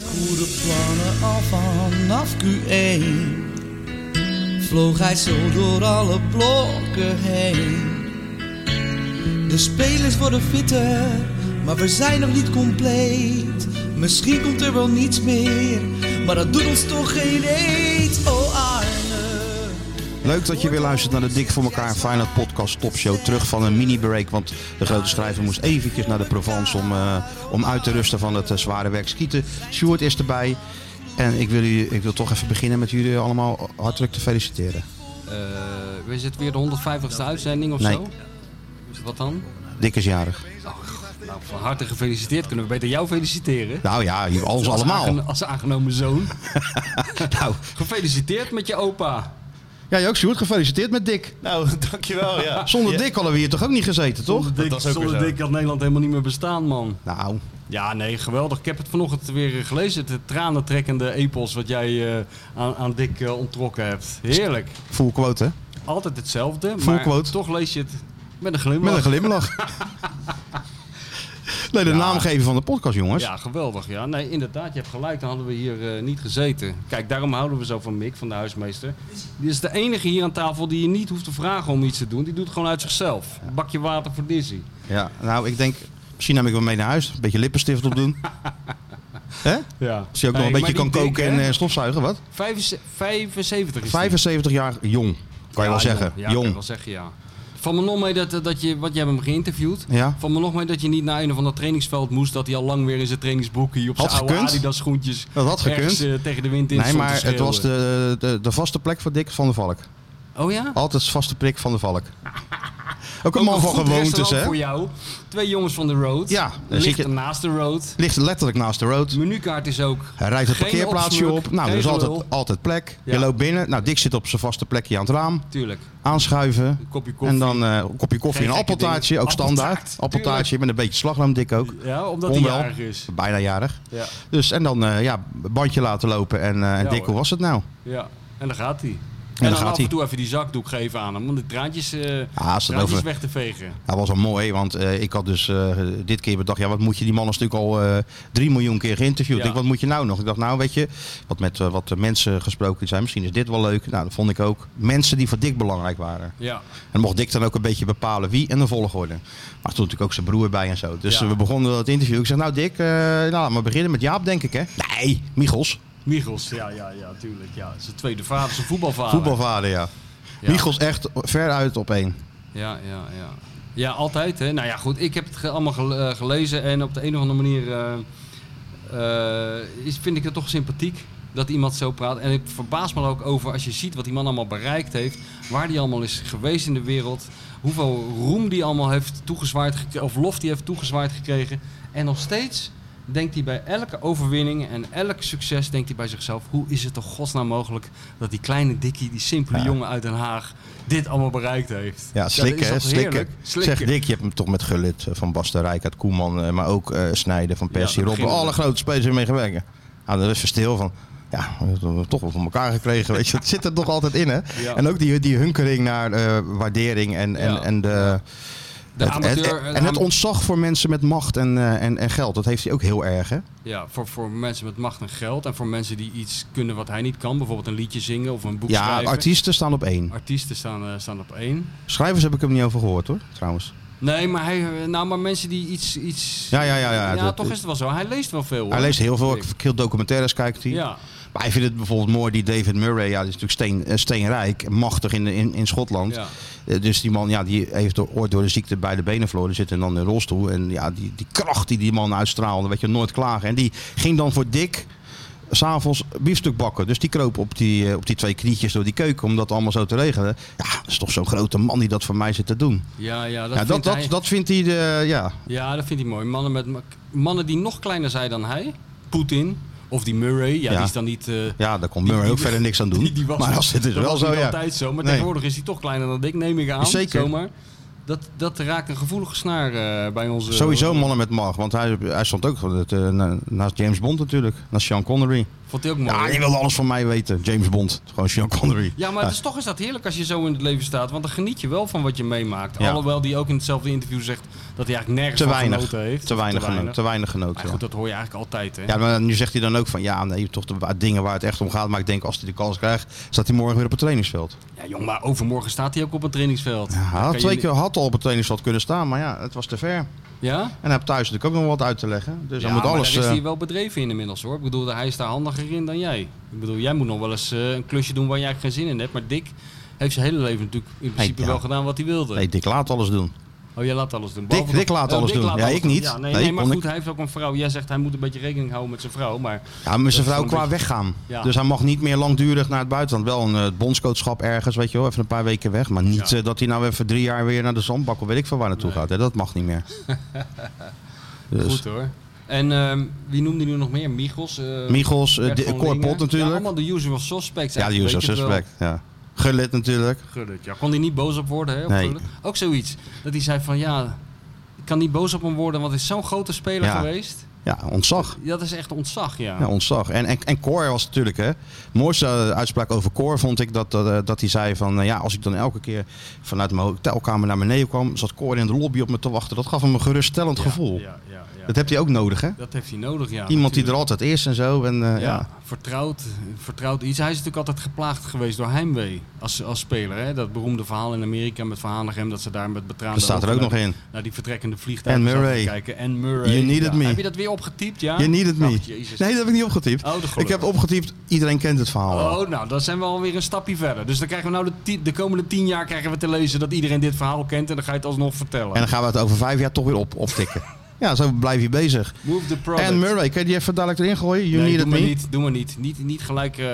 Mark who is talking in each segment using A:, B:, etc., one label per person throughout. A: goede plannen al vanaf Q1 Vloog hij zo door alle blokken heen De spelers worden fitter, maar we zijn nog niet compleet Misschien komt er wel niets meer, maar dat doet ons toch geen eet Oh Arne
B: Leuk dat je weer luistert naar de Dik voor elkaar Feyenoord podcast topshow. Terug van een mini-break, want de grote schrijver moest eventjes naar de Provence om, eh, om uit te rusten van het eh, zware werk skieten. Sjoerd is erbij. En ik wil, u, ik wil toch even beginnen met jullie allemaal hartelijk te feliciteren.
C: Eh, is het weer de 150ste uitzending of
B: Nee.
C: zo? Wat dan?
B: Dik is jarig.
C: Nou, van harte gefeliciteerd. Kunnen we beter jou feliciteren?
B: Nou ja, jullie- ons
C: Als aange-
B: allemaal.
C: Als aangenomen zoon.
B: Nou,
C: Gefeliciteerd met je opa.
B: jij ook Sjoerd, gefeliciteerd met Dick.
D: Nou, dankjewel, ja.
B: Zonder Dick hadden we hier toch ook niet gezeten, toch?
C: Dik,
D: was ook weer
C: zonder
D: zo.
C: dik had Nederland helemaal niet meer bestaan, man.
B: Nou,
C: Ja, nee, geweldig. Ik heb het vanochtend weer eh, gelezen. De tranentrekkende epos wat jij eh, aan, aan Dick eh, ontrokken hebt. Heerlijk.
B: full quote hè?
C: Altijd hetzelfde,
B: Full
C: maar
B: quote.
C: toch lees je het met een glimlach.
B: Met een glimlach. Nee, de naamgever van de podcast, jongens.
C: Ja, geweldig. Ja. Nee, inderdaad, je hebt gelijk. Dan hadden we hier eh, niet gezeten. Kijk, daarom houden we zo van Mick, van de huismeester. Die is de enige hier aan tafel die je niet hoeft te vragen om iets te doen. Die doet het gewoon uit zichzelf. Een bakje water voor Dizzy.
B: Ja, nou, ik denk, misschien neem ik wel mee naar huis. Een beetje lippenstift op doen. Hè?
C: Ja.
B: Als Dus je ook nog een beetje kan koken en eh, stofzuigen, wat?
C: 75 is die.
B: 75 jaar jong, kan je wel
C: Ja,
B: zeggen.
C: Ja, kan
B: jong.
C: je wel zeggen, ja. Van me nog mee dat, eh, dat je, want je hebt hem geïnterviewd.
B: Ja.
C: Van me nog mee dat je niet naar een of ander trainingsveld moest. Dat hij al lang weer in zijn trainingsboekje op
B: Had
C: zijn oude
B: gekund.
C: Adidas schoentjes.
B: Dat had
C: ergens,
B: gekund.
C: eh, tegen de wind in
B: Nee,
C: stond te
B: maar het
C: schreeuwen.
B: was de, de, de vaste plek van Dick van der Valk.
C: Oh ja?
B: Altijd vaste prik van der Valk. Ook een
C: Ook
B: man van
C: goed
B: gewoontes,
C: restaurant
B: hè?
C: voor jou. Twee jongens van de road.
B: Ja, dan zit
C: Ligt
B: je-
C: naast de road.
B: Ligt letterlijk naast de road.
C: De menukaart is ook...
B: Hij rijdt het
C: Geen
B: parkeerplaatsje
C: opsmuk,
B: op. Nou, er is
C: geen
B: altijd,
C: gelul.
B: altijd plek. Je
C: Ja.
B: loopt binnen. Nou, Dick zit op zijn vaste plekje aan het raam.
C: Tuurlijk.
B: Aanschuiven.
C: Een kopje koffie.
B: En dan eh, een kopje koffie
C: Geen
B: en een
C: gekke
B: appeltaartje.
C: dingen.
B: Ook standaard.
C: Appeltaart,
B: Appeltaartje met een beetje slagroom, Dick ook.
C: Ja, omdat
B: Onwel.
C: hij jarig is.
B: Bijna jarig.
C: Ja.
B: Dus en dan eh, ja, bandje laten lopen en, eh, en
C: Ja,
B: Dick, hoe
C: hoor.
B: was het nou?
C: ja. En dan gaat hij. En,
B: dan
C: dan
B: gaat
C: af
B: hij.
C: en toe even die zakdoek geven aan hem. Om de traantjes, eh
B: als het
C: traantjes
B: over-
C: weg te vegen.
B: Dat was wel mooi, want eh, ik had dus eh, dit keer bedacht, ja, wat moet je die man is natuurlijk al eh 3 miljoen keer geïnterviewd.
C: Ja.
B: Ik, wat moet je nou nog? Ik dacht, nou weet je, wat met eh, wat de mensen gesproken zijn, misschien is dit wel leuk. Nou, dat vond ik ook. Mensen die voor Dick belangrijk waren.
C: Ja.
B: En mocht Dick dan ook een beetje bepalen wie en de volgorde. Maar er stond natuurlijk ook zijn broer bij en zo. Dus
C: Ja.
B: eh, we begonnen het interview. Ik zeg, nou Dick, eh nou, laten we beginnen met Jaap, denk ik hè? Nee, Michels.
C: Michels, ja, ja, ja, tuurlijk. Ja. Zijn tweede vader, zijn voetbalvader.
B: Voetbalvader, ja.
C: Ah, Ja.
B: Michels echt veruit op één.
C: Ja, ja, ja. Ja, altijd. Hè? Nou ja, goed. Ik heb het ge- allemaal gel- eh, gelezen en op de een of andere manier eh, eh, is, vind ik het toch sympathiek dat iemand zo praat. En ik verbaas me er ook over als je ziet wat die man allemaal bereikt heeft, waar die allemaal is geweest in de wereld, hoeveel roem die allemaal heeft toegezwaaid gekregen, of lof die heeft toegezwaaid gekregen. En nog steeds denkt hij bij elke overwinning en elk succes denkt hij bij zichzelf, hoe is het toch godsnaam mogelijk dat die kleine dikkie, die simpele
B: Ja.
C: jongen uit Den Haag, dit allemaal bereikt heeft.
B: Ja,
C: dat
B: slikken,
C: is
B: hè,
C: toch
B: slikken.
C: heerlijk? Slikken.
B: Zeg Dick, je hebt hem toch met Gullit, eh, Van Basten, Rijkaard, Koeman, eh, maar ook eh Snijden, Van Persie,
C: dat
B: Robben.
C: beginnen
B: Alle
C: we.
B: grote spelers hebben meegewerkt. Nou, daar is verstil van. Ja, we hebben het toch wel voor elkaar gekregen, weet je. Dat zit er toch altijd in, hè?
C: Ja.
B: En ook die, die hunkering naar eh, waardering en, en,
C: Ja.
B: en de...
C: De
B: het-
C: amateur,
B: het- en het ontzag voor mensen met macht en, eh, en, en geld, dat heeft hij ook heel erg, hè?
C: ja, voor, voor mensen met macht en geld en voor mensen die iets kunnen wat hij niet kan. Bijvoorbeeld een liedje zingen of een boek
B: Ja,
C: schrijven.
B: artiesten staan op één.
C: Artiesten staan, eh, staan op één.
B: Schrijvers heb ik hem niet over gehoord, hoor, trouwens.
C: Nee, maar, hij, nou, maar mensen die iets... iets
B: Ja, ja, ja, ja, dat-
C: toch is het wel zo. Hij leest wel veel. hoor.
B: Hij leest heel veel,
C: Ik-
B: veel documentaires kijkt hij.
C: Ja,
B: Maar hij vindt het bijvoorbeeld mooi, die David Murray, ja, die is natuurlijk steen, eh, steenrijk, machtig in, de- in, in Schotland.
C: ja.
B: Eh, Dus die man, ja, die heeft door, ooit door de ziekte bij de benen verloren, zit en dan in een rolstoel. En ja, die, die kracht die die man uitstraalde, weet je, nooit klagen. En die ging dan voor Dick s'avonds biefstuk bakken. Dus die kroop op die, eh, op die twee knietjes door die keuken om dat allemaal zo te regelen. Ja, dat is toch zo'n grote man die dat voor mij zit te doen.
C: ja, ja, dat,
B: Dat ja, dat,
C: vindt
B: dat,
C: hij,
B: dat vindt hij, de, ja,
C: ja, dat vindt hij mooi. Mannen, met, ma- mannen die nog kleiner zijn dan hij. Poetin of die Murray. Ja,
B: Ja.
C: die is dan niet... eh,
B: ja, daar kon Murray
C: die-
B: ook verder niks aan doen.
C: Die, die was,
B: maar als dit is
C: dat
B: wel
C: was
B: zo,
C: niet
B: ja.
C: altijd zo. Maar
B: Nee.
C: tegenwoordig is hij toch kleiner dan ik, neem ik aan.
B: Zeker.
C: Zomaar. Dat, dat raakt een gevoelige snaar eh, bij onze...
B: Sowieso mannen met macht, want hij, hij stond ook eh, naast James Bond natuurlijk, naast Sean Connery.
C: Vond hij ook mooi.
B: Ja, je wilde alles van mij weten. James Bond. Gewoon Sean Connery.
C: Ja, maar het is, toch is dat heerlijk als je zo in het leven staat. Want dan geniet je wel van wat je meemaakt.
B: Ja.
C: Alhoewel die ook in hetzelfde interview zegt dat hij eigenlijk nergens
B: te
C: van
B: weinig.
C: genoten heeft.
B: Te weinig genoten. Te weinig genoten.
C: Maar
B: ja.
C: goed, dat hoor je eigenlijk altijd. Hè?
B: Ja, maar nu zegt hij dan ook van ja, nee, toch de wa- dingen waar het echt om gaat. Maar ik denk als hij de kans krijgt, staat hij morgen weer op het trainingsveld.
C: Ja, jong, maar overmorgen staat hij ook op het trainingsveld.
B: Ja, hij
C: Kan
B: had
C: je
B: twee
C: niet-
B: keer had al op het trainingsveld kunnen staan, maar ja, het was te ver.
C: Ja?
B: En hij heeft thuis natuurlijk ook nog wat uit te leggen. Dus
C: ja,
B: hij moet
C: maar
B: alles.
C: daar is
B: eh,
C: hij wel bedreven in inmiddels hoor. Ik bedoel, hij is daar handiger in dan jij. Ik bedoel, jij moet nog wel eens eh, een klusje doen waar jij eigenlijk geen zin in hebt. Maar Dick heeft zijn hele leven natuurlijk in principe
B: ja.
C: wel gedaan wat hij wilde.
B: Nee, Dick laat alles doen.
C: Oh, jij laat alles doen. Behalve
B: Dick
C: dat-
B: laat
C: Oh,
B: alles doen. Ja, ik niet.
C: Ja, nee,
B: Nee,
C: nee, maar
B: kon
C: goed,
B: ik-
C: hij heeft ook een vrouw. Jij zegt hij moet een beetje rekening houden met zijn vrouw. Maar
B: Ja, maar zijn
C: is
B: vrouw
C: een
B: qua
C: beetje-
B: weggaan.
C: Ja.
B: Dus hij mag niet meer langdurig naar het buitenland. Wel een eh, bondscoachschap ergens, weet je wel. Even een paar weken weg. Maar niet
C: Ja.
B: eh, dat hij nou even drie jaar weer naar de zandbak of weet ik veel waar naartoe gaat. Hè. Dat mag niet meer. dus.
C: goed hoor. En ehm, wie noemde nu nog meer? Michels? eh,
B: Michels, eh,
C: Bert
B: Di-
C: van
B: Cor
C: Lingen.
B: Pot natuurlijk.
C: Ja, allemaal de usual suspects.
B: Ja, de
C: eigenlijk,
B: usual
C: weet je het wel.
B: suspect. Ja. Gullit natuurlijk.
C: Gullit, ja. Kon hij niet boos op worden, hè? op
B: Nee.
C: Gullit? Ook zoiets. Dat hij zei van, ja, ik kan niet boos op hem worden, want hij is zo'n grote speler
B: Ja.
C: geweest.
B: Ja, ontzag.
C: Dat is echt ontzag, ja.
B: Ja, ontzag. En, en, en Cor was natuurlijk, hè. Mooiste eh, uitspraak over Cor vond ik dat, dat, eh, dat hij zei van, eh, ja, als ik dan elke keer vanuit mijn hotelkamer naar beneden kwam, zat Cor in de lobby op me te wachten. Dat gaf hem een geruststellend
C: Ja,
B: gevoel.
C: Ja, ja, ja.
B: Dat heb je ook nodig, hè?
C: Dat heeft hij nodig, ja.
B: Iemand die
C: natuurlijk.
B: er altijd is en zo. En, eh, ja.
C: Ja, vertrouwd, vertrouwd iets. Hij is natuurlijk altijd geplaagd geweest door heimwee als, als speler. Hè? Dat beroemde verhaal in Amerika met Van Hanegem, dat ze daar met betraande
B: Dat staat er ook
C: ogen
B: nog in.
C: naar die vertrekkende vliegtuigen
B: En
C: zaten te
B: Murray.
C: kijken. En Murray.
B: You needed
C: Ja.
B: me.
C: Heb je dat weer opgetypt? Ja?
B: Je needed me.
C: Ach, Jezus.
B: Nee, dat heb ik niet opgetypt.
C: Oh, de gelukkig.
B: ik heb opgetypt, iedereen kent het verhaal. wel.
C: Oh, nou, dan zijn we alweer een stapje verder. Dus dan krijgen we nou de, ti- de komende tien jaar krijgen we te lezen dat iedereen dit verhaal kent. En dan ga je het alsnog vertellen.
B: En dan gaan we het over vijf jaar toch weer op, optikken. ja, zo blijf je bezig.
C: Move the product.
B: En Murray, kun je die even dadelijk erin gooien? You
C: nee,
B: need
C: doe
B: it
C: maar
B: me.
C: niet. Doe maar niet. Niet, niet gelijk eh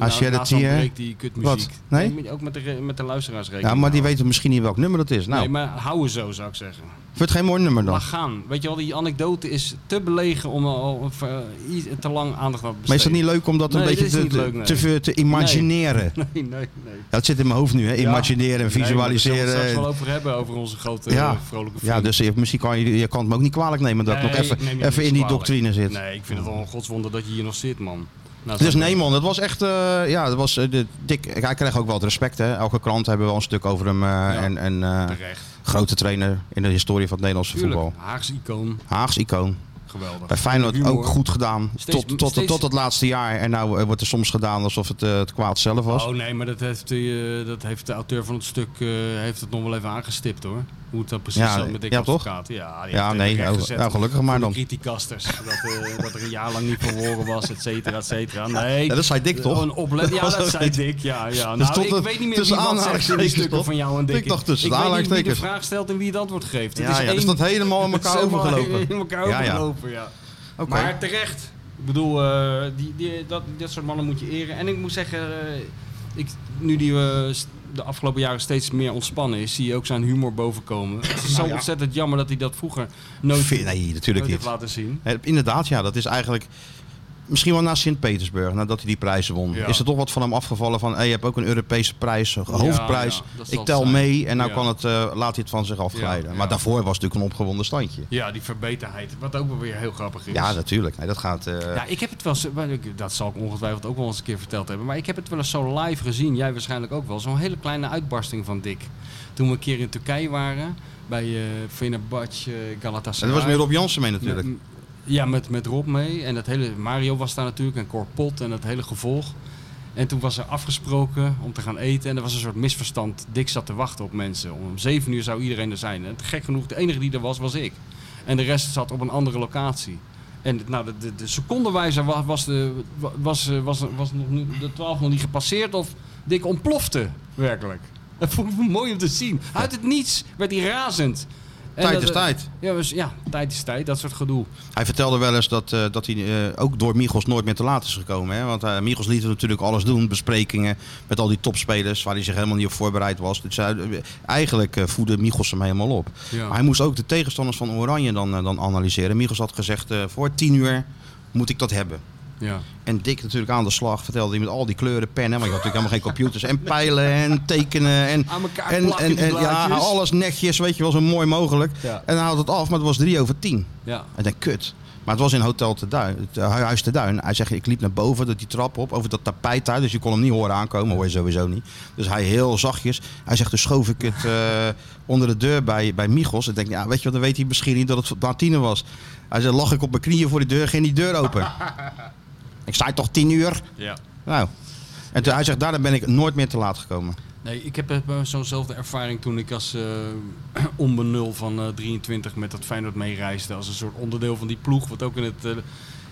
B: Als jij dat
C: naast elkaar
B: hier-
C: breekt die kutmuziek.
B: Wat? Nee?
C: moet je Ook met de, re- met de luisteraars rekenen.
B: Ja, maar die weten misschien niet welk nummer dat is. Nou,
C: Nee, maar houden zo zou ik zeggen.
B: Vindt het geen mooi nummer dan?
C: Laat gaan. Weet je wel, die anekdote is te belegen om al eh, i- te lang aandacht aan te besteden.
B: Maar is het niet leuk om dat een
C: Nee,
B: beetje
C: dit is
B: te,
C: niet leuk,
B: te-
C: nee.
B: te, ver- te imagineren?
C: Nee, nee, nee.
B: Ja, dat zit in mijn hoofd nu, hè? Imagineren en
C: Nee, maar daar zullen we het straks
B: visualiseren.
C: wel over hebben, over onze grote
B: Ja.
C: eh, vrolijke vriend.
B: ja, dus je, misschien kan je, je kan het me ook niet kwalijk nemen dat ik
C: Nee,
B: nog even,
C: neem je
B: even
C: niks
B: in die
C: kwalijk.
B: doctrine zit.
C: Nee, ik vind het wel een godswonder dat je hier nog zit, man. Nou,
B: Dus
C: zo-
B: nee man, dat was echt, eh, ja, dat was eh, de dik. Hij kreeg ook wel het respect, hè? Elke krant hebben wel een stuk over hem eh, en, en eh,
C: Terecht.
B: grote trainer in de historie van het Nederlandse
C: Tuurlijk.
B: voetbal.
C: Haags icoon.
B: Haags icoon.
C: Geweldig.
B: Bij Feyenoord
C: Humor.
B: ook goed gedaan.
C: Steeds-
B: tot, tot,
C: steeds-
B: tot het laatste jaar. En nou eh, wordt er soms gedaan alsof het eh, het kwaad zelf was.
C: Oh nee, maar dat heeft, die, eh, dat heeft de auteur van het stuk eh, heeft het nog wel even aangestipt hoor. Hoe het dan precies
B: Ja,
C: zat met Dick
B: ja, toch?
C: Advocaat. Ja, die
B: Ja,
C: heeft het
B: nee,
C: even
B: nou,
C: rechtgezet
B: nou, gelukkig maar
C: voor de
B: dan.
C: Criticasters. Dat, eh, dat er een jaar lang niet verloren was, et cetera, et cetera. Nee.
B: Ja, dat zei Dick, toch?
C: Een oplet- ja, dat zei Dick. Ja, ja.
B: Dus
C: Nou,
B: tot
C: ik
B: het-
C: weet niet meer
B: tussen
C: wie wat zegt in die
B: aanhalingstekens,
C: stukken
B: toch?
C: van jou en Dick.
B: Ik dacht tussen
C: weet niet wie de
B: aanhalingstekens.
C: vraag stelt en wie het antwoord geeft. Het
B: ja,
C: is
B: ja,
C: één-
B: dus dat helemaal aan elkaar
C: het is helemaal
B: overgelopen.
C: in
B: Ja,
C: elkaar
B: ja.
C: overgelopen, ja.
B: Oké.
C: Maar terecht. Ik bedoel, eh, die, die, dat, dat soort mannen moet je eren. En ik moet zeggen, eh, ik, nu die eh, st- de afgelopen jaren steeds meer ontspannen is, zie je ook zijn humor bovenkomen. Het is zo ontzettend jammer dat hij dat vroeger nooit,
B: Nou Vind- nee, natuurlijk
C: nooit heeft
B: niet.
C: laten zien.
B: Eh, Inderdaad, ja, dat is eigenlijk. Misschien wel na Sint-Petersburg, nadat hij die prijzen won.
C: Ja.
B: Is er toch wat van hem afgevallen van, hey, je hebt ook een Europese prijs, een hoofdprijs.
C: ja, dat zal
B: ik tel
C: het zijn.
B: mee en nou
C: Ja.
B: kan het, eh, laat hij het van zich afglijden.
C: Ja, ja.
B: Maar daarvoor was het natuurlijk een opgewonden standje.
C: Ja, die verbeterheid, wat ook wel weer heel grappig is.
B: Ja, natuurlijk. Nee, dat gaat... eh,
C: Ja, ik heb het wel eens, maar ik- dat zal ik ongetwijfeld ook wel eens een keer verteld hebben. Maar ik heb het wel eens zo live gezien, jij waarschijnlijk ook wel. Zo'n hele kleine uitbarsting van Dick. Toen we een keer in Turkije waren, bij eh Fenerbahce eh,
B: en
C: Galatasaray.
B: dat was meer Rob Jansen mee natuurlijk.
C: Met- ja, met, met Rob mee. En dat hele, Mario was daar natuurlijk en Cor Pot en dat hele gevolg. En toen was er afgesproken om te gaan eten. En er was een soort misverstand. Dick zat te wachten op mensen. Om zeven uur zou iedereen er zijn. En gek genoeg, de enige die er was, was ik. En de rest zat op een andere locatie. En nou, de, de, de secondenwijzer was, was, de, wa- was, eh, was, was nog niet, de 12 nog niet gepasseerd of Dick ontplofte, werkelijk. Dat vond ik mooi om te zien. Uit het niets werd hij razend. En
B: Tijd
C: dat-
B: is tijd.
C: Ja, dus, ja, tijd is tijd, dat soort gedoe.
B: Hij vertelde wel eens dat, eh, dat hij eh, ook door Michels nooit meer te laat is gekomen. Hè? Want eh, Michels liet hem natuurlijk alles doen. Besprekingen met al die topspelers waar hij zich helemaal niet op voorbereid was. Dus hij- eigenlijk eh, voedde Michels hem helemaal op.
C: Ja.
B: Maar hij moest ook de tegenstanders van Oranje dan, eh, dan analyseren. Michels had gezegd, eh, voor tien uur moet ik dat hebben.
C: Ja.
B: En Dick natuurlijk aan de slag, vertelde hij met al die kleuren, pennen. Want je had natuurlijk helemaal geen computers. En pijlen en tekenen en...
C: Aan elkaar
B: En,
C: plakken
B: en,
C: die
B: en ja,
C: blaadjes.
B: alles netjes, weet je wel, zo mooi mogelijk.
C: Ja.
B: En hij haalde het af, maar het was drie over tien.
C: Ja.
B: En ik denk, kut. Maar het was in Hotel te Duin, het eh, Huis te Duin. Hij zegt, ik liep naar boven, dat die trap op, over dat tapijt daar. Dus je kon hem niet horen aankomen, hoor je sowieso niet. Dus hij heel zachtjes. Hij zegt, dus schoof ik het eh, onder de deur bij, bij Michels. Ik denk, ja, weet je wat, dan weet hij misschien niet dat het na tienen was. Hij zegt, lag ik op mijn knieën voor de deur, ging die deur open. ik zei toch tien uur?
C: Ja.
B: Nou. En toen, hij zegt, daarna ben ik nooit meer te laat gekomen.
C: Nee, ik heb eh, zo'nzelfde ervaring toen ik als eh onbenul van eh, 23 met dat Feyenoord meereisde. Als een soort onderdeel van die ploeg, wat ook in het, eh,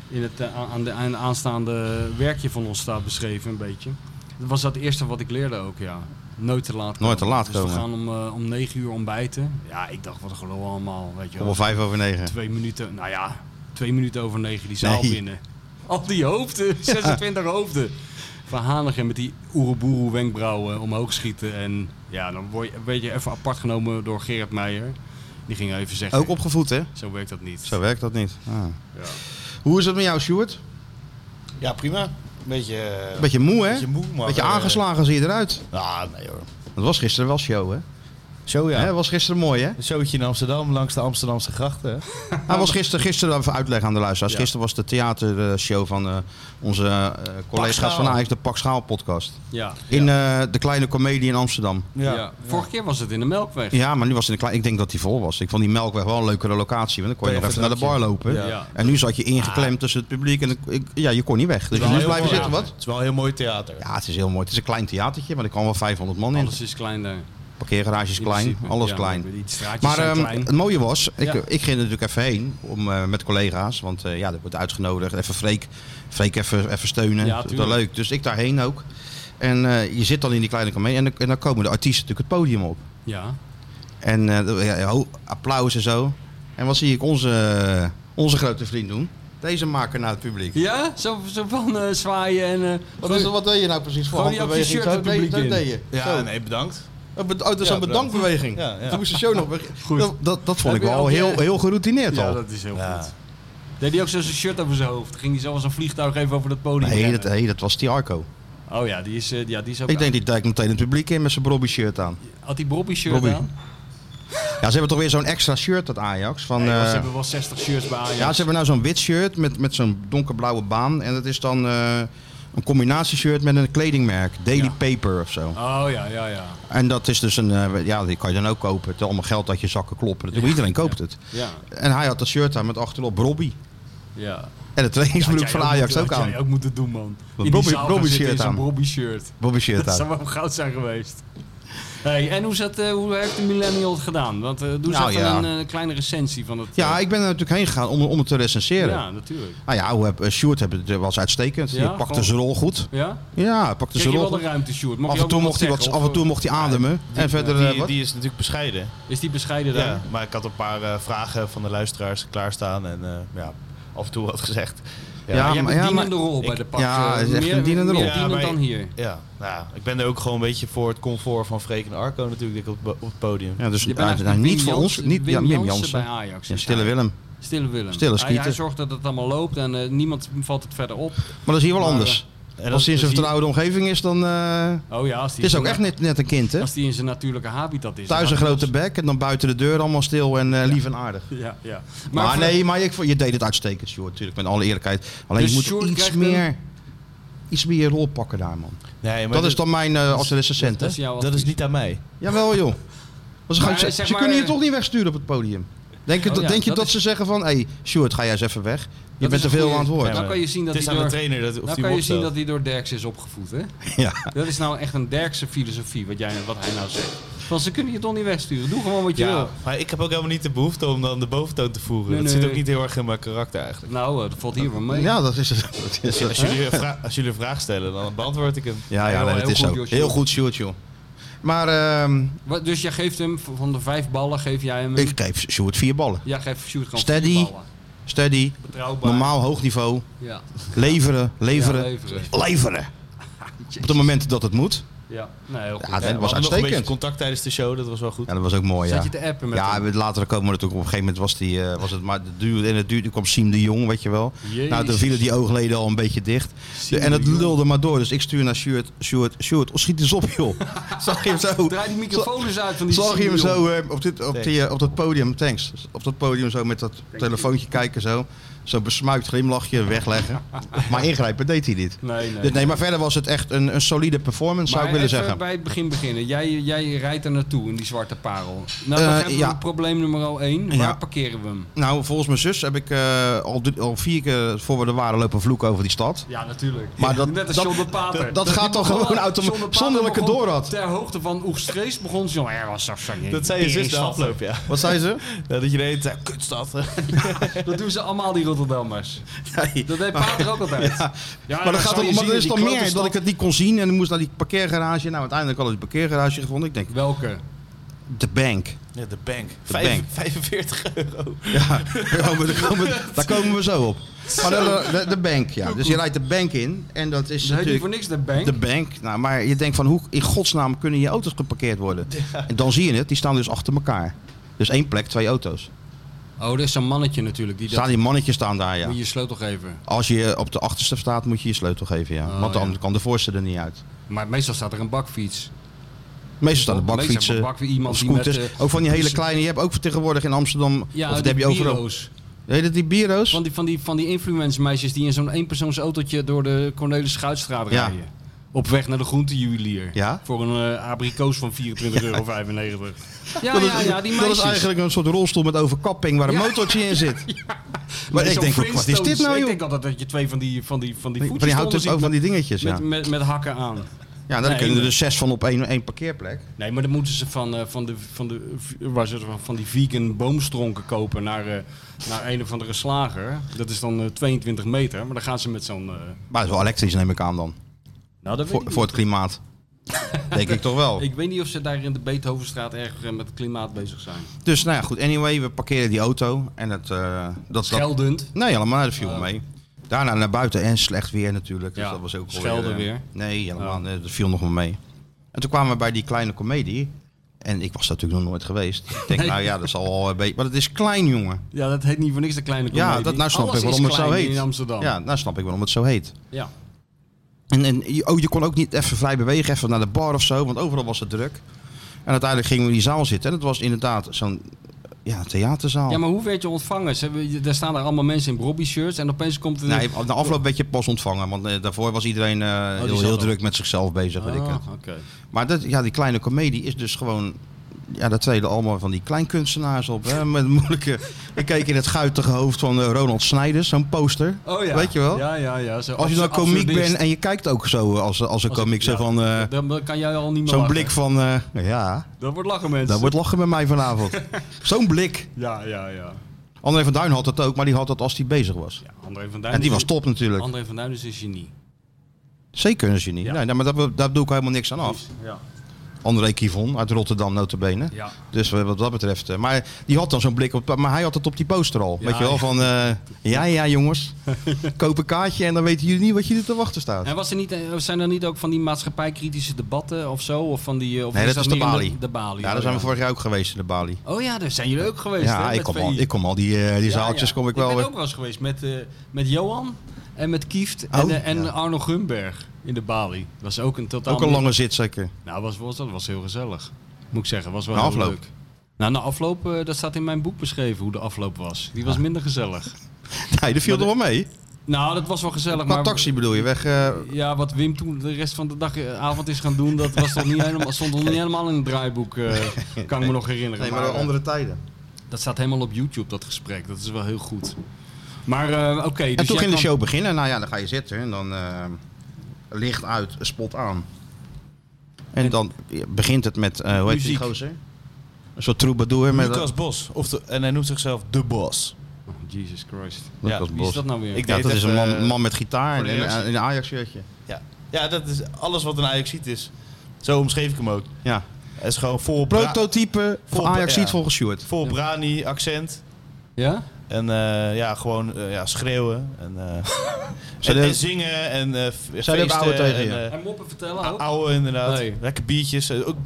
C: in het eh, aan, de, aan de aanstaande werkje van ons staat beschreven een beetje. Dat was dat eerste wat ik leerde ook, ja. Nooit te laat komen.
B: Nooit te laat
C: dus
B: komen.
C: we gaan om, eh, om 9 uur ontbijten. Ja, ik dacht, wat een gelul allemaal, weet je wel.
B: Om vijf over negen.
C: Twee minuten, nou ja, twee minuten over negen die zaal
B: Nee.
C: binnen. Al die hoofden, 26 hoofden. Van Hanegem met die oeroeboeroe wenkbrauwen omhoog schieten. En ja, dan word je een beetje even apart genomen door Gerard Meijer. Die ging even zeggen,
B: Ook opgevoed, hè?
C: zo werkt dat niet.
B: Zo werkt dat niet. Ah.
C: Ja.
B: Hoe is het met jou, Stuart?
D: Ja, prima. Een beetje, eh,
B: Beetje moe, hè?
D: beetje moe, maar...
B: Beetje
D: eh,
B: aangeslagen zie je eruit.
D: Ah, nee hoor.
B: Dat was gisteren wel show, hè?
D: Zo ja.
B: Hè, was gisteren mooi, hè?
D: Een showtje in Amsterdam langs de Amsterdamse grachten. hè?
B: Hij was gisteren, gisteren even uitleg aan de luisteraars.
D: Ja.
B: Gisteren was de theatershow van eh, onze eh, collega's
D: Schaal.
B: van Ajax, de Pak Schaal podcast.
C: Ja.
B: In eh, de Kleine Comedie in Amsterdam.
C: Ja. Vorige keer was het in de Melkweg.
B: Ja, maar nu was het in de kleine... Ik denk dat die vol was. Ik vond die Melkweg wel een leukere locatie, want dan kon je nog
D: Even
B: even naar de bar
D: drankje.
B: lopen.
D: Ja. Ah.
C: Ja.
B: En nu zat je ingeklemd tussen het publiek en ik- ik- ja, je kon niet weg. Dus
D: Het is wel
B: nu
D: heel
B: blijven
D: mooi.
B: zitten, wat?
D: Het is wel een heel mooi theater.
B: Ja, het is heel mooi. Het is een klein theatertje, maar er kan wel 500 man in.
C: Alles is klein daar.
B: Parkeergarage is
C: In
B: klein,
C: principe.
B: alles
C: Ja,
B: klein.
C: Die straatjes
B: Maar
C: zijn
B: ehm,
C: klein.
B: het mooie was, ik,
C: Ja.
B: ik ging er natuurlijk even heen om, eh, met collega's. Want eh, ja, dat wordt uitgenodigd. Even Freek, Freek even, even steunen.
C: Ja,
B: dat is wel
C: tuurlijk.
B: leuk. Dus ik daarheen ook. En eh, je zit dan in die kleine kamer en, dan- en dan komen de artiesten natuurlijk het podium op.
C: Ja.
B: En eh, ja, ho- applaus en zo. En wat zie ik onze, onze grote vriend doen? Deze maken naar het publiek.
C: Ja? Zo, zo van eh, zwaaien en... eh,
B: Wat, is, wat deed je nou precies voor
C: Gooi die op je
B: handbeweging?
C: shirt
B: Zo
C: het
B: deed-
C: publiek
B: zo
C: in.
B: deed je.
D: Ja,
B: Zo.
D: nee, bedankt.
B: Een bed- Oh, dat is
D: Ja,
B: een
D: bedankt.
B: bedankbeweging.
D: Ja, ja.
B: Toen moest de show nog weg.
C: Goed.
B: Dat, dat, dat vond
C: Heb
B: ik
C: je
B: wel
C: ook je-
B: heel, heel geroutineerd
C: Ja,
B: al.
C: dat is heel
D: Ja.
C: goed. Deed hij ook zo'n shirt over zijn hoofd? Ging hij zo als een vliegtuig even over dat podium?
B: Nee,
C: rennen?
B: dat, nee, dat was die Arco.
C: Oh ja, die is, eh, ja, die is ook
B: Ik denk die duikt meteen het publiek in met zijn Brobby shirt aan.
C: Had die Bobby shirt
B: Bobby.
C: aan?
B: Ja, ze hebben toch weer zo'n extra shirt dat Ajax. Van,
C: Nee, want
B: eh,
C: ze hebben wel 60 shirts bij Ajax.
B: ja, ze hebben nou zo'n wit shirt met, met zo'n donkerblauwe baan. En dat is dan eh, een combinatieshirt met een kledingmerk. Daily
C: Ja.
B: Paper of zo.
C: Oh ja, ja, ja.
B: En dat is dus een... eh, ja, die kan je dan ook kopen. Het is allemaal geld uit je zakken kloppen. Dat doet Iedereen koopt het.
C: Ja,
B: En hij had dat shirt aan met achterop Brobby.
C: ja.
B: En de trainingsbroek van Ajax ook aan.
C: Dat ook moeten doen, man.
B: Wat Bobby- Bobby shirt
C: aan.
B: aan.
C: Bobby shirt.
B: Bobby shirt
C: Dat
B: aan.
C: zou wel goud zijn geweest. Hey, en hoe, zat, eh, hoe heeft de millennial het gedaan? Want eh doe eens
B: Nou,
C: even
B: ja.
C: een eh, kleine recensie van het...
B: Ja,
C: eh,
B: ik ben er natuurlijk heen gegaan om, om het te recenseren.
C: Ja, natuurlijk.
B: Nou ja, hoe heb, eh, Sjoerd heb, het- was uitstekend.
C: Ja,
B: Die pakte
C: gewoon-
B: zijn rol goed.
C: Ja?
B: Ja, hij pakte
C: Kreeg je
B: zijn rol
C: wel de
B: goed.
C: ruimte, Sjoerd? Mag
B: Af
C: je
B: en,
C: ook
B: toe
C: nog
B: mocht hij wat, af
C: zeggen,
B: en
C: of, eh,
B: toe mocht hij ademen. en verder eh,
D: Die,
B: wat?
D: die is natuurlijk bescheiden.
C: Is die bescheiden daar?
D: Ja, maar ik had een paar eh, vragen van de luisteraars klaarstaan en eh, ja, af en toe wat gezegd. Ja,
B: Ja,
D: ja,
C: Jij hebt
B: maar-
C: een
B: ja,
C: dienende
B: maar-
C: rol bij
D: ik-
C: de pak.
B: ja,
C: eh,
B: het is echt
C: meer-
B: een dienende rol.
C: Meer dienend
D: Ja, maar-
C: dan hier.
D: nou, ik ben er ook gewoon een beetje voor het comfort van Freek en Arco natuurlijk op, op het podium.
B: Ja, dus
C: Je bent
B: hij-
C: eigenlijk
B: hij-
C: Wim
B: niet voor ons.
C: Jansen-
B: Niet, ja,
C: Wim
B: Wim
C: Jansen bij
B: Jansen.
C: Ajax.
B: Ja,
C: is
B: Stille
C: hij.
B: Willem.
C: Stille Willem.
B: Stille
C: hij, hij
B: schieter.
C: zorgt dat het allemaal loopt en eh, niemand valt het verder op.
B: Maar dat is hier wel anders.
D: En dat-
B: Als hij in
D: dat
B: zijn
D: zie-
B: vertrouwde omgeving is, dan... eh,
C: Oh ja, als die
B: het is
C: in
B: ook
C: zijn-
B: echt net, net een kind, hè?
C: Als die in zijn natuurlijke habitat is.
B: Thuis
C: dan
B: een
C: gaat
B: grote bek en dan buiten de deur allemaal stil en eh, lief en aardig.
C: het los. Ja, ja.
B: Maar,
C: voor-
B: nee, maar ik, vond- je deed het uitstekend, Sjoerd. Natuurlijk, met alle eerlijkheid. Alleen
C: Dus
B: je moet
C: Sjoerd
B: iets
C: krijgt
B: meer... Iets meer rol pakken daar, man.
D: Nee, maar
B: dat is dan mijn eh als recensent, hè?
C: dat is jouw
D: dat is
C: advies.
D: niet aan mij.
B: Jawel, joh. Maar ze
C: Maar,
B: gaan- ze
C: eh, zeg
B: ze
C: maar,
B: kunnen je
C: eh,
B: toch niet wegsturen op het podium? Denk, je
C: Oh
B: dat-
C: ja,
B: denk je
C: dat
B: dat,
C: is-
B: ze zeggen van... Hé, hey, Stuart, ga jij eens even weg. Je
C: Dat
B: bent
C: is
B: te
C: een
B: veel
C: goeie-
B: aan het woord.
C: Ja, dan kan je zien dat
D: het is
C: hij
D: aan de
C: door-
D: trainer dat, of
C: Nou
D: die
C: kan
D: hem
C: je zien
D: opstelt.
C: dat hij door Derks is opgevoed, hè?
B: Ja.
C: Dat is nou echt een Derkse filosofie, wat, jij, wat hij nou zegt. Van, ze kunnen je toch niet wegsturen. Doe gewoon wat je
D: Ja,
C: wil.
D: maar ik heb ook helemaal niet de behoefte om dan de boventoon te voeren.
C: Nee,
D: dat
C: nee.
D: zit ook niet heel erg in mijn karakter eigenlijk.
C: Nou, eh, dat valt hier wel mee.
B: Ja, dat is het. Dat is het.
D: Als jullie, een vra- als jullie een vraag stellen, dan beantwoord ik hem.
B: Ja, ja,
C: Heel-
B: nee, dat
C: heel
B: is
C: goed,
B: zo.
C: joh, Sjoerd.
B: Heel goed, Sjoerd, joh. Maar ehm,
C: Wat- Dus jij geeft hem, v- van de vijf ballen geef jij hem...
B: ik geef Sjoerd vier ballen.
C: Jij geeft Sjoerd gewoon
B: Steady.
C: vier ballen.
B: Steady,
C: Betrouwbaar.
B: normaal, hoog niveau.
C: Ja.
B: Leveren, leveren,
C: Ja, leveren.
B: leveren. Op het moment dat het moet.
C: Ja, nee, heel goed.
B: Ja, dat
D: we
B: was
D: hadden nog een beetje
B: uitstekend.
D: contact tijdens de show, dat was wel goed.
B: Ja, dat was ook mooi,
C: Zat
B: ja.
C: je te appen met
B: Ja,
C: hem?
B: we- later komen we natuurlijk op een gegeven moment was, die, eh, was het maar het duurde en het duurde. Toen kwam Siem de Jong, weet je wel.
C: Jezus.
B: Nou, toen vielen die oogleden al een beetje dicht.
C: Siem
B: en het
C: de Jong.
B: lulde maar door. Dus ik stuur naar Sjoerd, Sjoerd, Sjoerd, oh, schiet eens op joh. Zag je hem zo,
C: Draai die microfoon eens uit van die
B: zag je hem
C: Siem de Jong.
B: zo eh, op, dit, op, die, eh, op dat podium, thanks. Op dat podium zo met dat telefoontje kijken zo. Zo'n besmuikt glimlachje wegleggen. maar ingrijpen deed hij niet.
C: Nee, nee.
B: Dus nee, maar verder was het echt een, een solide performance, zou ik
C: Maar
B: willen
C: even
B: zeggen.
C: bij het begin beginnen. Jij, jij rijdt er naartoe in die zwarte parel. Nou,
B: Eh,
C: dan hebben
B: ja.
C: we probleem nummer 1. Waar
B: Ja.
C: parkeren we hem?
B: Nou, volgens mijn zus heb ik eh, al, drie- al vier keer voor we er waren lopen vloeken over die stad.
C: Ja, natuurlijk.
B: Maar dat-
C: Net als
B: dat-
C: John de Pater.
B: dat- dat gaat
C: Die
B: toch
C: begon-
B: gewoon automatisch,
C: John de Pater
B: zonder dat ik het
C: begon
B: door had.
C: Ter hoogte van Oegstrees begon ze... Ja, was dat zo
D: Dat zei je zus de afloop, ja.
B: Wat zei ze?
D: Ja, Dat je deed, eh, kutstad.
C: Dat doen ze allemaal, die Rotterdammers.
B: Nee.
C: Dat deed Pater ook altijd. Ja,
B: maar dat
C: dan
B: gaat
C: zou
B: toch,
C: je
B: maar
C: zien
B: er is
C: die
B: toch
C: klote
B: meer
C: stad-
B: dat ik het niet kon zien en ik moest naar die parkeergarage. Nou, uiteindelijk had ik een parkeergarage gevonden. Ik denk,
C: Welke?
B: de bank.
D: Ja, de bank.
B: Vijf- bank.
D: 45 euro.
B: Ja, daar komen, we- daar komen we- daar komen we zo op. Maar de, de, de bank, ja. Dus je rijdt de bank in en dat is
C: Ze heet niet
B: natuurlijk
C: voor niks de bank.
B: Dus de bank. Nou, maar je denkt van hoe in godsnaam kunnen je auto's geparkeerd worden? En dan zie je het, die staan dus achter elkaar. Dus één plek, twee auto's.
C: Oh, er is zo'n mannetje natuurlijk. Die dat...
B: Staan die mannetjes staan daar, ja.
C: Moet je je sleutel geven.
B: Als je op de achterste staat, moet je je sleutel geven, ja.
C: Oh,
B: Want dan
C: ja.
B: kan de voorste er niet uit.
C: Maar meestal staat er een bakfiets.
B: Meestal staan de
C: Meestal
B: bakfietsen,
C: een bakfiets, iemand
B: of
C: die met,
B: scooters.
C: eh,
B: ook van die hele
C: dus-
B: kleine, je hebt ook tegenwoordig in Amsterdam,
C: Ja, oh,
B: of dat
C: die
B: heb je overal.
C: bureaus.
B: Heet het die bureaus?
C: Van die, van die, van die influencemeisjes die in zo'n eenpersoonsautootje door de Cornelis Schuitstraat
B: Ja.
C: rijden. Op weg naar de groentejuwelier.
B: Ja.
C: Voor een eh, abrikoos van 24,95 euro. Ja,
B: dat,
C: ja,
B: is,
C: ja, die
B: dat
C: meisjes.
B: is eigenlijk een soort rolstoel met overkapping waar een
C: Ja.
B: motortje in zit. Maar
C: Met
B: ik
C: zo'n
B: denk, wat is dit
C: Flintstones.
B: nou,
C: Ik
B: joh?
C: denk altijd dat je twee van die, van die, van die
B: Van
C: voetjes
B: die houten,
C: eronder
B: ook van
C: ziet
B: die dingetjes,
C: met,
B: ja.
C: met, met, met hakken aan.
B: ja, dan
C: Nee,
B: kunnen er
C: nee.
B: dus zes van op één, één parkeerplek.
C: Nee, maar dan moeten ze van, eh, van, de, van, de, waar ze, van die vegan boomstronken kopen naar, eh, naar een of andere slager. Dat is dan eh, 22 meter. Maar dan gaan ze met zo'n... eh,
B: Maar het is wel elektrisch, neem ik aan dan.
C: nou, dat weet ik
B: Voor,
C: niet.
B: voor het klimaat. denk ik toch wel.
C: Ik weet niet of ze daar in de Beethovenstraat erg eh, met het klimaat bezig zijn.
B: Dus nou ja, goed. Anyway, we parkeren die auto. En het, eh, dat is dat.
C: Geldend.
B: Nee, helemaal dat viel wel
C: Oh.
B: mee. Daarna naar buiten en slecht weer natuurlijk. Dus
C: Ja,
B: dat was ook alweer,
C: schelden
B: eh,
C: weer.
B: Nee, helemaal.
C: Oh.
B: nee, dat viel nog wel mee. En toen kwamen we bij die kleine komedie. En ik was daar natuurlijk nog nooit geweest. Ik denk,
C: Nee.
B: nou ja, dat zal wel een beetje... Maar het is klein, jongen.
C: Ja, dat heet niet voor niks de kleine
B: Ja,
C: komedie.
B: dat, nou snap
C: Alles
B: ik waarom
C: is
B: het zo
C: klein
B: heet.
C: in Amsterdam.
B: Ja, nou snap ik waarom het zo heet.
C: Ja.
B: En, en je- oh, je kon ook niet even vrij bewegen, even naar de bar of zo, want overal was het druk. En uiteindelijk gingen we in die zaal zitten en het was inderdaad zo'n ja, theaterzaal.
C: ja, maar hoe werd je ontvangen? Ze hebben- je- daar staan daar allemaal mensen in Brobby shirts en opeens komt er...
B: Nee, na afloop werd je pas ontvangen, want eh, daarvoor was iedereen eh, heel,
C: Oh, zat
B: heel
C: al.
B: druk met zichzelf bezig. Weet ik het.
C: Ah, oké.
B: Maar dat, ja, die kleine komedie is dus gewoon. Ja, daar treden allemaal van die kleinkunstenaars op. Hè, met moeilijke. Ik keek in het guitige hoofd van eh, Ronald Snijders, zo'n poster.
C: Oh ja.
B: Weet je wel?
C: Ja, ja, ja. Zo
B: Als je dan komiek
C: absurdist.
B: bent en je kijkt ook zo eh, als, als een
C: Als ik-
B: komiek, zo
C: ja,
B: van. eh,
C: Dan kan jij al niet meer
B: Zo'n
C: lachen.
B: blik van, eh, ja,
C: Dat wordt lachen, mensen.
B: dat wordt lachen bij mij vanavond. Zo'n blik.
C: Ja, ja, ja.
B: André van Duin had dat ook, maar die had dat als hij bezig was.
C: ja André van Duin
B: En die
C: is-
B: was top natuurlijk.
C: André van Duin is een genie.
B: Zeker een genie.
C: Ja.
B: Nee, nee, maar daar, be- daar doe ik helemaal niks aan af.
C: Ja.
B: André Kivon uit Rotterdam, notabene.
C: Ja.
B: Dus wat wat dat betreft. eh, Maar die had dan zo'n blik op. Maar hij had het op die poster al.
C: Ja,
B: weet je wel,
C: ja.
B: van eh, ja, ja, jongens. Koop een kaartje en dan weten jullie niet wat jullie te wachten staat.
C: En was er niet, eh, zijn er niet ook van die maatschappijkritische debatten of zo? Of van die, eh, of
B: Nee, dat
C: dat
B: is de
C: meer in
B: Bali.
C: De Bali.
B: Ja, daar zijn we vorig jaar ook geweest in de Bali.
C: Oh ja, daar zijn jullie ook geweest. hè,
B: Ja, ik
C: met
B: kom,
C: VI.
B: al, ik kom al die, eh, die
C: Ja,
B: zaaltjes
C: ja.
B: kom ik wel
C: Ik ben
B: weer.
C: ook wel eens geweest met, eh, met Johan en met Kieft en,
B: Oh,
C: eh, en
B: ja.
C: Arno Gunberg in de Bali. Was ook een totaal...
B: Ook een lange zit zeker.
C: Nou, was, was, dat was heel gezellig. Moet ik zeggen, was wel
B: Na
C: heel
B: afloop.
C: leuk. Nou, na afloop, eh, dat staat in mijn boek beschreven hoe de afloop was. Die was minder gezellig.
B: Nee, dat viel er
C: Maar
B: wel mee.
C: Nou, dat was wel gezellig,
B: Qua
C: maar...
B: taxi bedoel je, weg. eh,
C: Ja, wat Wim toen de rest van de dag, eh, avond is gaan doen, dat was toch niet helemaal, stond nog niet helemaal in het draaiboek, eh, kan ik me nog herinneren.
B: nee, maar
C: eh,
B: andere tijden.
C: Dat staat helemaal op YouTube, dat gesprek. Dat is wel heel goed. Maar eh, oké. dus
B: en toen
C: jij
B: ging de
C: kwam-
B: show beginnen. Nou ja, dan ga je zitten en dan eh, licht uit, spot aan. En dan begint het met, eh, hoe heet die
C: Muziek.
B: gozer? Een soort troubadour met
D: Lucas Bos. Of de- en hij noemt zichzelf De Bos.
C: Oh, Jesus Christ.
B: Lucas
D: Ja,
C: Wie is
B: Bos.
C: dat nou weer?
D: Ik-
B: Ja,
D: deed
B: dat is een
D: even,
B: man,
D: eh,
B: man met gitaar
D: voor
B: en
D: de
B: en- en
D: reactie.
B: een Ajax shirtje.
D: Ja. ja, dat is alles wat een Ajaxiet is. Zo omschreef ik hem ook.
B: Ja.
D: Hij is gewoon vol, bra-
B: Prototype voor
D: Vol-
B: Ajax ziet
D: ja.
B: volgens Stuart.
D: vol brani, accent.
C: Ja?
D: En eh, ja, gewoon eh, ja, schreeuwen. En, eh, en,
B: dat-
D: en zingen en eh f- feesten.
B: dat ouwe tegen
D: en,
B: je?
D: eh,
C: En moppen vertellen ook?
D: Ouwe inderdaad.
C: Nee.
D: Lekker biertjes. Eh, Ook,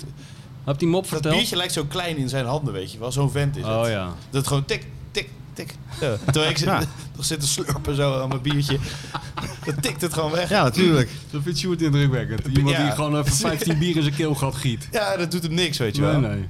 C: Heb die mop
D: dat
C: verteld?
D: biertje lijkt zo klein in zijn handen, weet je wel. Zo'n vent is het.
C: Oh ja.
D: Dat het gewoon tik, tik, tik. Ja. Terwijl ik zit,
B: Ja.
D: nog zit te slurpen zo aan mijn biertje. Dan tikt het gewoon weg. Ja.
B: Ja, natuurlijk.
C: Dat vindt Sjoerd indrukwekkend. Iemand
D: Ja.
C: die gewoon even 15 bier in zijn keel gaat giet.
D: dat doet hem niks, weet je
C: Nee,
D: wel.
C: nee.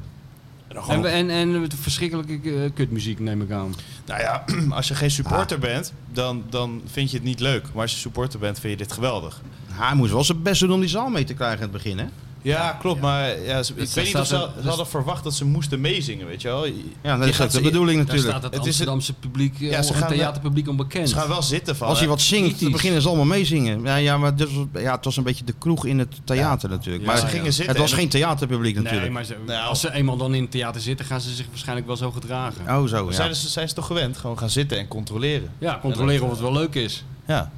D: En
C: En, we- en, en met verschrikkelijke eh, kutmuziek neem ik aan.
D: Nou ja, als je geen
B: Ah.
D: supporter bent, dan, dan vind je het niet leuk. Maar als je supporter bent, vind je dit geweldig.
B: Hij moest wel zijn best doen om die zaal mee te krijgen aan het begin, hè?
D: Ja, klopt. Maar ja, ze- ik
C: staat
D: weet niet of ze,
C: een-
D: ze
C: dus-
D: hadden verwacht dat ze moesten meezingen, weet je wel.
B: Ja, dat
D: Je
B: is ook
D: gaat
B: de
D: ze-
B: bedoeling
C: Daar
B: natuurlijk.
C: staat het,
D: Het is het-
C: Amsterdamse publiek, eh,
D: Ja, ze
C: het
D: gaan-
C: theaterpubliek onbekend.
D: Ze gaan wel zitten van. eh,
B: Als hij wat zingt, dan
C: Kritisch.
B: beginnen ze allemaal meezingen. Ja, ja, maar dus, ja, het was een beetje de kroeg in het theater natuurlijk.
D: Maar
B: Maar
D: ze gingen zitten.
B: het was
D: en-
B: geen theaterpubliek
C: Nee,
B: natuurlijk.
C: maar ze-
D: Nou.
C: als ze eenmaal dan in het theater zitten, gaan ze zich waarschijnlijk wel zo gedragen. Ja,
B: Oh, zo, ja.
D: Zijn ze, zijn ze toch gewend? Gewoon gaan zitten en controleren.
C: controleren of het wel leuk is.
D: Ja.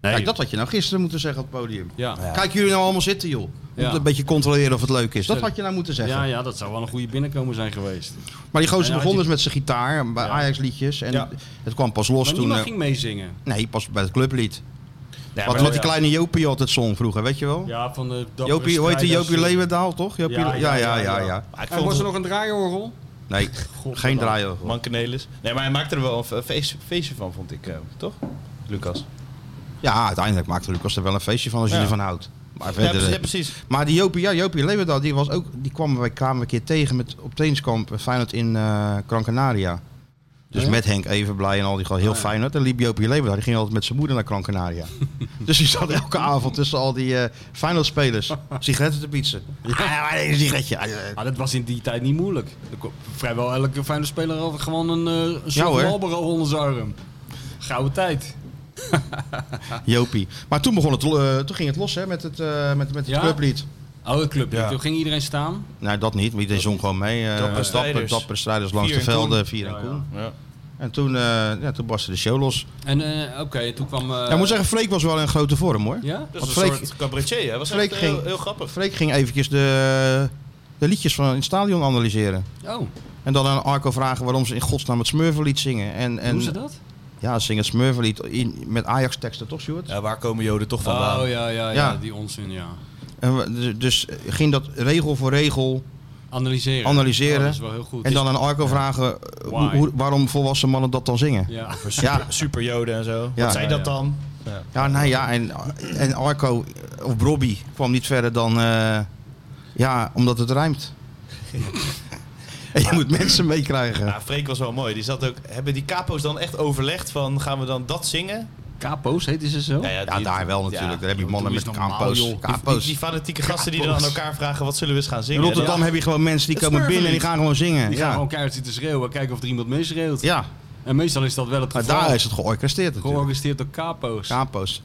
B: Kijk, dat had je nou gisteren moeten zeggen op het podium.
C: Ja. Ja.
B: Kijk jullie nou allemaal zitten, joh. Om
C: Ja.
B: een beetje controleren of het leuk is. Dat had je nou moeten zeggen.
C: Ja, dat zou wel een goede binnenkomer zijn geweest.
B: Maar die gozer
C: Ja, ja,
B: begon
C: die-
B: dus met zijn gitaar bij Ajax-liedjes. En
D: Ja.
B: het kwam pas los
C: Maar
B: toen...
C: niemand
B: eh,
C: ging meezingen.
B: Nee, pas bij het clublied.
D: Ja,
B: Wat
D: maar-
B: wat die kleine Jopie altijd zong vroeger, weet je wel?
C: Ja, van de dappere
B: Jopie, hoe heet die?
C: strijders.
B: Jopie Leeuwendaal, toch? Jopie
C: Ja,
B: ja, ja, ja, ja,
C: ja.
D: Maar ik
C: En
D: vond
C: was er
D: het
C: nog een draaiorgel?
B: Nee, geen draaien.
D: Mankenelis. Nee, maar hij maakte er wel een fe- feest- feestje van, vond ik. eh, toch? Lucas.
B: Ja, uiteindelijk maakt Lucas er wel een feestje van als je
D: Ja.
B: ervan houdt. Maar
D: Ja,
B: verder...
D: precies. ja, precies.
B: Maar die Jopie, ja, Jopie Leeuwendaal, die, was ook, die kwamen wij kwamen we een keer tegen met, op trainingskamp eh, Feyenoord in eh Gran Canaria. Dus met Henk Evenblij en al die gewoon
D: Oh,
B: heel Feyenoord. En liep Jopie Leeuwendaal, die ging altijd met zijn moeder naar Gran Canaria. dus die zat elke avond tussen al die eh Feyenoord-spelers sigaretten te pietsen. Ja, maar een sigaretje. Ah, eh,
C: Maar dat was in die tijd niet moeilijk. Er kon- Vrijwel elke fijne speler had gewoon een, eh een soort
B: hoor.
C: Marlboro onder zijn arm. Gouden tijd.
D: Ah.
B: Jopie. Maar toen, begon het, eh, toen ging het los hè, met het, eh, met, met het
C: Ja?
B: clublied.
C: Oude club.
D: Ja.
C: Toen ging iedereen staan.
B: Nou, dat niet. Maar iedereen zong gewoon mee. eh,
D: Dappere
B: dapper,
D: strijders.
B: dapper strijders langs
D: Vier
B: de
D: en Koen.
B: velden. Vier en
C: Ja,
B: Koen.
D: Ja.
B: En toen, eh ja, toen barstte de show los.
C: En eh, oké, toen kwam... eh,
B: ja, ik moet zeggen, Freek was wel in grote vorm hoor.
C: Ja?
D: Dat
B: Want
D: is een
B: Freek-
D: soort cabaretier. Hij was
B: Freek
D: echt heel,
B: ging-
D: heel grappig.
B: Freek ging eventjes de, de liedjes van het stadion analyseren.
C: Oh,
B: En dan aan Arco vragen waarom ze in godsnaam het Smurvenlied zingen. En, en
C: doen ze dat?
B: ja, ze zingen het Smurvenlied in, met Ajax teksten toch, Stuart?
D: Ja, waar komen joden toch vandaan?
C: Oh ja, ja, ja,
B: Ja.
C: die onzin, ja.
B: En we- dus- dus ging dat regel voor regel.
C: Analyseren.
B: Analyseren.
C: Oh, dat is wel heel goed.
B: En dan aan Arco vragen eh,
C: Why?
B: hoe- hoe- waarom volwassen mannen dat dan zingen.
C: Ja.
B: Ja,
D: Super joden en zo.
B: Ja.
D: Wat zijn
C: Ja,
D: dat
C: ja.
D: dan?
B: ja, nou ja, en, en Arco eh, of Bobby kwam niet verder dan. eh, ja, omdat het rijmt. en je moet mensen meekrijgen.
D: Ja, Ah, Freek was wel mooi. Die zat ook, hebben die capo's dan echt overlegd van gaan we dan dat zingen?
C: Kapo's heette ze zo?
D: ja,
B: Ja,
D: die-
B: daar wel natuurlijk.
D: ja.
B: Daar heb je mannen
C: Doe
B: met
C: eens normaal,
B: kapo's.
C: joh.
D: Die,
B: kapo's.
D: die fanatieke gasten die dan aan elkaar vragen wat zullen we eens gaan
B: In
D: zingen.
B: Rotterdam
D: En
B: heb je gewoon mensen die
D: Het
B: komen binnen en die
D: smurfenlied.
B: gaan gewoon zingen.
C: Die gaan
B: Ja,
C: gewoon keihard zitten schreeuwen, kijken of er iemand mee schreeuwt.
B: ja.
C: En meestal is dat wel het
B: Maar
C: geval.
B: daar is het georchestreerd natuurlijk.
C: Georganiseerd door kapo's.
B: Kapo's.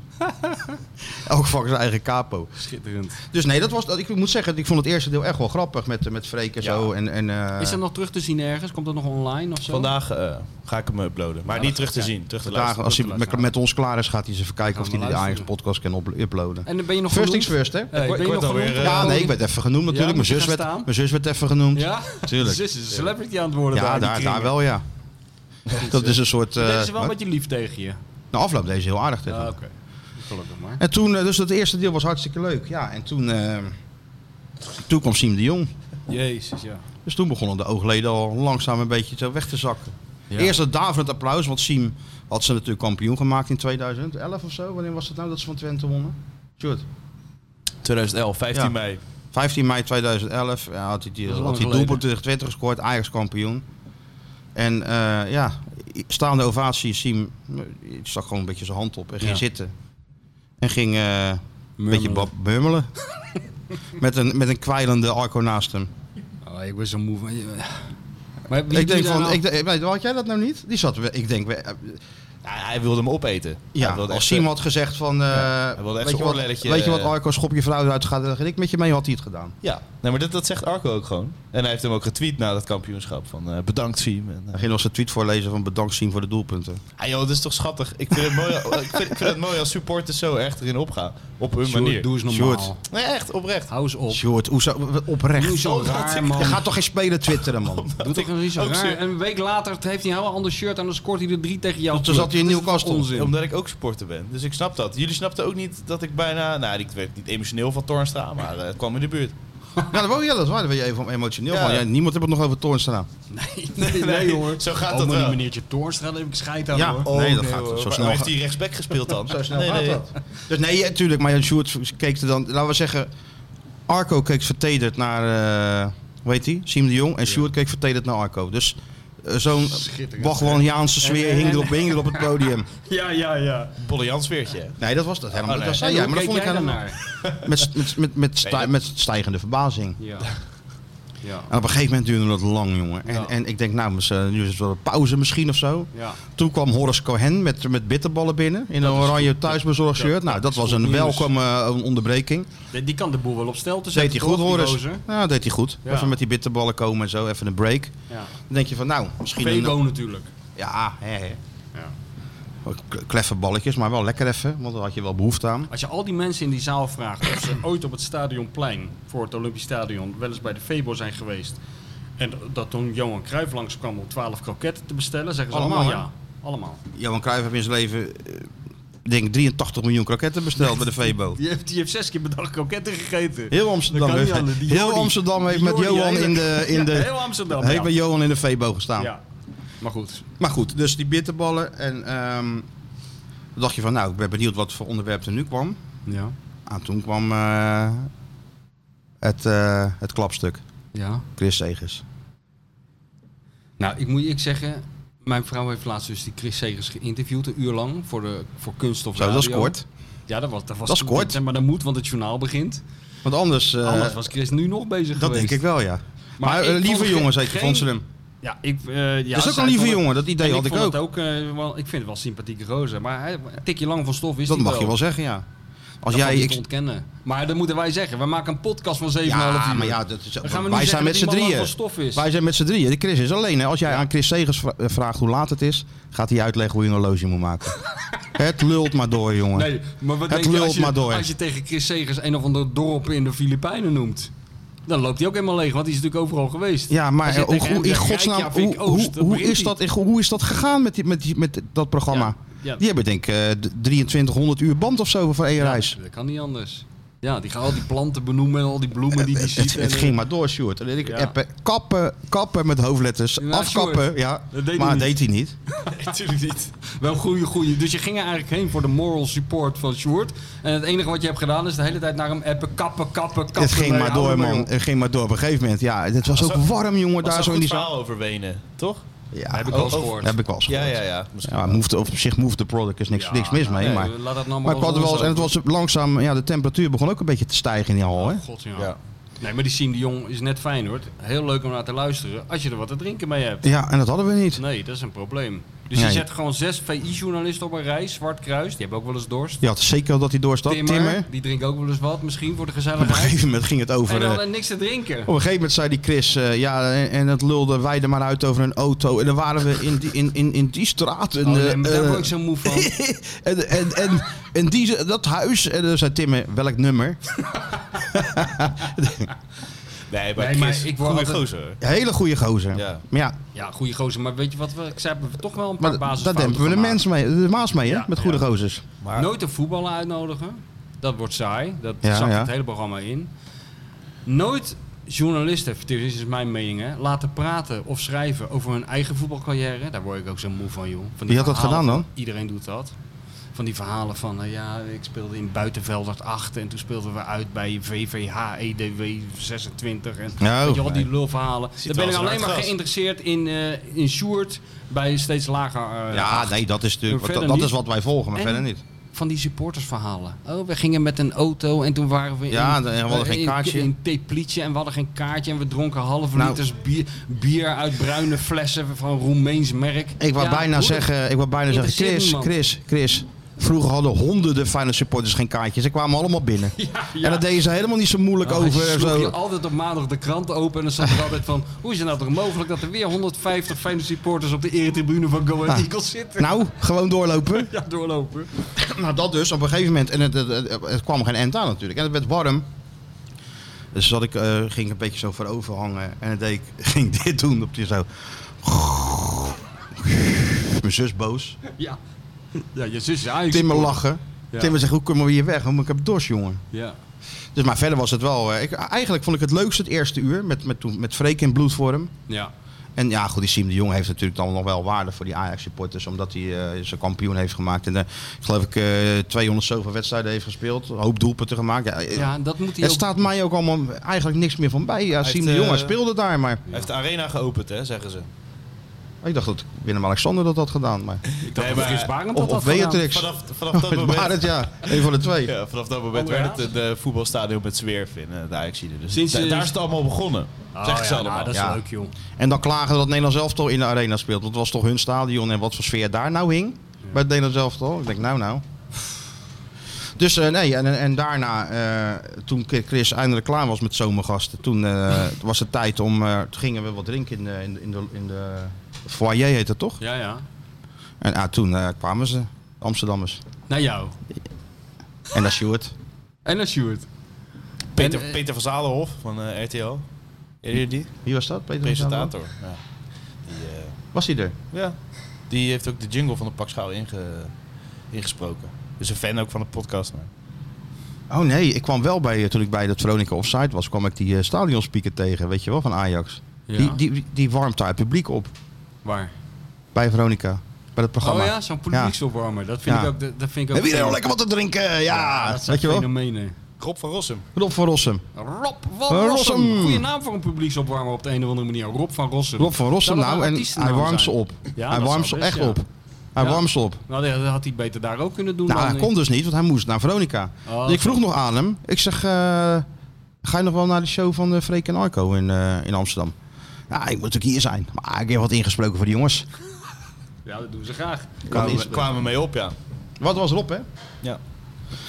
B: Elk vak zijn eigen capo.
C: Schitterend.
B: Dus nee, dat was, dat- ik moet zeggen, ik vond het eerste deel echt wel grappig met, met Freek en
D: Ja.
B: zo. En, en, eh,
C: Is dat nog terug te zien ergens? Komt dat nog online of zo?
D: Vandaag eh, ga ik hem uploaden. Maar niet terug te zien, terug te
B: Vandaag,
D: luisteren.
B: als hij
C: te
B: met, met ons klaar is, gaat hij eens even kijken
C: Gaan
B: of
C: we
B: hij de Ajax
C: luisteren.
B: podcast kan op- uploaden.
C: En dan ben je nog
B: First
C: genoemd?
B: things first, hè?
C: Hey, ben
D: Ik
C: je
D: word
C: nog
D: alweer,
C: genoemd?
D: eh,
B: Ja, nee, ik werd even genoemd natuurlijk.
C: moet
B: mijn,
C: je
B: zus
C: gaan
B: werd,
C: staan?
B: mijn zus werd even genoemd. Ja,
C: Ja?
B: Tuurlijk.
C: Zus is een celebrity aan het worden daar. in die
B: daar, daar
C: kringen.
B: wel, ja. Dat is een soort... eh,
C: Deze
B: wat?
C: wel een beetje lief tegen je.
B: Na afloop deze heel aardig. tegen
C: Ah,
B: me.
C: Oké. Gelukkig maar.
B: En toen, eh, dus dat eerste deel was hartstikke leuk. Ja, en toen, eh, toen kwam Siem de Jong.
C: Jezus, ja.
B: Dus toen begonnen de oogleden al langzaam een beetje zo weg te zakken.
C: Ja.
B: Eerst dat daverend applaus, want Siem had ze natuurlijk kampioen gemaakt in 2011 of zo. Wanneer was het nou dat ze van Twente wonnen? Sjoerd.
D: 2011, 15
B: Ja.
D: mei.
B: 15 mei 2011 ja, had hij die,
C: Dat is lang
B: had hij
C: geleden.
B: doelpunt tegen Twente gescoord, Ajax kampioen. En eh, ja, staande ovatie, Siem eh, stak gewoon een beetje zijn hand op en ging
C: Ja.
B: zitten. En ging eh, een beetje
C: Murmelen.
B: bab- murmelen. met, een, met een kwijlende Arco naast hem.
C: Oh, ik ben zo moe van... Maar wie-
B: ik denk
C: wie daar
B: van,
C: nou-
B: ik, denk- weet- had jij dat nou niet? Die zat, we- ik denk, we- eh,
D: Ja, hij wilde hem opeten.
B: ja,
D: hij wilde
B: als
D: echt,
B: Siem had gezegd van, eh,
D: wilde echt
B: weet, je
D: zijn
B: wat,
D: oorlelletje,
B: weet je wat
D: eh,
B: Arco, schop je vrouw eruit, ga dan ik met je mee, had hij het gedaan.
D: Ja, nee, maar dat, dat zegt Arco ook gewoon. En hij heeft hem ook getweet na dat kampioenschap. Van eh, bedankt, Siem. En, eh,
B: Hij ging nog zijn tweet voorlezen van bedankt Siem voor de doelpunten.
D: ah, joh, dat is toch schattig. Ik vind het mooi, ik vind, ik vind het mooi als supporters zo echt erin opgaan. Op hun
C: Sjoerd,
D: manier.
C: doe eens normaal.
B: Sjoerd.
D: Nee, echt, oprecht.
C: Hou eens op.
B: Sjoerd, hoe zo- oprecht.
C: Doe zo
D: Oh, dat
C: raar,
D: ik-
C: man.
B: Je gaat toch geen speler twitteren, man?
C: Doe toch niet zo
D: ook
C: raar.
D: zeer-
C: En een week later heeft hij een heel ander shirt aan dan scoort hij er drie tegen jou.
B: Toen zat hij in
C: Dat is
B: Newcastle.
C: onzin.
D: Omdat ik ook supporter ben. Dus ik snap dat. Jullie snapten ook niet dat ik bijna... Nou, ik werd niet emotioneel van Tornstra, maar eh, het kwam in de buurt.
B: Ja, dat, wou- ja, dat is waar. Daar ben je even emotioneel
D: Ja.
B: van. Ja, niemand heeft het nog over Toornstra.
C: Nee, nee, nee, hoor.
D: Zo gaat
C: Oh,
D: dat
C: maar die
D: wel.
C: meneertje Toornstra, daar heb ik scheid aan
B: Ja.
C: hoor.
B: Oh, nee, dat gaat
D: hoor.
B: zo
D: Maar
B: snel
D: Heeft
B: gaat-
D: hij rechtsback gespeeld dan?
B: Zo snel
D: Nee,
B: gaat
D: nee.
B: dat. Dus nee, ja, tuurlijk. Maar ja, Sjoerd keek er dan... Laten we zeggen... Arco keek vertederd naar, eh, weet hij, Siem de Jong. En Sjoerd keek vertederd naar Arco. Dus eh, zo'n
E: Schitterend.
B: Bachwaniaanse sfeer
C: en-
B: hing erop, hing er op het podium.
C: Ja, ja, ja.
D: Bolle Jans weertje.
B: Nee, dat was dat helemaal
D: Oh,
B: niet.
D: nee.
B: Dat zei jij, maar dat vond ik helemaal
C: naar.
B: met, met, met, met, stij-
D: dat-
B: met stijgende verbazing.
C: Ja. Ja.
B: En op een gegeven moment duurde dat lang, jongen. En,
C: Ja.
B: en ik denk, nou, mis- eh, nu is het wel een pauze misschien of zo.
C: Ja.
B: Toen kwam Horace Cohen met, met bitterballen binnen in een oranje thuisbezorgd shirt. nou, dat was een welkome eh, onderbreking.
C: Die die kan de boer wel op stel te
B: Deed
C: zetten.
B: hij goed,
C: toch, die
B: Horace?
C: gozer?
B: Ja, deed hij goed.
C: Ja.
B: Even met die bitterballen komen en zo, even een break.
C: Ja.
B: Dan denk je van, nou, misschien... een-
C: Vego natuurlijk.
B: Ja, hè, hè.
C: Ja.
B: Wel k- Kleffe balletjes, maar wel lekker even, want daar had je wel behoefte aan.
C: Als je al die mensen in die zaal vraagt of ze ooit op het stadionplein voor het Olympisch Stadion wel eens bij de Febo zijn geweest. En dat toen Johan Cruijff langskwam om 12 kroketten te bestellen, zeggen ze allemaal,
B: Allemaal,
C: ja. Allemaal.
B: Johan Cruijff heeft in zijn leven, eh, ik denk 83 miljoen kroketten besteld bij de Vebo.
C: Die heeft, die heeft zes keer per dag kroketten gegeten.
B: Heel Amsterdam
C: Dat kan
B: heeft,
C: niet anders. Die
B: heel
C: Jordi-
B: Amsterdam
C: die
B: heeft met
C: Jordi
B: Johan in de,
C: eigenlijk.
B: in
C: Ja,
B: de,
C: heel Amsterdam.
B: heeft
C: ja.
B: bij Johan in de Vebo gestaan.
C: Ja. Maar goed.
B: Maar goed, dus die bitterballen. En ehm, toen dacht je van, nou, ik ben benieuwd wat voor onderwerp er nu kwam.
C: Ja.
B: En toen kwam eh, het, eh, het klapstuk,
C: Ja.
B: Chris Segers.
C: Nou, ik moet je eerlijk zeggen, mijn vrouw heeft laatst dus die Chris Segers geïnterviewd, een uur lang, voor, de, voor kunst of
B: Zo, dat is
C: radio.
B: kort.
C: Ja, dat was, dat was,
B: Dat is kort.
C: Maar dat moet, want het journaal begint.
B: Want anders, eh,
C: Anders was Chris nu nog bezig
B: dat
C: geweest.
B: denk ik wel, ja. Maar,
C: ik
B: eh,
C: vond
B: lieve
C: ge-
B: jongens, heet je,
C: geen-
B: vond ze hem.
C: Ja, ik... eh ja,
B: dat is ook
C: zij
B: een lieve
C: vond het-
B: jongen, dat idee
C: en
B: had ik
C: vond
B: ook.
C: het eh, wel, ik vind het wel sympathieke roze. Maar hij, een tikje lang van stof is
B: Dat
C: hij
B: mag je wel zeggen, ja. Als
C: Dat valt
B: jij...
C: niet
B: Ik,
C: te ontkennen. Maar dat moeten wij zeggen. We maken een podcast van 7,5
B: ja,
C: uur.
B: maar ja, dat is,
C: Dan gaan we nu
B: wij zijn
C: zeggen
B: met
C: dat
B: z'n
C: die man lang
B: drieën.
C: van stof is.
B: Wij zijn met z'n drieën. De Chris is alleen. Hè. Als jij aan Chris Segers vra- eh, vraagt hoe laat het is, gaat hij uitleggen hoe je een horloge moet maken. het lult maar door, jongen.
C: Nee, maar wat
B: Het
C: denk je
B: lult
C: als je,
B: maar door.
C: als je tegen Chris Segers een of ander dorp in de Filipijnen noemt? Dan loopt hij ook helemaal leeg, want hij is natuurlijk overal geweest.
B: Ja, maar
C: Als je
B: eh, hoe,
C: tegen
B: hoe-
C: hem
B: in
C: zegt,
B: godsnaam,
C: kijk, ja,
B: hoe,
C: Vink Oost,
B: hoe,
C: dan
B: hoe
C: begint
B: is
C: hij.
B: dat, eh, hoe is dat gegaan met, die, met, die, met dat programma?
C: Ja,
B: Die hebben denk ik eh, d- 2300 uur band of zo voor één reis.
C: dat kan niet anders. Ja, die gaan al die planten benoemen en al die bloemen die hij
B: Het,
C: ziet.
B: het,
C: en, eh,
B: ging maar door, Sjoerd. En ik
C: Ja.
B: appen, kappen, kappen met hoofdletters,
C: Ja,
B: afkappen.
C: Sjoerd.
B: Ja,
C: Dat deed
B: maar
C: hij
B: dat deed hij niet.
D: Natuurlijk niet.
C: Wel goeie, goeie. Dus je ging er eigenlijk heen voor de moral support van Sjoerd. En het enige wat je hebt gedaan is de hele tijd naar hem appen, kappen, kappen, kappen.
B: Het ging
C: Nee,
B: maar
C: hou
B: door,
C: er maar
B: man.
C: op.
B: Het ging maar door. Op een gegeven moment, ja, het was ook
D: dat-
B: warm, jongen,
D: Was
B: daar
D: daar
B: zo in
D: een
B: die
D: verhaal
B: zaal.
D: over Wenen, toch?
B: Ja,
C: Heb ik wel eens
D: Oh,
C: gehoord.
B: heb ik wel eens
D: Ja,
B: gehoord.
D: ja, ja. Misschien.
B: Ja, maar move the- op zich move the product is niks,
C: Ja,
B: niks mis mee,
C: nee,
B: maar...
C: Laat dat
B: Maar
C: nou maar
B: ik had er wel eens, en het was langzaam, ja, de temperatuur begon ook een beetje te stijgen in die hal, Oh, hè?
C: Oh, God, ja.
D: Ja.
C: Nee, maar die Siem de Jong is net fijn, hoor. Heel leuk om naar te luisteren. Als je er wat te drinken mee hebt.
B: Ja, en dat hadden we niet.
C: Nee, dat is een probleem. Dus
B: Nee.
C: je zet gewoon zes VI-journalisten op een rij, Zwart Kruis. Die hebben ook wel eens dorst.
B: Je had zeker dat hij doorstak. Timmer.
C: Timmer, die drinkt ook wel eens wat, misschien voor de
B: Op een
C: gezelligheid.
B: gegeven moment ging het over.
C: En dan
B: eh,
C: hadden niks te drinken.
B: op een gegeven moment zei die Chris, eh, ja, en, en dat lulde wij er maar uit over een auto. En dan waren we in die, in, in, in die straat. En,
C: Oh, nee,
B: eh,
C: maar daar
B: eh,
C: word ik zo moe van.
B: en, en, en, en die, dat huis. En dan zei Timmer, welk nummer?
D: Nee, maar,
C: Nee, maar
D: ik
C: ik word
D: word
C: altijd-
D: gozer.
B: Hele goede gozer.
D: Ja.
B: Maar ja,
C: Ja, goede gozer, maar weet je wat? We, ik zei, we hebben toch wel een paar
B: maar
C: basis.
B: daar dempen we de mens mee, de maas mee, hè?
C: Ja,
B: Met goede gozers.
D: Maar
C: Nooit een voetballer uitnodigen. Dat wordt saai. Dat
B: Ja,
C: zakt
B: ja.
C: het hele programma in. Nooit journalisten, dit is mijn mening, hè, laten praten of schrijven over hun eigen voetbalcarrière. Daar word ik ook zo moe van, joh. Van die
B: Wie had dat
C: verhalen
B: gedaan dan?
C: van- Iedereen doet dat. Van die verhalen van, eh, ja, ik speelde in Buitenveldert 8 en toen speelden we uit bij VVH EDW 26. En
B: Nou,
C: weet je, al die lulverhalen.
D: Zit
C: Dan ben
D: wel
C: ik
D: eens een
C: alleen maar
D: hard gras.
C: geïnteresseerd in, eh in Sjoerd bij steeds lager eh,
B: Ja,
C: acht.
B: nee, dat is natuurlijk,
C: Maar
B: dat,
C: verder
B: dat
C: niet.
B: is wat wij volgen, maar
C: En-
B: verder niet.
C: van die supportersverhalen. Oh, we gingen met een auto en toen waren we
B: Ja,
C: in,
B: dan- en we hadden
C: eh,
B: geen
C: in-
B: kaartje.
C: In Teplice en we hadden geen kaartje en we dronken halve
B: Nou.
C: liters bier, bier uit bruine flessen van Roemeens merk.
B: Ik wou
C: Ja,
B: bijna
C: hoe
B: zeggen, ik wou bijna zeggen,
C: Interesseert
B: Chris,
C: niemand.
B: Chris, Chris. Vroeger hadden honderden Feyenoord supporters geen kaartjes. Ze kwamen allemaal binnen. En dat deden ze helemaal niet zo moeilijk
C: Nou,
B: over.
C: hij
B: en
C: sloeg
B: Zo.
C: je altijd op maandag de krant open en dan zat er altijd van... hoe is het nou toch mogelijk dat er weer 150 Feyenoord supporters op de eretribune van Go Ahead
B: Ah.
C: Eagles zitten?
B: Nou, gewoon doorlopen.
C: Ja, doorlopen.
B: Nou, dat dus op een gegeven moment. En het, het, het- het kwam geen eind aan natuurlijk. En het werd warm. Dus zat ik, eh, ging ik een beetje zo voorover hangen. En dan deed ik, ging ik dit doen. Op die zo. Mijn zus boos.
C: Ja. Ja, je zus is Ajax.
B: Timmer lachen.
C: Ja.
B: Timmer zegt, hoe komen we hier weg? Want ik heb dorst, jongen.
C: Ja.
B: Dus, maar verder was het wel. eh, Ik, eigenlijk vond ik het leukste het eerste uur. Met, met, toen- met Freek in bloedvorm.
C: Ja.
B: En ja, goed, die Siem de Jong heeft natuurlijk dan nog wel waarde voor die Ajax-supporters. Omdat hij eh, zijn kampioen heeft gemaakt. En eh, geloof ik eh 200 zoveel wedstrijden heeft gespeeld. Een hoop doelpunten gemaakt. Ja, eh,
C: Ja, dat moet hij
B: er
C: ook...
B: staat mij ook allemaal eigenlijk niks meer van bij. Ja,
D: heeft,
B: Siem de Jong hij
D: eh,
B: speelde daar. Maar
D: Hij heeft de arena geopend, hè, zeggen ze.
B: ik dacht dat Willem-Alexander dat had gedaan. Maar,
C: Ik dacht
D: Nee,
C: dat
D: maar-
C: Frits Barend
B: of
C: dat
B: of
C: had gedaan.
B: Beatrix.
D: Vanaf, vanaf dat
B: Met
D: moment...
B: Barend, ja. Een van de twee.
D: Ja, vanaf dat moment
C: Oh, ja.
D: werd het een eh, voetbalstadion met zwerf in eh, de Ajax-Ieder. Dus
C: Sinds,
D: da-
C: eh,
D: daar is het allemaal begonnen.
C: Oh,
D: zeggen ze
C: ja,
D: allemaal.
C: nou, dat is
B: Ja.
C: leuk, joh.
B: En dan klagen dat Nederland zelf toch in de arena speelt. Want het was toch hun stadion en wat voor sfeer daar nou hing. Bij het Nederland zelf toch? Ik denk, nou, nou. Dus eh, nee, en, en daarna, eh, toen Chris eindelijk klaar was met zomergasten, toen eh, was het tijd om. eh, toen gingen we wat drinken in de, in de, in de, in de foyer, heet dat toch?
C: Ja, ja.
B: En ah, toen eh, kwamen ze, Amsterdammers.
C: Naar jou.
B: En dat Sjoerd.
C: En naar Sjoerd.
D: Peter,
C: En, eh,
D: Peter van Zalenhof van eh, RTL. Ken je die?
B: Wie was dat? Peter van Zaandam?
D: Presentator. Ja. Die, eh,
B: Was hij er?
D: ja. die heeft ook de jingle van de Pakschaal inge, ingesproken. Dus een fan ook van de podcast. Maar.
B: Oh nee, ik kwam wel bij, eh, toen ik bij dat Veronica Offside was, kwam ik die eh, stadionspeaker tegen, weet je wel, van Ajax.
C: Ja.
B: Die, die, die warmt daar het publiek op.
C: Waar?
B: Bij Veronica. Bij het programma.
C: Oh ja, zo'n publieksopwarmer. Dat vind
B: Ja.
C: ik ook... Dat, dat vind ik ook
B: Hebben jullie nog lekker wat te drinken? Ja,
C: dat zijn
B: weet je wel.
C: fenomenen.
D: Rob van Rossum.
B: Rob van Rossum.
C: Rob
B: Eh,
C: van Rossum.
B: Rossum.
C: Goeie naam voor een publieksopwarmer op de een of andere manier. Rob van Rossum.
B: Rob van Rossum
C: Zou dat
B: nou.
C: een
B: En
C: artiestennaam
B: hij warmt ze
C: zijn?
B: op.
C: Ja,
B: hij
C: dat
B: warmt ze
C: zou
B: echt
C: best, ja.
B: op. Hij
C: Ja.
B: warmt ze op.
C: Nou, dat had hij beter daar ook kunnen doen.
B: Nou,
C: dan
B: hij
C: in-
B: kon dus niet, want hij moest naar Veronica.
C: Oh,
B: Dus ik vroeg nog aan hem. Ik zeg, eh, ga je nog wel naar de show van eh Freek en Arco in, eh, in Amsterdam? Ja, ik moet natuurlijk hier zijn. Maar ik heb wat ingesproken voor de jongens.
C: Ja, dat doen ze graag.
D: Kwamen, we- kwamen we mee op, ja.
B: Wat was Rob, hè?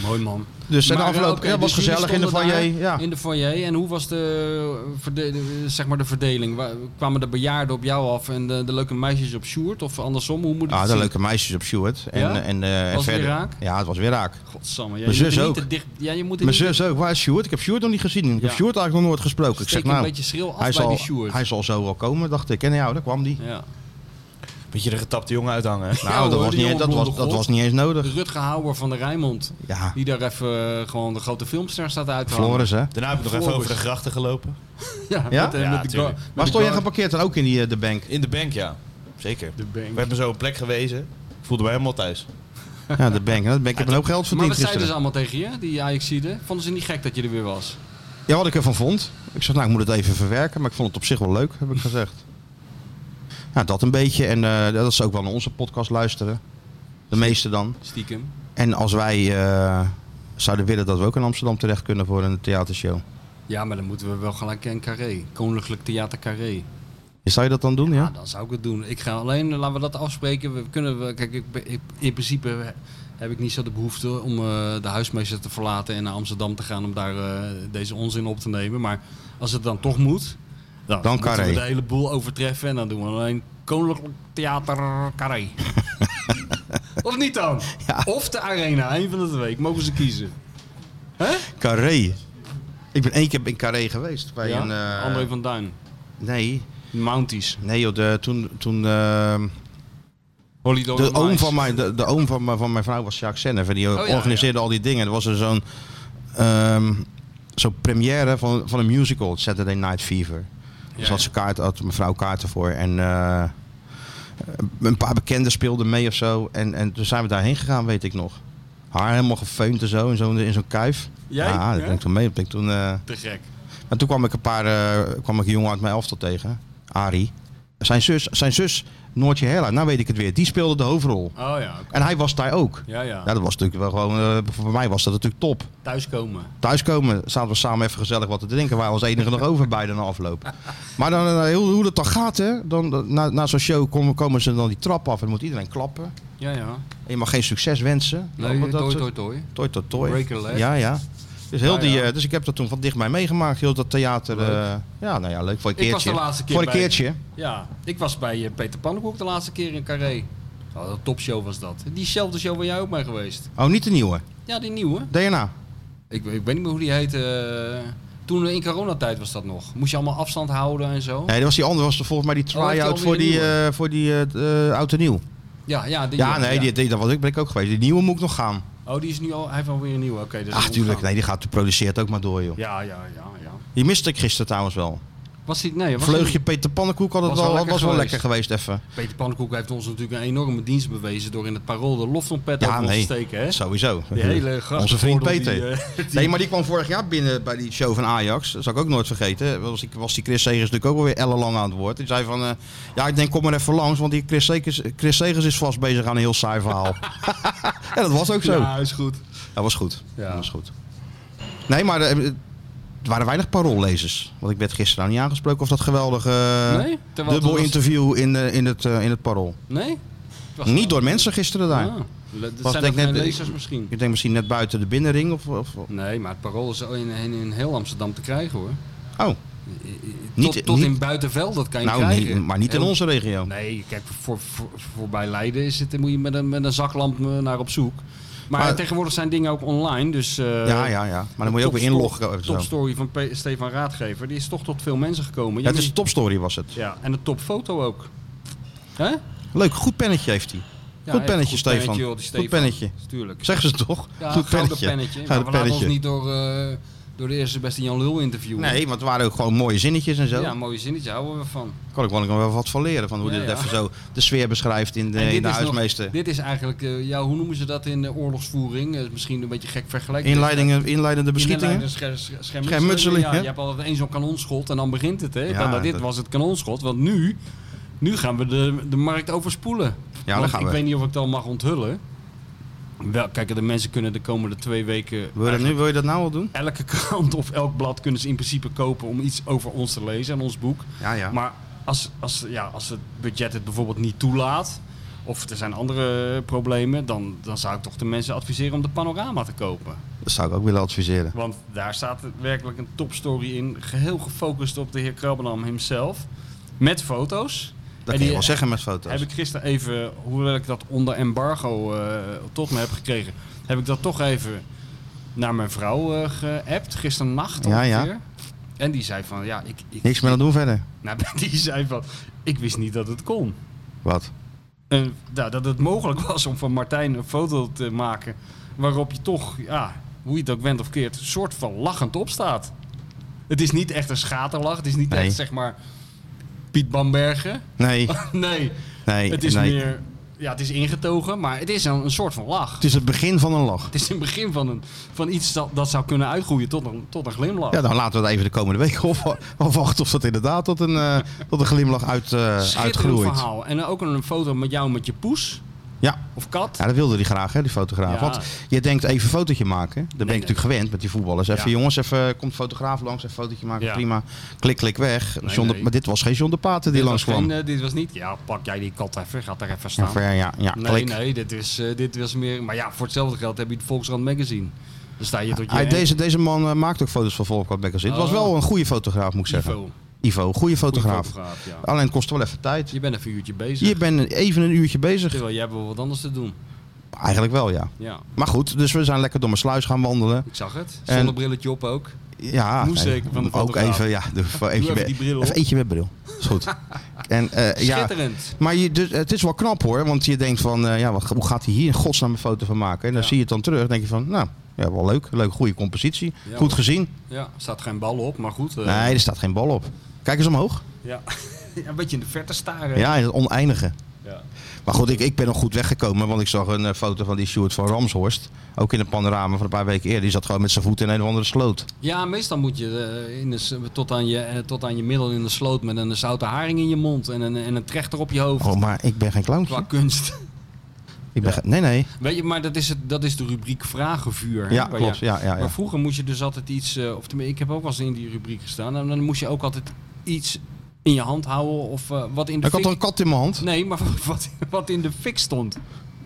C: Mooi man.
B: Dus en de
C: Maar,
B: afloop
C: eh, oké,
B: ja, was
C: dus jullie
B: gezellig in de
C: stonden
B: foyer.
C: daar
B: Ja.
C: In de foyer. En hoe was de, eh, verde- de- zeg maar de verdeling? Wa- Kwamen de bejaarden op jou af en de, de leuke meisjes op Sjoerd? Of andersom? Hoe moet ik
B: Ah,
C: het
B: de
C: zien?
B: leuke meisjes op Sjoerd. En,
C: Ja?
B: en, eh, en
C: Was het weer
B: verder.
C: raak?
B: Ja, het was weer raak.
C: Godsamme. Ja,
B: Mijn
C: je moet
B: zus
C: er
B: ook.
C: niet te dicht... Ja, je moet er
B: Mijn
C: niet te-
B: zus ook, waar is Sjoerd? Ik heb Sjoerd nog niet gezien. Ik heb
C: Ja.
B: Sjoerd eigenlijk nog nooit gesproken. Ik
C: steek
B: zeg
C: een
B: nou,
C: beetje schril af
B: hij
C: bij
B: zal,
C: die Sjoerd.
B: hij zal zo wel komen, dacht ik. En ja, daar kwam die.
C: Ja.
D: Beetje de getapte jongen uithangen. hè.
B: Nou, dat,
C: hoor,
B: was
C: die
B: niet,
C: jonge
B: dat, was,
C: blonde
B: dat
C: god. Dus-
B: was niet eens nodig.
C: Rutger Hauer van de Rijnmond.
B: Ja,
C: Die daar even eh, gewoon de grote filmster staat uit te hangen.
B: Floris hè.
D: Daarna heb ik nog even
C: Floris.
D: over de grachten gelopen.
C: Ja,
B: Ja?
C: met, eh,
D: Ja,
C: met de,
D: tuurlijk.
C: gar- met
B: Waar
C: de
B: stond jij
C: gar-
B: geparkeerd dan ook in die, eh, de bank?
D: In de bank, ja. Zeker.
C: De bank.
D: We hebben zo op een plek gewezen. Ik voelde me helemaal thuis.
B: Ja, de bank. Nou, De bank ik heb een hoop geld
C: Maar
B: verdiend
C: wat zeiden ze
B: gisteren.
C: allemaal tegen je, die Ajaxide? Vonden ze niet gek dat je er weer was?
B: Ja, wat ik ervan vond. Ik zeg, nou, ik moet het even verwerken. Maar ik vond het op zich wel leuk, heb ik gezegd. Nou, dat een beetje. En eh, dat ze ook wel naar onze podcast luisteren. De meeste dan.
C: Stiekem.
B: En als wij eh, zouden willen dat we ook in Amsterdam terecht kunnen voor een theatershow.
C: Ja, maar dan moeten we wel gelijk in Carré. Koninklijk Theater Carré.
B: Zou je dat dan doen,
C: Ja,
B: ja?
C: Nou, dan zou ik het doen. Ik ga alleen, eh, laten we dat afspreken. We kunnen, we, kijk, ik, ben- ik- in principe heb ik niet zo de behoefte om eh, de huismeester te verlaten en naar Amsterdam te gaan om daar eh, deze onzin op te nemen. Maar als het dan toch moet, dan,
B: Dan
C: moeten
B: Carré.
C: we de hele boel overtreffen en dan doen we alleen Koninklijk Theater Carré. of niet dan? Of de Arena, één van de twee. Mogen ze kiezen. Hè?
B: Carré. Ik ben één keer in Carré geweest. Bij
C: Ja?
B: een, eh,
C: André van Duin.
B: Nee,
C: Mounties.
B: nee joh, de, toen... toen eh,
C: Holiday
B: de,
C: on
B: oom
C: Ice.
B: van mijn, de, de oom van mijn, van mijn vrouw was Jacques Senef. En die
C: Oh, ja,
B: organiseerde al die dingen. Er was er zo'n... ehm, zo'n première van, van een musical. Saturday Night Fever.
C: Ja,
B: dus had
C: ja.
B: ze kaart, had mevrouw kaarten voor. En eh, een paar bekenden speelden mee of zo. En, en toen zijn we daarheen gegaan, weet ik nog. Haar helemaal gefeund en zo, in zo'n in zo'n kuif.
C: Jij?
B: Ja, dat
C: Ja?
B: ben ik toen mee. Dat ben ik toen, eh,
C: Te gek.
B: en toen kwam ik een paar, eh, kwam ik een jongen uit mijn elftal tegen, Ari. Zijn zus, zijn zus Noortje Hella, nou weet ik het weer, die speelde de hoofdrol.
C: Oh ja, oké.
B: En hij was daar ook.
C: ja, ja.
B: Ja, dat was natuurlijk wel gewoon, eh, voor mij was dat natuurlijk top.
C: Thuiskomen.
B: Thuiskomen, zaten we samen even gezellig wat te drinken, waren als enige nog over bij de afloop. Maar dan, eh, heel, hoe dat dan gaat, hè, dan, dan- na, na zo'n show komen, komen ze dan die trap af en moet iedereen klappen.
C: Ja, ja.
B: En je mag geen succes wensen.
C: Nee,
B: Allemaal dat
C: toi,
B: soort-
C: toi, toi.
B: Toi, toi, toi.
C: Break a leg.
B: Ja, ja. Dus, heel
C: Ja,
B: die,
C: ja.
B: eh, dus ik heb dat toen van dichtbij meegemaakt. Heel dat theater.
C: Leuk.
B: eh, ja, nou ja, leuk. Voor een
C: Ik
B: keertje.
C: was de laatste keer
B: Voor een
C: bij-
B: keertje.
C: Ja, ik was bij eh, Peter Pannenkoek de laatste keer in Carré. Oh, een topshow was dat. Diezelfde show waar jij ook bij geweest.
B: Oh, niet de nieuwe.
C: Ja, die nieuwe.
B: DNA.
C: Ik, ik weet niet meer hoe die heette. eh, Toen in coronatijd was dat nog. Moest je allemaal afstand houden en zo.
B: Nee, dat was die andere. Was er volgens mij die
C: Oh, heeft die
B: try-out
C: alweer
B: voor, die,
C: een nieuwe?
B: eh, voor die eh, eh, oud en nieuw.
C: Ja, ja, die,
B: Ja, nee, Die, die, dat was ik, ben ik ook geweest. Die nieuwe moet ik nog gaan.
C: Oh, die is nu al. Hij heeft alweer een nieuwe. Oké, dus dat is
B: Ach,
C: een
B: Ah, tuurlijk.
C: omgaan.
B: Nee, die gaat, produceert ook maar door, joh.
C: Ja, ja, ja, ja.
B: Die miste ik gisteren trouwens wel.
C: Was hij, nee, was
B: Vleugje Peter Pannenkoek had het
C: Was
B: wel,
C: wel
B: was
C: lekker
B: wel
C: geweest.
B: lekker geweest even.
C: hij- Peter Pannenkoek heeft ons natuurlijk een enorme dienst bewezen door in het parool de loftompet
B: Ja,
C: op ons
B: nee.
C: te steken. Hè?
B: Sowieso.
C: Die hele gast-
B: Onze vriend
C: voordeel
B: Peter.
C: die, eh, die-
B: Nee, maar die kwam vorig jaar binnen bij die show van Ajax. Dat zal ik ook nooit vergeten. Was die, was die Chris Segers natuurlijk ook wel weer ellenlang aan het woord. Die zei van, eh, ja, ik denk kom maar even langs, want die Chris Segers, Chris Segers is vast bezig aan een heel saai verhaal. ja, dat was ook zo.
C: Ja, is goed.
B: Dat was goed.
C: Ja.
B: Dat was goed. Nee, maar eh, er waren weinig paroollezers. Want ik werd gisteren nou niet aangesproken of dat geweldige eh,
C: Nee? Terwijl
B: dubbel
C: het was-
B: interview in, eh, in, het, eh, in het parool.
C: Nee? Het was-
B: Niet door mensen gisteren daar.
C: Ah, le- dat
B: Was
C: zijn
B: denk
C: nog geen
B: net-
C: lezers misschien.
B: Ik denk misschien net buiten de binnenring of... of of-
C: Nee, maar het parool is in, in, in heel Amsterdam te krijgen hoor.
B: oh,
C: Niet,
B: Niet-
C: tot tot
B: niet-
C: in Buitenveld, dat kan je
B: nou,
C: krijgen.
B: nee, maar niet in
C: Heel-
B: onze regio.
C: Nee, kijk, voor, voor, voorbij Leiden is het, moet je met een, met een zaklamp eh, naar op zoek. Maar,
B: Maar-
C: tegenwoordig zijn dingen ook online, dus... eh,
B: ja, ja, ja. Maar dan moet je ook weer
C: topsto-
B: inloggen. of zo.
C: Topstory van P Stefan Raadgever, die is toch tot veel mensen gekomen.
B: Ja, het is
C: Jullie-
B: een topstory was het.
C: ja, en een topfoto ook. Hè?
B: Leuk, goed pennetje heeft hij.
C: Ja,
B: goed
C: echt
B: pennetje,
C: goed
B: Stefan.
C: pennetje, joh, die Stefan.
B: Goed pennetje.
C: Tuurlijk.
B: Zeggen ze toch?
C: Ja,
B: goed
C: gouden
B: pennetje.
C: pennetje. Maar
B: Gouden
C: we laten ons
B: pennetje.
C: niet door, eh, door de eerste beste Jan Lul interviewen.
B: Nee, want het waren ook gewoon mooie zinnetjes en zo.
C: Ja, mooie zinnetje houden we van.
B: Kan ik wel nog wel wat van leren. Van hoe
C: Ja,
B: dit
C: ja.
B: even zo de sfeer beschrijft in de,
C: En
B: in de
C: is nog-
B: huismeester.
C: dit is eigenlijk, eh, ja, hoe noemen ze dat in de oorlogsvoering? Eh, misschien een beetje gek vergelijken.
B: Inleidingen, inleidende beschietingen. Schermutseling,
C: Schermutseling, ja.
B: hè?
C: Je hebt altijd één zo'n kanonschot en dan begint het. Hè?
B: Ja,
C: Want, nou, dit
B: dat-
C: was het kanonschot, want nu, nu gaan we de, de markt overspoelen.
B: Ja,
C: Want
B: dan gaan
C: ik
B: we.
C: weet niet of ik het al mag onthullen. Wel, kijk, de mensen kunnen de komende twee weken...
B: Wil je, dat nu, wil je dat nou al doen?
C: Elke krant of elk blad kunnen ze in principe kopen om iets over ons te lezen en ons boek.
B: Ja, ja.
C: Maar als, als, ja, als het budget het bijvoorbeeld niet toelaat, of er zijn andere eh, problemen, dan, dan zou ik toch de mensen adviseren om de panorama te kopen.
B: Dat zou ik ook willen adviseren.
C: Want daar staat werkelijk een topstory in, geheel gefocust op de heer Krabbenam himself, met foto's.
B: Dat
C: En
B: kun je
C: die-
B: wel zeggen met foto's.
C: Heb ik gisteren even, hoewel ik dat onder embargo eh, tot me heb gekregen, heb ik dat toch even naar mijn vrouw eh, geappt, gisternacht
B: Ja,
C: ongeveer.
B: ja.
C: En die zei van, ja, ik... ik
B: Niks meer aan doen verder.
C: Nou, die zei van, ik wist niet dat het kon.
B: Wat?
C: En, nou, dat het mogelijk was om van Martijn een foto te maken waarop je toch, ja, hoe je het ook went of keert, soort van lachend opstaat. Het is niet echt een schaterlach, het is niet
B: Nee.
C: echt zeg maar Piet Bambergen.
B: Nee,
C: nee,
B: nee.
C: het is
B: nee.
C: meer, ja, het is ingetogen, maar het is een, een soort van lach.
B: het is het begin van een lach.
C: Het is een begin van, een, van iets dat, dat zou kunnen uitgroeien tot een, tot een glimlach.
B: Ja, dan laten we het even de komende week op- afwachten of dat inderdaad tot een, eh, tot een glimlach uit, eh,
C: Schitterend
B: uitgroeit.
C: verhaal. En dan ook een foto met jou met je poes
B: Ja.
C: of kat.
B: ja, dat wilde hij graag, hè, die fotograaf.
C: Ja.
B: Want je denkt even een fotootje maken. Dat ben
C: nee.
B: ik natuurlijk gewend met die voetballers. Even
C: Ja.
B: jongens, even eh, komt fotograaf langs, even een fotootje maken,
C: Ja.
B: prima. Klik, klik, weg.
C: Nee,
B: John de-
C: nee.
B: maar dit was geen John de Paten die
C: Dit
B: langs
C: was
B: kwam.
C: geen, eh, dit was niet, ja, pak jij die kat even, gaat er even
B: Ja,
C: staan.
B: ver, ja, ja,
C: Nee,
B: klik.
C: nee, dit, is, eh, dit was meer. Maar ja, voor hetzelfde geld heb je het Volksrand Magazine. Dan sta je tot je.
B: Hij, deze, deze man eh, maakt ook foto's van Volkwart Magazine. Het was
C: Oh.
B: wel een goede fotograaf, moet ik
C: Ivo.
B: zeggen. Ivo,
C: Goeie
B: goede fotograaf.
C: fotograaf, ja.
B: Alleen het kost wel even tijd.
C: Je bent even een uurtje bezig.
B: Je bent even een uurtje bezig.
C: Terwijl jij hebt wel wat anders te doen.
B: Eigenlijk wel, ja.
C: Ja,
B: Maar goed, dus we zijn lekker door mijn sluis gaan wandelen.
C: ik zag het.
B: En-
C: Zonnebrilletje op ook.
B: Ja,
C: Moest
B: nee,
C: zeker van de
B: ook
C: fotograaf.
B: even, ja. Doe even, eentje
C: even
B: met-
C: die bril op.
B: even eentje met bril. Is goed. en, eh, ja,
C: Schitterend.
B: maar je, dus, het is wel knap hoor, want je denkt van, eh, ja, wat, hoe gaat hij hier in godsnaam een foto van maken? En dan
C: Ja.
B: zie je het dan terug, denk je van, nou, ja, wel leuk, leuk, goede compositie,
C: Ja,
B: goed
C: maar-
B: gezien.
C: Ja, er staat geen bal op, maar goed. eh,
B: Nee, er staat geen bal op. Kijk eens omhoog.
C: Ja. een beetje in de verte staren.
B: Ja, het oneindige.
C: Ja.
B: Maar goed, ik, ik ben nog goed weggekomen, want ik zag een eh, foto van die Stuart van Ramshorst. Ook in een panorama van een paar weken eerder. Die zat gewoon met zijn voet in een of andere sloot.
C: Ja, meestal moet je eh, in de, s- tot, aan je, eh, tot aan je middel in de sloot met een zoute haring in je mond en een, en een trechter op je hoofd.
B: Oh, maar ik ben geen
C: Qua
B: clowntje.
C: kunst.
B: Ik ben geen- Nee, nee.
C: Weet je, maar dat is, het, dat is de rubriek vragenvuur. hè,
B: Ja,
C: waar
B: klopt.
C: je-
B: Ja, ja, ja.
C: Maar vroeger moest je dus altijd iets, eh, of tenminste, ik heb ook wel eens in die rubriek gestaan, en dan moest je ook altijd iets in je hand houden of eh, wat in de
B: Ik had
C: fik...
B: een kat in mijn hand.
C: Nee, maar wat, wat in de fik stond.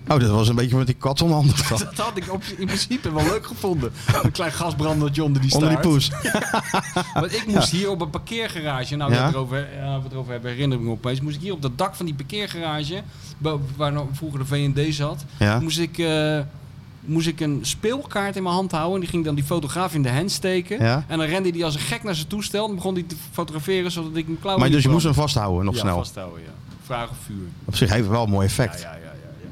B: Oh, dat was een beetje met die kat onder handen.
C: Dat had ik op, in principe wel leuk gevonden. Een klein gasbrandertje onder die staart.
B: Onder die poes.
C: Want ik moest hier op een parkeergarage, nou
B: Ja.
C: dat erover, ja, we het erover hebben, herinner ik me opeens, moest ik hier op dat dak van die parkeergarage, bo- waar nou vroeger de V&D zat,
B: Ja.
C: moest ik, eh, moest ik een speelkaart in mijn hand houden. En die ging dan die fotograaf in de hand steken.
B: Ja.
C: En dan rende hij als een gek naar zijn toestel. En begon hij te fotograferen zodat ik hem klauwen
B: Maar dus je moest
C: niet
B: hem vasthouden nog
C: brandde. ja,
B: snel.
C: vasthouden, ja. Vraag of vuur.
B: Op zich heeft het wel een mooi
C: Ja,
B: effect.
C: ja, ja, ja, ja.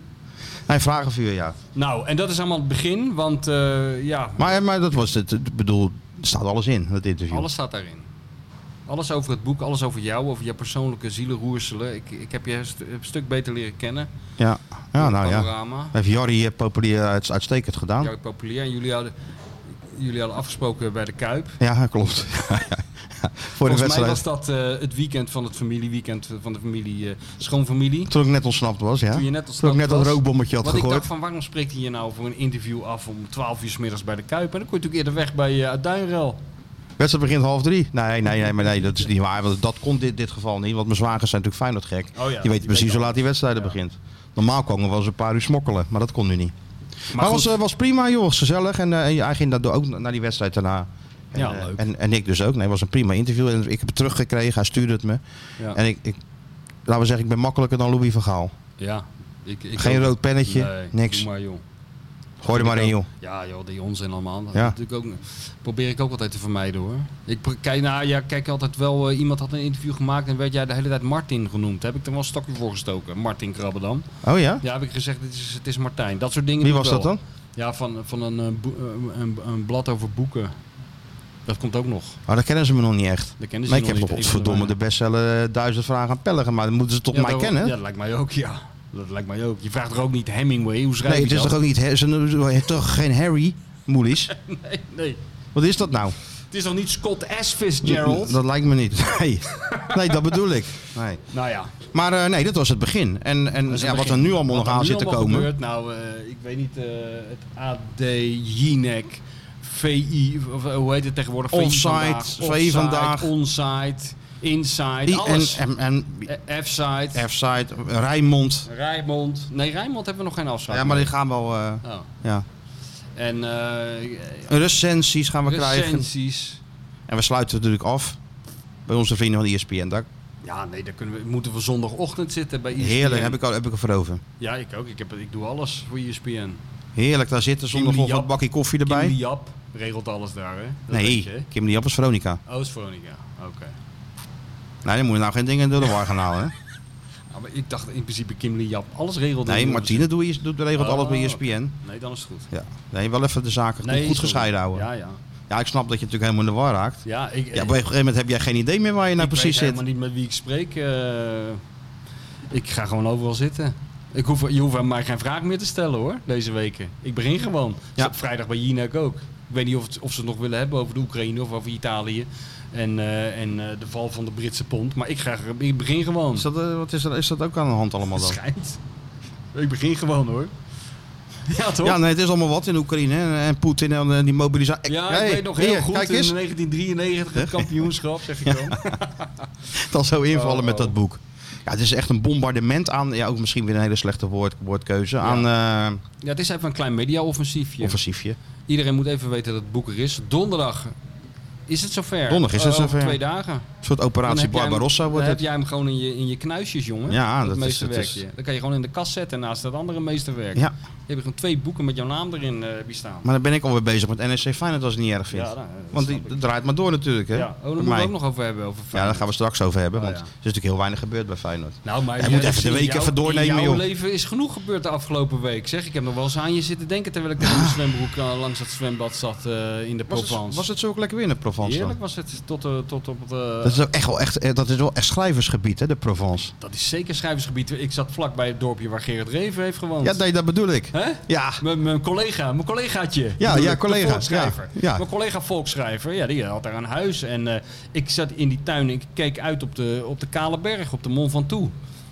B: Hij vragenvuur, ja.
C: Nou, en dat is allemaal het begin, want eh, ja,
B: Maar, maar dat was het. Ik bedoel, er staat alles in, dat interview.
C: alles staat daarin. Alles over het boek, alles over jou, over jouw persoonlijke zielenroerselen. Ik, ik heb je st- een stuk beter leren kennen.
B: Ja, ja
C: Door
B: nou ja.
C: Panorama.
B: Heeft Jorrie eh, populier uit- uitstekend gedaan.
C: Jouw populier. En jullie hadden, jullie hadden afgesproken bij de Kuip.
B: Ja, klopt. Ja, ja. Voor de
C: Volgens mij
B: wedstrijd.
C: was dat eh, het weekend van het familieweekend van de familie eh, Schoonfamilie.
B: Toen ik net ontsnapt was, ja.
C: Toen je net
B: Toen ik net dat
C: was.
B: rookbommetje had
C: Want ik
B: gegooid.
C: dacht van waarom spreekt hij je nou voor een interview af om 12 uur 's middags bij de Kuip? En dan kon je natuurlijk eerder weg bij eh Duinrel.
B: Wedstrijd begint half drie. Nee, nee, nee, maar nee, dat is niet waar. Want dat kon dit, dit geval niet. Want mijn zwagers zijn natuurlijk Feyenoord gek.
C: Oh
D: ja,
B: die weten
D: die
B: precies
D: weten
B: hoe laat die wedstrijd begint. Normaal komen we wel eens een paar uur smokkelen, maar dat kon nu niet. Maar,
C: goed.
B: was, eh, was prima, joh. Was gezellig. En eh, hij ging daardoor ook naar die wedstrijd daarna. En,
C: Ja,
B: eh,
C: leuk.
B: En, en ik dus ook. Nee, het was een prima interview. En ik heb het teruggekregen. Hij stuurde het me.
C: Ja.
B: En ik, ik, laten we zeggen, ik ben makkelijker dan Louis van Gaal.
C: Ja. Ik, ik
B: Geen
C: ook.
B: rood pennetje,
C: Nee,
B: niks.
C: doe maar joh.
B: Gooi er maar in, joh.
C: Ja, joh, die onzin allemaal. Dat
B: Ja.
C: natuurlijk ook, eh, probeer ik ook altijd te vermijden hoor. Ik pro- kijk, nou, ja, kijk altijd wel, eh, iemand had een interview gemaakt en werd jij de hele tijd Martin genoemd. Heb ik er wel een stokje voor gestoken, Martin Krabbedam.
B: Oh ja?
C: Ja, heb ik gezegd, het is, het is Martijn. Dat soort dingen.
B: Wie
C: doe ik
B: was dat
C: wel.
B: dan?
C: Ja, van, van een, eh, boe- eh, een, een blad over boeken. Dat komt ook nog.
B: Maar Oh, dat kennen ze me nog niet echt.
C: Dat kennen ze
B: Maar ik
C: nog
B: heb
C: niet.
B: nog godverdomme de bestseller eh, duizend vragen aan Pelligen. Maar dan moeten ze toch
C: Ja,
B: mij
C: daarom-
B: kennen?
C: Ja, dat lijkt mij ook, ja. Dat lijkt mij ook. Je vraagt er ook niet Hemingway, hoe schrijf
B: Nee,
C: je
B: het is
C: dat?
B: toch ook niet... Hè, ze noemen toch geen Harry Moelis?
C: Nee, nee.
B: Wat is dat nou?
C: Het is toch niet Scott S. Fitzgerald?
B: Dat lijkt me niet. Nee, nee dat bedoel ik. Nee.
C: nou ja.
B: Maar eh, nee, dat was het begin. En, en
C: Dat is
B: ja,
C: het
B: wat er
C: begin.
B: nu allemaal
C: Wat
B: nog
C: er
B: aan
C: nu
B: zit te
C: allemaal
B: komen...
C: gebeurt, nou, eh, ik weet niet, eh, het AD, Jinek, VI, of, eh, hoe heet het tegenwoordig? VI
B: Offside,
C: vandaag,
B: VI
C: offside,
B: vandaag.
C: Onside, inside,
B: I- en
C: alles.
B: en, en
C: Eh, F-side,
B: F-site, Rijnmond.
C: Rijmond. Nee, Rijmond hebben we nog geen afspraak.
B: Ja, maar die
C: mee.
B: gaan wel... eh,
C: Oh.
B: ja.
C: En eh
B: Recensies gaan we krijgen.
C: recensies.
B: En we sluiten natuurlijk af bij onze vrienden van E ESPN.
C: E
B: Daar,
C: Ja, nee, daar kunnen we, moeten we zondagochtend zitten bij E ESPN.
B: heerlijk, heb ik, al- heb ik er voor over.
C: Ja, ik ook. Ik, heb, ik doe alles voor E ESPN.
B: Heerlijk, daar zitten
C: Kim
B: zonder nog
C: Liap.
B: wat bakje koffie
C: Kim
B: erbij.
C: de Jap regelt alles daar, hè? Dat weet je, hè?
B: Nee, Kim de Jap is Veronica.
C: Oh, is Veronica. Oké.
B: Nee, dan moet je nou geen dingen door de war gaan halen. hè?
C: Nou, maar ik dacht in principe Kim Lee Jap alles regelde.
B: Nee,
C: Jongens.
B: Martine doe je, doet, regelt
C: Oh,
B: alles bij E
C: oké.
B: ESPN.
C: Nee, dan is het goed.
B: Ja. Nee, wel even de zaken goed-
C: Nee,
B: goed,
C: sorry.
B: gescheiden houden. Ja.
C: Ja, ja.
B: ik snap dat je natuurlijk helemaal in de war raakt.
C: Ja, ik,
B: Ja, op een gegeven moment heb jij geen idee meer waar je nou
C: ik
B: precies
C: weet
B: zit.
C: helemaal niet met wie ik spreek. eh. ik ga gewoon overal zitten. Ik hoef, je hoeft aan mij geen vraag meer te stellen hoor, deze weken. Ik begin gewoon.
B: Ja.
C: Ja. Vrijdag bij Jinek ook. Ik weet niet of, het- of ze het nog willen hebben over de Oekraïne of over Italië. En, eh, en eh, de val van de Britse pond. Maar ik, ga, ik begin gewoon.
B: Is dat, eh, wat is, dat, is dat ook aan de hand allemaal dan?
C: schijnt. Ik begin gewoon hoor. Ja toch?
B: Ja, nee, het is allemaal wat in Oekraïne. hè. En, en Poetin en eh, die mobilisatie.
C: Ja,
B: Hey,
C: ik weet nog heel
B: hier,
C: goed
B: Kijk
C: in
B: eens,
C: 1993 het kampioenschap, zeg ik dan.
B: dan zo invallen
C: Oh,
B: met
C: oh.
B: dat boek. Ja, het is echt een bombardement aan, ja, ook misschien weer een hele slechte woord, woordkeuze, aan eh,
C: Ja, het is even een klein media-offensiefje.
B: offensiefje.
C: Iedereen moet even weten dat het boek er is. Donderdag is het zover.
B: Donderdag is het
C: Eh, over
B: zover.
C: twee dagen.
B: Een soort
C: Dan
B: operatie
C: heb jij hem-
B: Barbarossa
C: Dan
B: wordt
C: heb
B: het.
C: jij hem gewoon in je, in je knuisjes, jongen.
B: Ja,
C: dat
B: dat is- dat
C: meesterwerkje.
B: is-
C: Dan kan je gewoon in de kast zetten naast dat andere meesterwerk.
B: Ja,
C: Je hebt gewoon twee boeken met jouw naam erin eh, heb je staan.
B: maar dan ben ik alweer bezig met NSC Feyenoord als ik het niet erg vind.
C: Ja, nou, dat
B: Want
C: snap
B: die,
C: ik.
B: dat draait maar door natuurlijk, hè?
C: Ja, oh, daar
B: Bij
C: moeten we
B: mij.
C: ook nog over hebben. Over
B: Ja, daar gaan we straks over hebben,
C: Oh,
B: want
C: ja.
B: er is natuurlijk heel weinig gebeurd bij Feyenoord.
C: Nou, maar
B: Hij moet even de
C: in
B: week
C: jouw-
B: even doornemen,
C: in jouw
B: joh.
C: leven is genoeg gebeurd de afgelopen week, zeg. Ik heb nog wel eens aan je zitten denken terwijl ik
B: Ah.
C: in de zwembroek eh, langs dat zwembad zat eh, in de
B: Was het,
C: Provence.
B: was het zo ook lekker weer in de Provence dan?
C: Heerlijk was het tot, eh, tot op het... eh,
B: Dat is ook echt wel echt, eh, dat is wel echt schrijversgebied, hè, de Provence.
C: dat is zeker schrijversgebied. Ik zat vlak bij het dorpje waar Gerard Reven heeft gewoond.
B: Ja, nee, dat bedoel ik.
C: Hè?
B: Ja,
C: Mijn- Mijn collega, mijn collegaatje.
B: Ja,
C: bedoel
B: ja,
C: ik, de
B: collega,
C: volksschrijver.
B: ja, ja.
C: Mijn collega volksschrijver, ja, die had daar een huis. En eh, ik zat in die tuin en ik keek uit op de, op de Kale Berg, op de Mont Ventoux.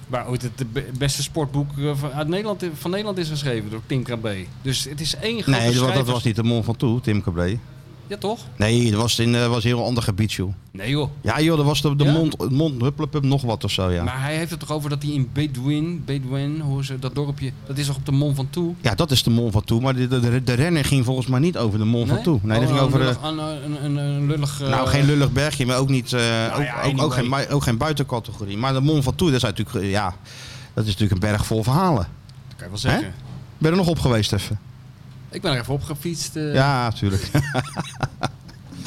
C: Waar ooit het be- beste sportboek eh, van, uit Nederland, van Nederland is geschreven door Tim Krabbe. Dus het is één grote
B: nee, dat, dat
C: schrijvers-
B: was niet de Mont van Toe, Tim Cabré.
C: Ja, toch?
B: Nee, dat was, in, eh, was een heel ander gebied, joh.
C: Nee joh.
B: Ja, joh, dat was de, de
C: Ja?
B: mond, het mond hupplepup nog wat of zo, ja.
C: Maar hij heeft het toch over dat hij in Bedouin, Bedouin, hoe ze dat dorpje, dat is toch op de Mont Ventoux?
B: Ja, dat is de Mont van Toe, maar de, de, de, de renner ging volgens mij niet over de Mont van Toe. Nee, dat
C: Oh,
B: ging
C: een
B: over... eh, de
C: lullig- een, een, een, een lullig... eh, Nou
B: Nou, geen lullig bergje, maar ook niet. eh, ook,
C: ja,
B: ook, ook,
C: anyway.
B: geen, bui- ook geen buitencategorie. Maar de Mont Ventoux, dat is natuurlijk, eh, ja, dat is natuurlijk een berg vol verhalen.
C: Dat kan je wel zeggen.
B: Ben je er nog op geweest even?
C: Ik ben er even op gefietst. eh,
B: ja, natuurlijk.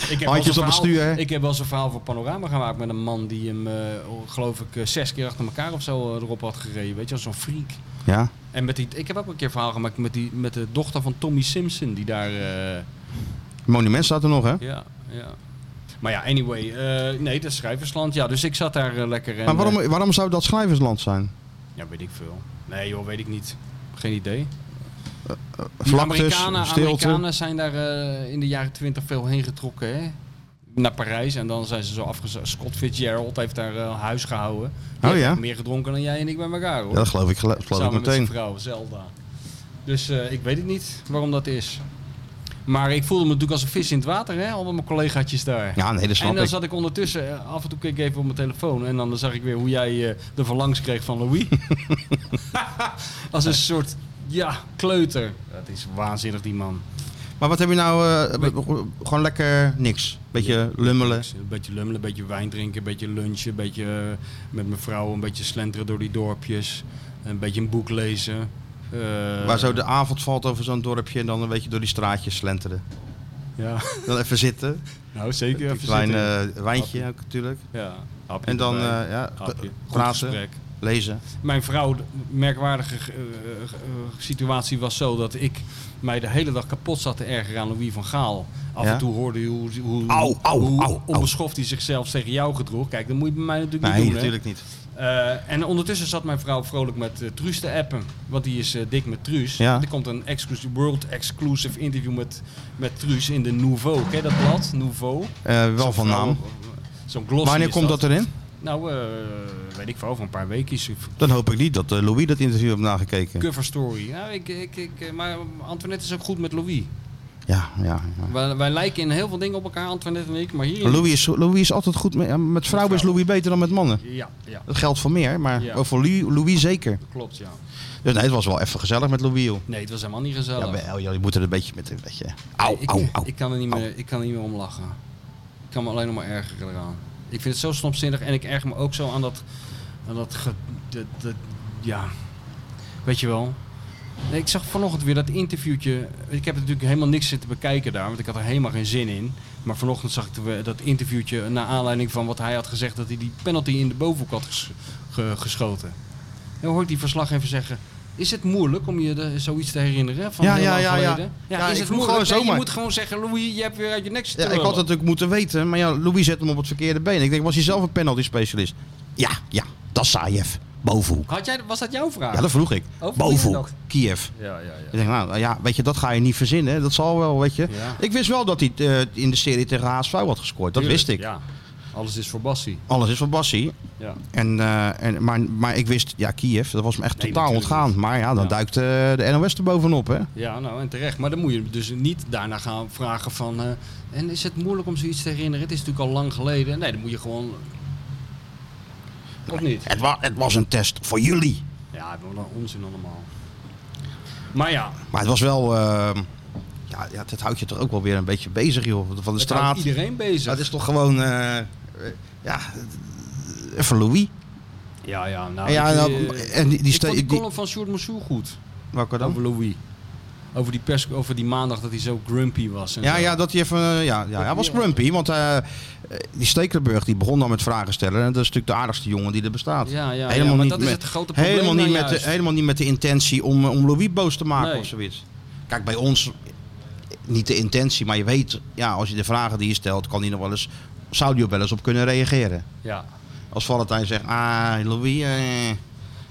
C: Ik heb
B: Handjes
C: wel zo'n
B: op het
C: verhaal-
B: stuur, hè?
C: Ik heb wel zo'n verhaal voor Panorama gemaakt met een man die hem, eh, geloof ik, eh, zes keer achter elkaar of zo eh, erop had gereden. Weet je wel, zo'n freak.
B: ja.
C: En met die, ik heb ook een keer een verhaal gemaakt met, die, met de dochter van Tommy Simpson, die daar... eh,
B: Het monument staat er nog, hè?
C: ja, ja. Maar ja, anyway. eh, nee, dat is schrijversland. Ja, dus ik zat daar eh, lekker. En,
B: Maar
C: eh,
B: waarom, waarom zou dat schrijversland zijn?
C: ja, weet ik veel. Nee joh, weet ik niet. Geen idee. Die
B: Vlaktes,
C: Amerikanen,
B: stilte.
C: Amerikanen zijn daar eh, in de jaren twintig veel heen getrokken. Hè? Naar Parijs en dan zijn ze zo afgezakt. Scott Fitzgerald heeft daar eh, huis gehouden. Die
B: Oh
C: heeft
B: ja?
C: Meer gedronken dan jij en ik bij elkaar hoor.
B: Ja, dat geloof ik, gel- geloof ik
C: Samen met zijn
B: meteen.
C: vrouw, Zelda. Dus eh, ik weet het niet waarom dat is. Maar ik voelde me natuurlijk als een vis in het water, hè? Al met mijn collegaatjes daar.
B: Ja, nee, dat
C: en
B: snap
C: dan
B: ik.
C: zat ik ondertussen, eh, af en toe keek ik even op mijn telefoon. En dan zag ik weer hoe jij eh, de verlangs kreeg van Louis. als een soort, ja, kleuter. Dat is waanzinnig, die man.
B: Maar wat heb je nou? eh, be- be- gewoon lekker niks. Beetje lummelen.
C: Een beetje lummelen, een beetje wijn drinken, een beetje lunchen. Een beetje eh, met mijn vrouw, een beetje slenteren door die dorpjes. Een beetje een boek lezen. Eh,
B: Waar zo de avond valt over zo'n dorpje en dan een beetje door die straatjes slenteren.
C: Ja.
B: Dan even zitten.
C: Nou, zeker.
B: Een
C: Even
B: klein
C: zitten.
B: eh, wijntje ook natuurlijk.
C: ja. hapje
B: En dan eh,
C: erbij,
B: ja,
C: hapje. Goed
B: praten,
C: gesprek.
B: lezen.
C: Mijn vrouw, de merkwaardige eh, eh, eh, situatie was zo dat ik mij de hele dag kapot zat te ergeren aan Louis van Gaal. Af
B: Ja?
C: en toe hoorde je hoe, hoe,
B: Au, au,
C: hoe
B: au, au.
C: onbeschoft hij zichzelf tegen jou gedroeg. Kijk, dat moet je bij mij
B: Nee,
C: natuurlijk niet doen. hè.
B: natuurlijk niet.
C: Eh, en ondertussen zat mijn vrouw vrolijk met eh, Truus te appen. Want die is eh, dik met Truus.
B: Ja.
C: Er komt een exclusive, world exclusive interview met, met Truus in de Nouveau. Ken je dat blad? Nouveau.
B: Eh, wel
C: Zo'n
B: van
C: vrouw- eh,
B: naam.
C: Zo'n glossy
B: Wanneer
C: is
B: komt dat erin?
C: Nou, eh, weet ik veel, over een paar weken.
B: Dan hoop ik niet dat eh, Louis dat interview heeft nagekeken.
C: Cover story. Ja, ik, ik, ik, eh, maar Antoinette is ook goed met Louis.
B: Ja, ja. ja.
C: Wij, wij lijken in heel veel dingen op elkaar, Antoinette en ik. Maar hier...
B: Louis is, Louis is altijd goed. Met, ja, met vrouwen is Louis beter dan met mannen.
C: Ja, ja,
B: Dat geldt voor meer, maar
C: Ja.
B: ook voor Louis, Louis zeker.
C: klopt, ja.
B: Dus nee, het was wel even gezellig met Louis. joh.
C: Nee, het was helemaal niet
B: Ja,
C: gezellig.
B: wel, joh, je moet er een beetje met een beetje. Au,
C: ik,
B: au, au.
C: Ik kan, er niet meer, ik kan er niet meer om lachen. Ik kan me alleen nog maar ergeren eraan. Ik vind het zo stomzinnig en ik erger me ook zo aan dat... Aan dat, ge- dat, dat- ja, weet je wel. Nee, ik zag vanochtend weer dat interviewtje. Ik heb natuurlijk helemaal niks zitten bekijken daar, want ik had er helemaal geen zin in. Maar vanochtend zag ik de- dat interviewtje naar aanleiding van wat hij had gezegd... dat hij die penalty in de bovenhoek had ges- ge- geschoten. En dan hoor ik die verslag even zeggen... Is het moeilijk om je de- zoiets te herinneren van
B: Ja,
C: heel
B: ja,
C: lang
B: ja, ja.
C: geleden?
B: Ja,
C: is
B: ik vroeg
C: het moeilijk?
B: gewoon
C: Nee, je
B: zomaar.
C: moet gewoon zeggen, Louis, je hebt weer uit je nek
B: Ja,
C: zitten.
B: ik had het natuurlijk moeten weten, maar ja, Louis zet hem op het verkeerde been. Ik denk, was hij zelf een penalty specialist? Ja, ja, dat is Saev. Bovenhoek.
C: Had jij, was dat jouw vraag?
B: Ja, dat vroeg ik.
C: vroeg je
B: Bovenhoek,
C: dat?
B: Kiev.
C: ja, ja. ja.
B: Ik denk, nou ja, weet je, dat ga je niet verzinnen. hè. Dat zal wel, weet je.
C: Ja.
B: Ik wist wel dat hij eh, in de serie tegen HSV had gescoord. Dat
C: Tuurlijk,
B: wist ik.
C: Ja. Alles is voor Bassie.
B: Alles is van Bassie.
C: Ja.
B: En, eh, en, maar, maar ik wist, ja, Kiev, dat was me echt
C: Nee,
B: totaal
C: natuurlijk
B: ontgaan. Maar ja, dan
C: Ja.
B: duikt eh, de NOS er bovenop, hè.
C: ja, nou en terecht. Maar dan moet je dus niet daarna gaan vragen van... eh, en is het moeilijk om zoiets te herinneren? Het is natuurlijk al lang geleden. Nee, dan moet je gewoon... Of niet?
B: Het, wa- het was een test voor jullie.
C: Ja, wat een onzin allemaal. Maar ja,
B: Maar het was wel... eh, ja, ja, dat houdt je toch ook wel weer een beetje bezig, joh. Van de
C: het
B: straat.
C: houdt iedereen bezig.
B: Dat is toch gewoon... eh, eh, ja, even Louis.
C: Ja, ja, nou...
B: En ja,
C: ik,
B: nou,
C: eh,
B: en die- die
C: ik vond die
B: ste- die-
C: column van Sjoerd Moussou goed.
B: Welke
C: Over Louis. Over die, pers, over die maandag dat hij zo grumpy was. En
B: Ja,
C: zo.
B: ja, dat hij even. eh, Ja, ja, hij was grumpy, want eh, eh, die Stekelenburg die begon dan met vragen stellen. En dat is natuurlijk de aardigste jongen die er bestaat.
C: Ja, ja,
B: helemaal
C: ja, maar
B: niet
C: dat is
B: met,
C: het grote probleem
B: helemaal niet,
C: nou
B: met de,
C: juist.
B: helemaal niet met de intentie om, eh, om Louis boos te maken
C: Nee.
B: of zoiets. Kijk, bij ons eh, niet de intentie, maar je weet, ja, als je de vragen die je stelt, kan hij nog wel eens. Zou die ook wel eens op kunnen reageren?
C: ja.
B: Als Valentijn zegt, ah, Louis, eh, je hebt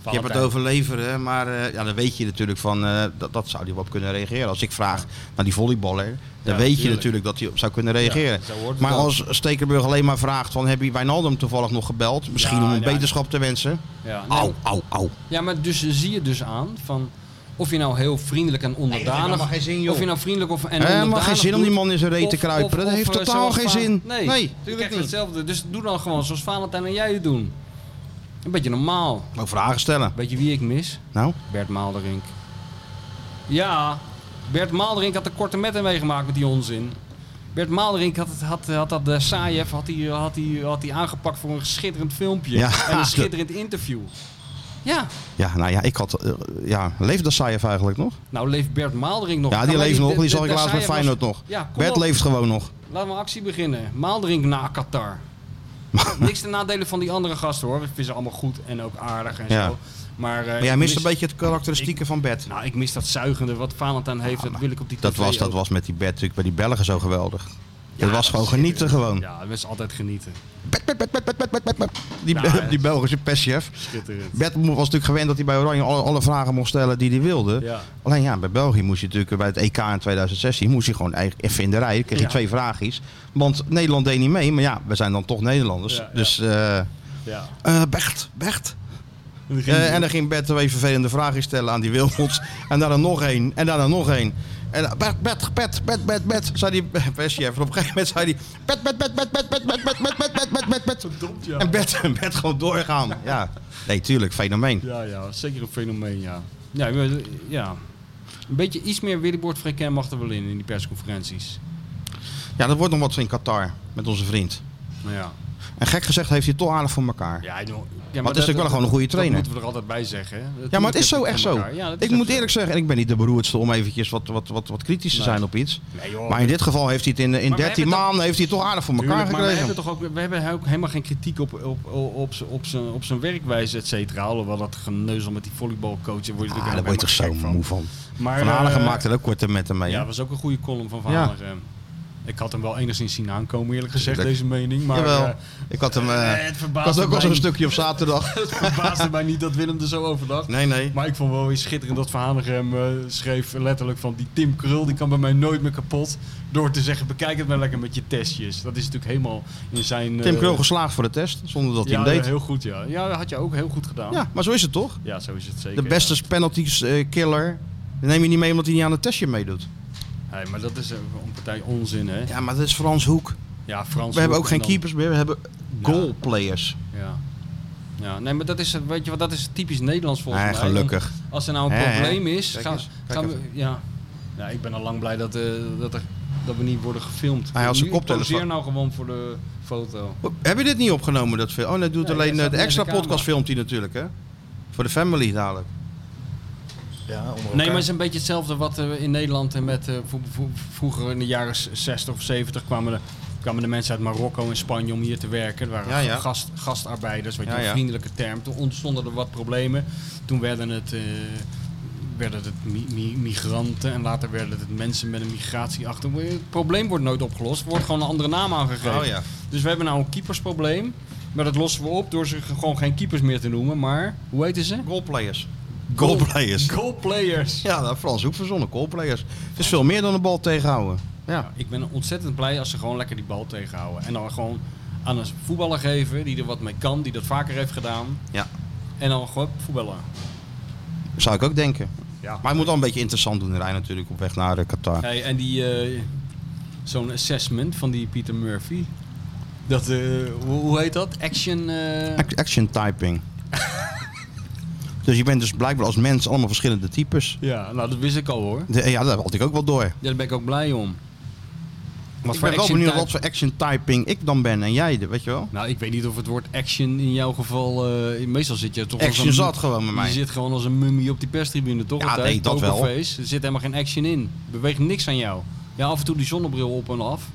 B: het
C: Valentijn.
B: over leveren, maar eh, ja, dan weet je natuurlijk van, eh, dat, dat zou die wel op kunnen reageren. Als ik vraag naar die volleyballer, dan
C: Ja,
B: weet je
C: tuurlijk.
B: natuurlijk dat hij op zou kunnen reageren.
C: Ja, zo hoort het
B: maar
C: ook.
B: als Stekenburg alleen maar vraagt van, heb je Wijnaldum toevallig nog gebeld? Misschien
C: Ja,
B: om een
C: ja.
B: beterschap te wensen.
C: Ja, nee.
B: Au, au, au.
C: ja, maar dus zie je dus aan van of je nou heel vriendelijk en onderdanig,
B: helemaal geen zin, joh.
C: of je nou vriendelijk of en
B: Helemaal
C: onderdanig
B: geen zin om
C: doet,
B: die man in zijn reet
C: of-
B: te kruipen.
C: of-
B: Dat heeft
C: of, eh,
B: totaal
C: zoals
B: geen
C: Va-
B: zin.
C: Nee,
B: Nee,
C: je
B: tuurlijk
C: krijgt
B: niet.
C: hetzelfde. Dus doe dan gewoon zoals Valentijn en jij het doen. Een beetje normaal.
B: Ook Nou, vragen stellen.
C: Weet je wie ik mis?
B: Nou,
C: Bert Maalderink. Ja, Bert Maalderink had de korte metten meegemaakt met die onzin. Bert Maalderink had, het- had, had dat de Saïef had hij, eh, had, hij, had hij aangepakt voor een schitterend filmpje
B: Ja.
C: en een schitterend interview. Ja,
B: ja, nou ja, ik had, eh, ja, leeft dat Saev eigenlijk nog?
C: nou leeft Bert Maalderink nog. Nou,
B: Ja,
C: Kan
B: die
C: hij-
B: leeft nog,
C: de-
B: die
C: de-
B: zag ik
C: de
B: laatst bij
C: Saïef was-
B: Feyenoord nog.
C: Ja, kom
B: Bert
C: op.
B: leeft gewoon nog.
C: Laten we actie beginnen. Maalderink na Qatar. Niks ten nadelen van die andere gasten hoor. Ik vind ze allemaal goed en ook aardig en
B: Ja.
C: zo. Maar, eh,
B: Maar jij
C: ik
B: mist
C: mis-
B: een beetje het karakteristieke van Bert.
C: Nou, ik mis dat zuigende wat Valentijn heeft. dat wil ik op die
B: Dat
C: tv
B: was, dat
C: ook.
B: was met die Bert natuurlijk bij die Belgen zo geweldig. dat was gewoon genieten gewoon.
C: Ja, dat is altijd genieten.
B: Pet, pet, pet, pet, pet, pet, pet, pet, pet. Die,
C: Nou, ja.
B: die Belgische perschef.
C: Schitterend.
B: Bert was natuurlijk gewend dat hij bij Oranje alle, alle vragen mocht stellen die hij wilde.
C: Ja.
B: Alleen ja, bij België moest je natuurlijk bij het EK in 2016 moest je gewoon eigenlijk even in de rij. Dan kreeg je
C: Ja.
B: twee vraagjes. Want Nederland deed niet mee, maar ja, we zijn dan toch Nederlanders.
C: Ja, ja.
B: Dus eh
C: Ja.
B: eh, Bert, Bert. Eh, en dan ging Bert twee vervelende vragen stellen aan die Wilmots. en daarna nog één. En daarna nog één. En dan, Bert, Bert, Bert, Bert, Bert, Bert, zei die perschef. En op een gegeven moment zei hij... Bert, Bert, Bert, Bert, Bert, Bert, Bert, Bert, Bert, Bert, Bert, Bert, Bert.
C: ja.
B: En Bert, Bert gewoon doorgaan. Ja, nee, tuurlijk, fenomeen.
C: Ja, ja, zeker een fenomeen, ja. Ja, we- ja. Een beetje iets meer Willybord Frequent mag er wel in, in die persconferenties.
B: Ja, dat wordt nog wat in Qatar met onze vriend.
C: Maar ja.
B: En gek gezegd heeft hij het toch aardig voor elkaar. Ja,
C: Ja, ik bedoel- ja, maar,
B: natuurlijk wel gewoon een goede trainer.
C: Dat moeten we er altijd bij zeggen. hè. Dat
B: maar het is
C: heeft
B: zo
C: het
B: echt
C: van
B: zo.
C: elkaar. Ja, dat is
B: ik
C: ook
B: moet
C: zo.
B: eerlijk zeggen, en ik ben niet de beroerdste om eventjes wat, wat, wat, wat kritisch te
C: Nee.
B: zijn op iets.
C: Nee, joh.
B: Maar in dit geval heeft hij het in, in
C: Maar we
B: 13
C: hebben toch-
B: maanden heeft hij het toch aardig voor elkaar
C: Tuurlijk, maar we
B: gekregen.
C: hebben toch ook, we hebben ook helemaal geen kritiek op, op, op, op, z'n- op, zijn, op zijn werkwijze, et cetera. Alhoewel dat geneuzel met die volleybalcoach, daar word je
B: Ah, daar
C: natuurlijk
B: word je toch zo
C: helemaal gek
B: moe van.
C: Maar,
B: Van Hanegem
C: eh,
B: maakte er ook korte metten mee.
C: Ja,
B: hè?
C: dat was ook een goede column van Van
B: Ja.
C: Hanegem. Ik had hem wel enigszins zien aankomen, eerlijk gezegd,
B: Tuurlijk.
C: deze mening. Maar
B: Jawel.
C: eh,
B: ik had hem. eh,
C: eh, het
B: ik had
C: verbaasde
B: ook al
C: mij
B: zo'n stukje op zaterdag.
C: Het verbaasde mij niet dat Willem er zo over dacht.
B: Nee, nee.
C: Maar ik vond wel weer schitterend dat Van Hanegem eh, schreef letterlijk van die Tim Krul, die kan bij mij nooit meer kapot. Door te zeggen, bekijk het maar lekker met je testjes. Dat is natuurlijk helemaal in zijn... eh,
B: Tim Krul geslaagd voor de test, zonder dat
C: ja,
B: hij hem deed.
C: heel goed ja. Ja, dat had je ook heel goed gedaan.
B: Ja, maar zo is het toch?
C: Ja, zo is het zeker.
B: De beste
C: ja.
B: penalties eh, killer. Die neem je niet mee omdat hij niet aan het testje meedoet.
C: Hey, maar dat is eh, een partij onzin hè.
B: Ja, maar dat is Frans Hoek.
C: Ja, Frans.
B: We hebben ook
C: Hoek
B: geen
C: en dan-
B: keepers meer, we hebben goalplayers.
C: Ja. Ja, nee, maar dat is, weet je wat, dat is typisch Nederlands volgens
B: Ja,
C: mij.
B: gelukkig.
C: Als er nou een
B: Hè, hè?
C: probleem is,
B: Kijk
C: gaan,
B: eens, kijk
C: gaan we... Ja. ja, ik ben al lang blij dat, eh, dat, er, dat we niet worden gefilmd.
B: Hij had zijn
C: Nu, ik
B: koptelefoon.
C: poseer nou gewoon voor de foto.
B: Heb je dit niet opgenomen? Dat film? Oh nee, doet
C: Nee,
B: alleen
C: dat
B: eh,
C: staat
B: de
C: niet in
B: extra
C: de
B: podcast
C: camera.
B: filmt hij natuurlijk, hè? Voor de family dadelijk.
D: Ja, onder elkaar.
C: Nee, maar het is een beetje hetzelfde wat eh, in Nederland eh, met eh, vro- vro- vroeger in de jaren s- 60 of 70 kwamen de, kwamen de mensen uit Marokko en Spanje om hier te werken. Dat waren
B: Ja, ja.
C: Gast, gastarbeiders, weet je,
B: Ja,
C: een
B: ja.
C: vriendelijke term. Toen ontstonden er wat problemen. Toen werden het, eh, werden het mi- mi- migranten en later werden het mensen met een migratieachter. Het probleem wordt nooit opgelost, er wordt gewoon een andere naam aangegeven.
B: Oh, ja.
C: Dus we hebben nou een keepersprobleem. Maar dat lossen we op door ze gewoon geen keepers meer te noemen. Maar, hoe heten ze?
B: Goalplayers.
C: Goal-
B: Goalplayers.
C: Goalplayers.
B: Ja, dat Frans Hoek verzonnen. Goalplayers. Het is veel meer dan een bal tegenhouden. Ja.
C: Ik ben ontzettend blij als ze gewoon lekker die bal tegenhouden. En dan gewoon aan een voetballer geven die er wat mee kan, die dat vaker heeft gedaan.
B: Ja.
C: En dan gewoon voetballen.
B: Zou ik ook denken.
C: Ja.
B: Maar hij moet wel een beetje interessant doen, de rij natuurlijk, op weg naar eh, Qatar.
C: Hey, en die, eh, zo'n assessment van die Peter Murphy. Dat, eh, hoe, hoe heet dat? Action. eh,
B: Ac- Action typing. dus je bent dus blijkbaar als mens allemaal verschillende types.
C: ja, nou dat wist ik al hoor.
B: De, ja, daar had ik ook wel door.
C: Ja, daar ben ik ook blij om. Wat
B: ik
C: voor
B: ben wel
C: action
B: benieuwd
C: type-
B: wat voor action typing ik dan ben en jij, de- weet je wel?
C: Nou, ik weet niet of het woord action in jouw geval. eh, meestal zit je toch
B: Action
C: als een,
B: zat gewoon met
C: Je
B: mij.
C: zit gewoon als een mummie op die perstribune, toch?
B: Ja,
C: Altijd?
B: nee, dat wel.
C: Pokerface. Er zit helemaal geen action in. Er beweegt niks aan jou. Ja, af en toe die zonnebril op en af.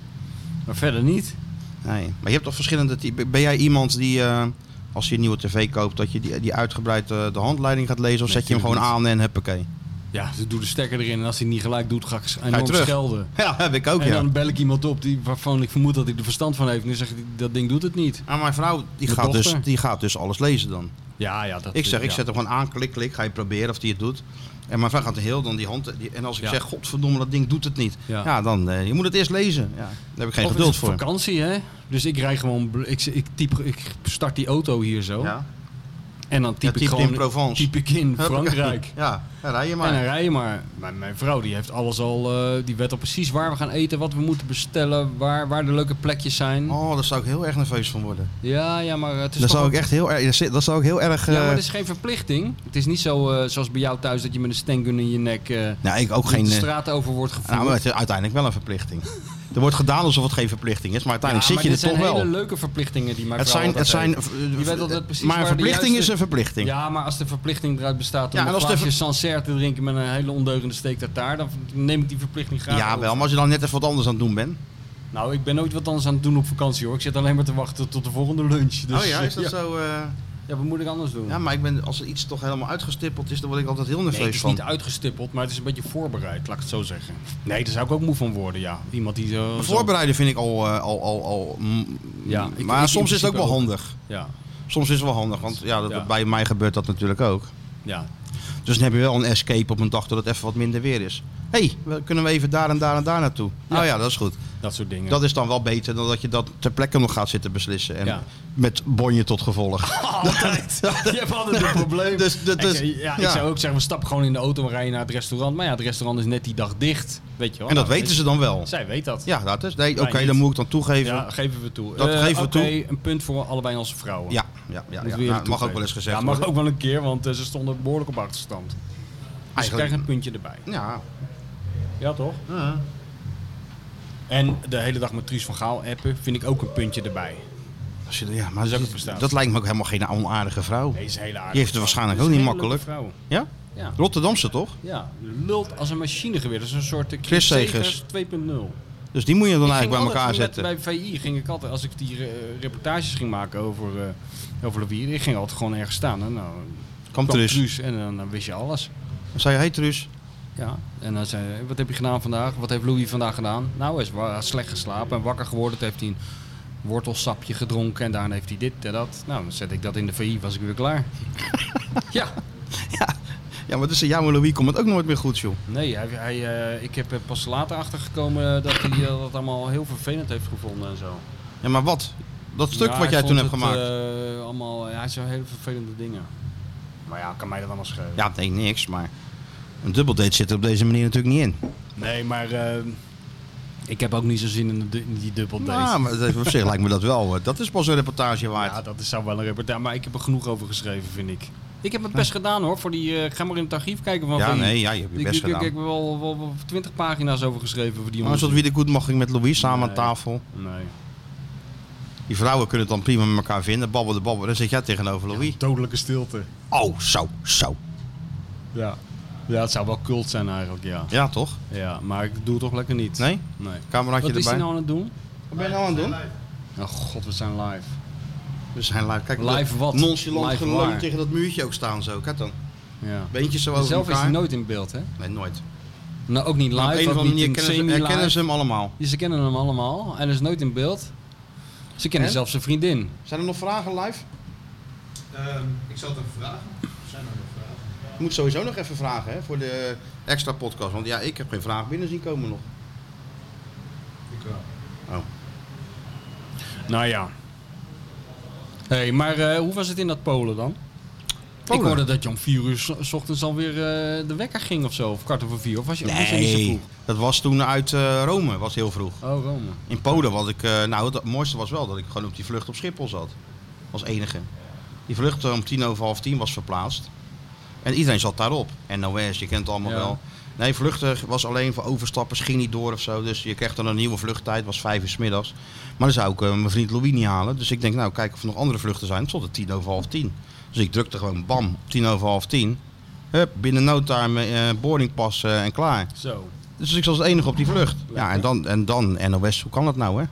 C: Maar verder niet.
B: Nee. Maar je hebt toch verschillende typen. Ben jij iemand die, eh, als je een nieuwe tv koopt, dat je die, die uitgebreid eh, de handleiding gaat lezen? Of
C: Nee,
B: zet je hem gewoon
C: tuurlijk
B: aan en huppakee?
C: Ja, ze doet de stekker erin. En als hij het niet gelijk doet, ga ik enorm
B: terug?
C: schelden.
B: Ja, heb ik ook,
C: en
B: ja.
C: dan bel ik iemand op die, waarvan ik vermoed dat hij er verstand van heeft. En dan zeg ik, dat ding doet het niet.
B: Maar Ah, mijn vrouw, die
C: De
B: gaat, dus,
C: dochter.
B: die gaat dus alles lezen dan.
C: Ja, ja. Dat,
B: Ik zeg,
C: ja.
B: ik zet hem gewoon aan, klik, klik, ga je proberen of die het doet. En mijn vrouw gaat heel dan die hand. Die, en als ik
C: Ja.
B: zeg, godverdomme, dat ding doet het niet. Ja,
C: Ja.
B: dan eh, je moet het eerst lezen. Ja, daar heb ik geen
C: Of het
B: geduld
C: is
B: voor.
C: vakantie, hè? Dus ik rij gewoon... bl- Ik, ik, typ, ik start die auto hier zo.
B: Ja,
C: En dan typ
B: Ja,
C: ik
B: typt
C: gewoon...
B: in Provence.
C: Typ ik in
B: Huppakee.
C: Frankrijk.
B: Ja, dan rij je maar.
C: En eh, dan rij je maar. Mijn, mijn vrouw die heeft alles al. eh, die weet al precies waar we gaan eten, wat we moeten bestellen, waar, waar de leuke plekjes zijn.
B: Oh, daar zou ik heel erg nerveus van worden.
C: Ja, ja, maar eh, het is
B: Daar
C: toch
B: zou
C: ook-
B: ik echt heel erg. Dat zou ik heel erg.
C: Ja, maar
B: eh,
C: het is geen verplichting. Het is niet zo eh, zoals bij jou thuis dat je met een stengun in je nek eh,
B: Nou, ik ook geen.
C: de
B: eh,
C: straat over wordt gevoerd.
B: nou, maar het is uiteindelijk wel een ververplichting. er wordt gedaan alsof het geen verplichting is, maar
C: Ja,
B: uiteindelijk
C: maar
B: zit je
C: dit
B: er toch
C: zijn
B: wel.
C: hele leuke verplichtingen die mijn
B: Het
C: vrouw
B: zijn, het
C: altijd
B: zijn,
C: heeft. Je weet altijd precies
B: maar een
C: waar de
B: verplichting is
C: juiste-
B: een verplichting.
C: Ja, maar als de verplichting eruit bestaat om
B: Ja, en
C: een
B: als de
C: glaasje Sancerre te drinken met een hele ondeugende steek tartaar, dan neem ik die verplichting graag
B: ja,
C: op.
B: wel, maar als je dan net even wat anders aan het doen bent.
C: Nou, Dus-
B: Oh
C: ik ben nooit wat anders aan het doen op vakantie hoor. Ik zit alleen maar te wachten tot de volgende lunch. Dus, eh,
B: zo?
C: Ja, wat moet ik anders doen?
B: Ja, maar ik ben, als er iets toch helemaal uitgestippeld is, dan word ik altijd heel nerveus
C: Nee, het is
B: van.
C: niet uitgestippeld, maar het is een beetje voorbereid, laat ik het zo zeggen. Nee, daar zou ik ook moe van worden, ja. Iemand die zo... zo-
B: Voorbereiden vind ik al, eh, al, al, al mm,
C: Ja, ik-
B: maar
C: ik in
B: soms is het ook wel
C: principe ook.
B: handig.
C: Ja,
B: Soms is het wel handig, want ja, dat,
C: Ja.
B: bij mij gebeurt dat natuurlijk ook.
C: ja.
B: Dus dan heb je wel een escape op een dag dat het even wat minder weer is. Hé, hey, kunnen we even daar en daar en daar naartoe?
C: Ja.
B: Nou ja, dat is goed.
C: Dat soort dingen.
B: Dat is dan wel beter dan dat je dat ter plekke nog gaat zitten beslissen. En
C: Ja.
B: met bonje tot gevolg.
C: Altijd. Je hebt altijd een probleem.
B: Dus- dus- dus-
C: Ik- ja, ik
B: ja.
C: zou ook zeggen, we stappen gewoon in de auto en we rijden naar het restaurant. Maar ja, het restaurant is net die dag dicht. Weet je wel.
B: En dat
C: Nou,
B: weten
C: weet-
B: ze dan wel.
C: Zij weet dat.
B: Ja, dat is. Nee, oké,
C: niet.
B: dan moet ik dan toegeven.
C: Ja,
B: Ja,
C: geven we toe.
B: Dat
C: Eh,
B: geven we
C: oké,
B: toe.
C: een punt voor allebei onze vrouwen.
B: ja, ja. ja,
C: Moeten we
B: Nou, dat
C: eerlijk
B: mag ook
C: toegeven.
B: wel eens gezegd
C: Ja, mag
B: worden.
C: ook wel een keer, want eh, ze stonden behoorlijk op achterstand. Dus ze
B: Eigenlijk-
C: krijgen een puntje erbij.
B: Ja,
C: Ja, toch? En de hele dag met Truus van Gaal appen vind ik ook een puntje erbij.
B: als je, ja maar
C: is ook
B: dat-
C: een prestatie.
B: dat lijkt me ook helemaal geen onaardige vrouw.
C: Deze hele aardige
B: Die heeft het
C: vrouw.
B: waarschijnlijk
C: Dit is
B: ook
C: een
B: niet
C: hele leuke
B: Ja?
C: Vrouw. Ja.
B: Rotterdamse toch?
C: ja, lult als een machinegeweer. Dat is een soort eh,
B: Chris
C: Chris
B: Segers.
C: Segers 2.0.
B: Dus die moet je dan
C: Ik
B: eigenlijk
C: ging
B: bij elkaar
C: altijd met-
B: zetten.
C: bij VI ging ik altijd, als ik die eh, reportages ging maken over, eh over Lavier, ik ging altijd gewoon ergens staan. En nou,
B: Kamp
C: kwam
B: Truus.
C: Truus en dan, dan wist je alles.
B: Dan zei je, hey Truus.
C: Ja. En dan zei hij, wat heb je gedaan vandaag? Wat heeft Louis vandaag gedaan? Nou, hij is wa- slecht geslapen en wakker geworden. Toen heeft hij een wortelsapje gedronken en daarna heeft hij dit en dat. Nou, dan zet ik dat in de VI, was ik weer klaar. ja.
B: Ja, maar tussen jou en Louis komt het ook nooit meer goed, joh.
C: Nee, hij, hij, eh, ik heb er pas later achtergekomen eh, dat hij eh, dat allemaal heel vervelend heeft gevonden en zo.
B: Ja, maar wat? Dat stuk
C: Ja,
B: wat
C: hij
B: jij toen hebt
C: vond het,
B: gemaakt.
C: eh, allemaal, ja, hij zei hele vervelende dingen. Maar ja, kan mij dat allemaal schelen.
B: Ja, nee, niks, maar een dubbeldate zit er op deze manier natuurlijk niet in.
C: Nee, maar eh, ik heb ook niet zo zin in, de, du- in die dubbeldate.
B: Nou, maar dat- op zich lijkt me dat wel. hoor. Dat is pas een reportage waard.
C: ja, dat is zou wel een reportage, maar ik heb er genoeg over geschreven, vind ik. Ik heb mijn best gedaan hoor, voor die, eh, ik ga maar in het archief kijken van
B: Ja,
C: van die-
B: nee, ja, je hebt je
C: Ik,
B: best
C: ik, ik, ik heb
B: gedaan. Ah,
C: er wel, wel, wel 20 pagina's over geschreven voor die
B: Maar zoals
C: onderzoek.
B: wie de goed mag ik met Louis samen aan
C: Nee.
B: tafel.
C: Nee.
B: Die vrouwen kunnen het dan prima met elkaar vinden. Babbelen, babbelen. Dan zit jij tegenover Louis.
C: Dodelijke stilte.
B: Oh, zo, zo.
C: Ja. Ja, het zou wel cult zijn eigenlijk, ja.
B: Ja, toch?
C: Ja, maar ik doe het toch lekker niet.
B: Nee?
C: Nee.
B: Cameraatje
C: Wat is
B: erbij.
C: hij nou aan het doen?
B: Wat ben je nou aan het doen?
C: Oh god, we zijn live.
B: We zijn live. Kijk,
C: Live
B: dat
C: wat?
B: Nonchalant
C: Live
B: geleund
C: waar?
B: tegen dat muurtje ook staan zo. Kijk dan.
C: Ja.
B: Beentjes zo over
C: Zelf is
B: elkaar.
C: hij nooit in beeld, hè?
B: Nee, nooit.
C: Nou, ook niet live,
B: Maar op een of
C: ook
B: andere
C: niet
B: manier
C: in
B: kennen ze,
C: semi-live.
B: herkennen ze hem allemaal.
C: Ja, Ze kennen hem allemaal. Hij is nooit in beeld. Ze kennen
B: En?
C: zelfs zijn vriendin.
B: Zijn er nog vragen live?
E: ik zal het even vragen. Zijn er nog vragen?
B: Je moet sowieso nog even vragen hè, voor de extra podcast. Want ja, ik heb geen vraag binnen zien komen nog.
E: Ik wel.
C: Nou ja. Hé, hey, maar eh, hoe was het in dat Polen dan?
B: Polen?
C: Ik hoorde dat je om vier uur s- s ochtends alweer eh de wekker ging of zo. Of kwart over vier. Of was je, was je niet zo vroeg?
B: dat was toen uit eh, Rome, was heel vroeg.
C: Oh, Rome.
B: In Polen was ik, eh, nou het mooiste was wel dat ik gewoon op die vlucht op Schiphol zat. Als enige. Die vlucht eh, om tien over half tien was verplaatst. En iedereen zat daarop. NOS, je kent het allemaal
C: Ja.
B: wel. Nee, vluchten was alleen voor overstappers, ging niet door of zo. Dus je kreeg dan een nieuwe vluchttijd, was vijf uur 's middags. Maar dan zou ik eh, mijn vriend Louis niet halen. Dus ik denk, nou kijk of er nog andere vluchten zijn. Het stond het tien over half tien. Dus ik drukte gewoon bam, op tien over half tien. Hup, binnen no time eh, boardingpas eh, en klaar.
C: Zo.
B: Dus ik was als enige op die vlucht. Ja, en dan, en dan NOS, hoe kan dat nou hè?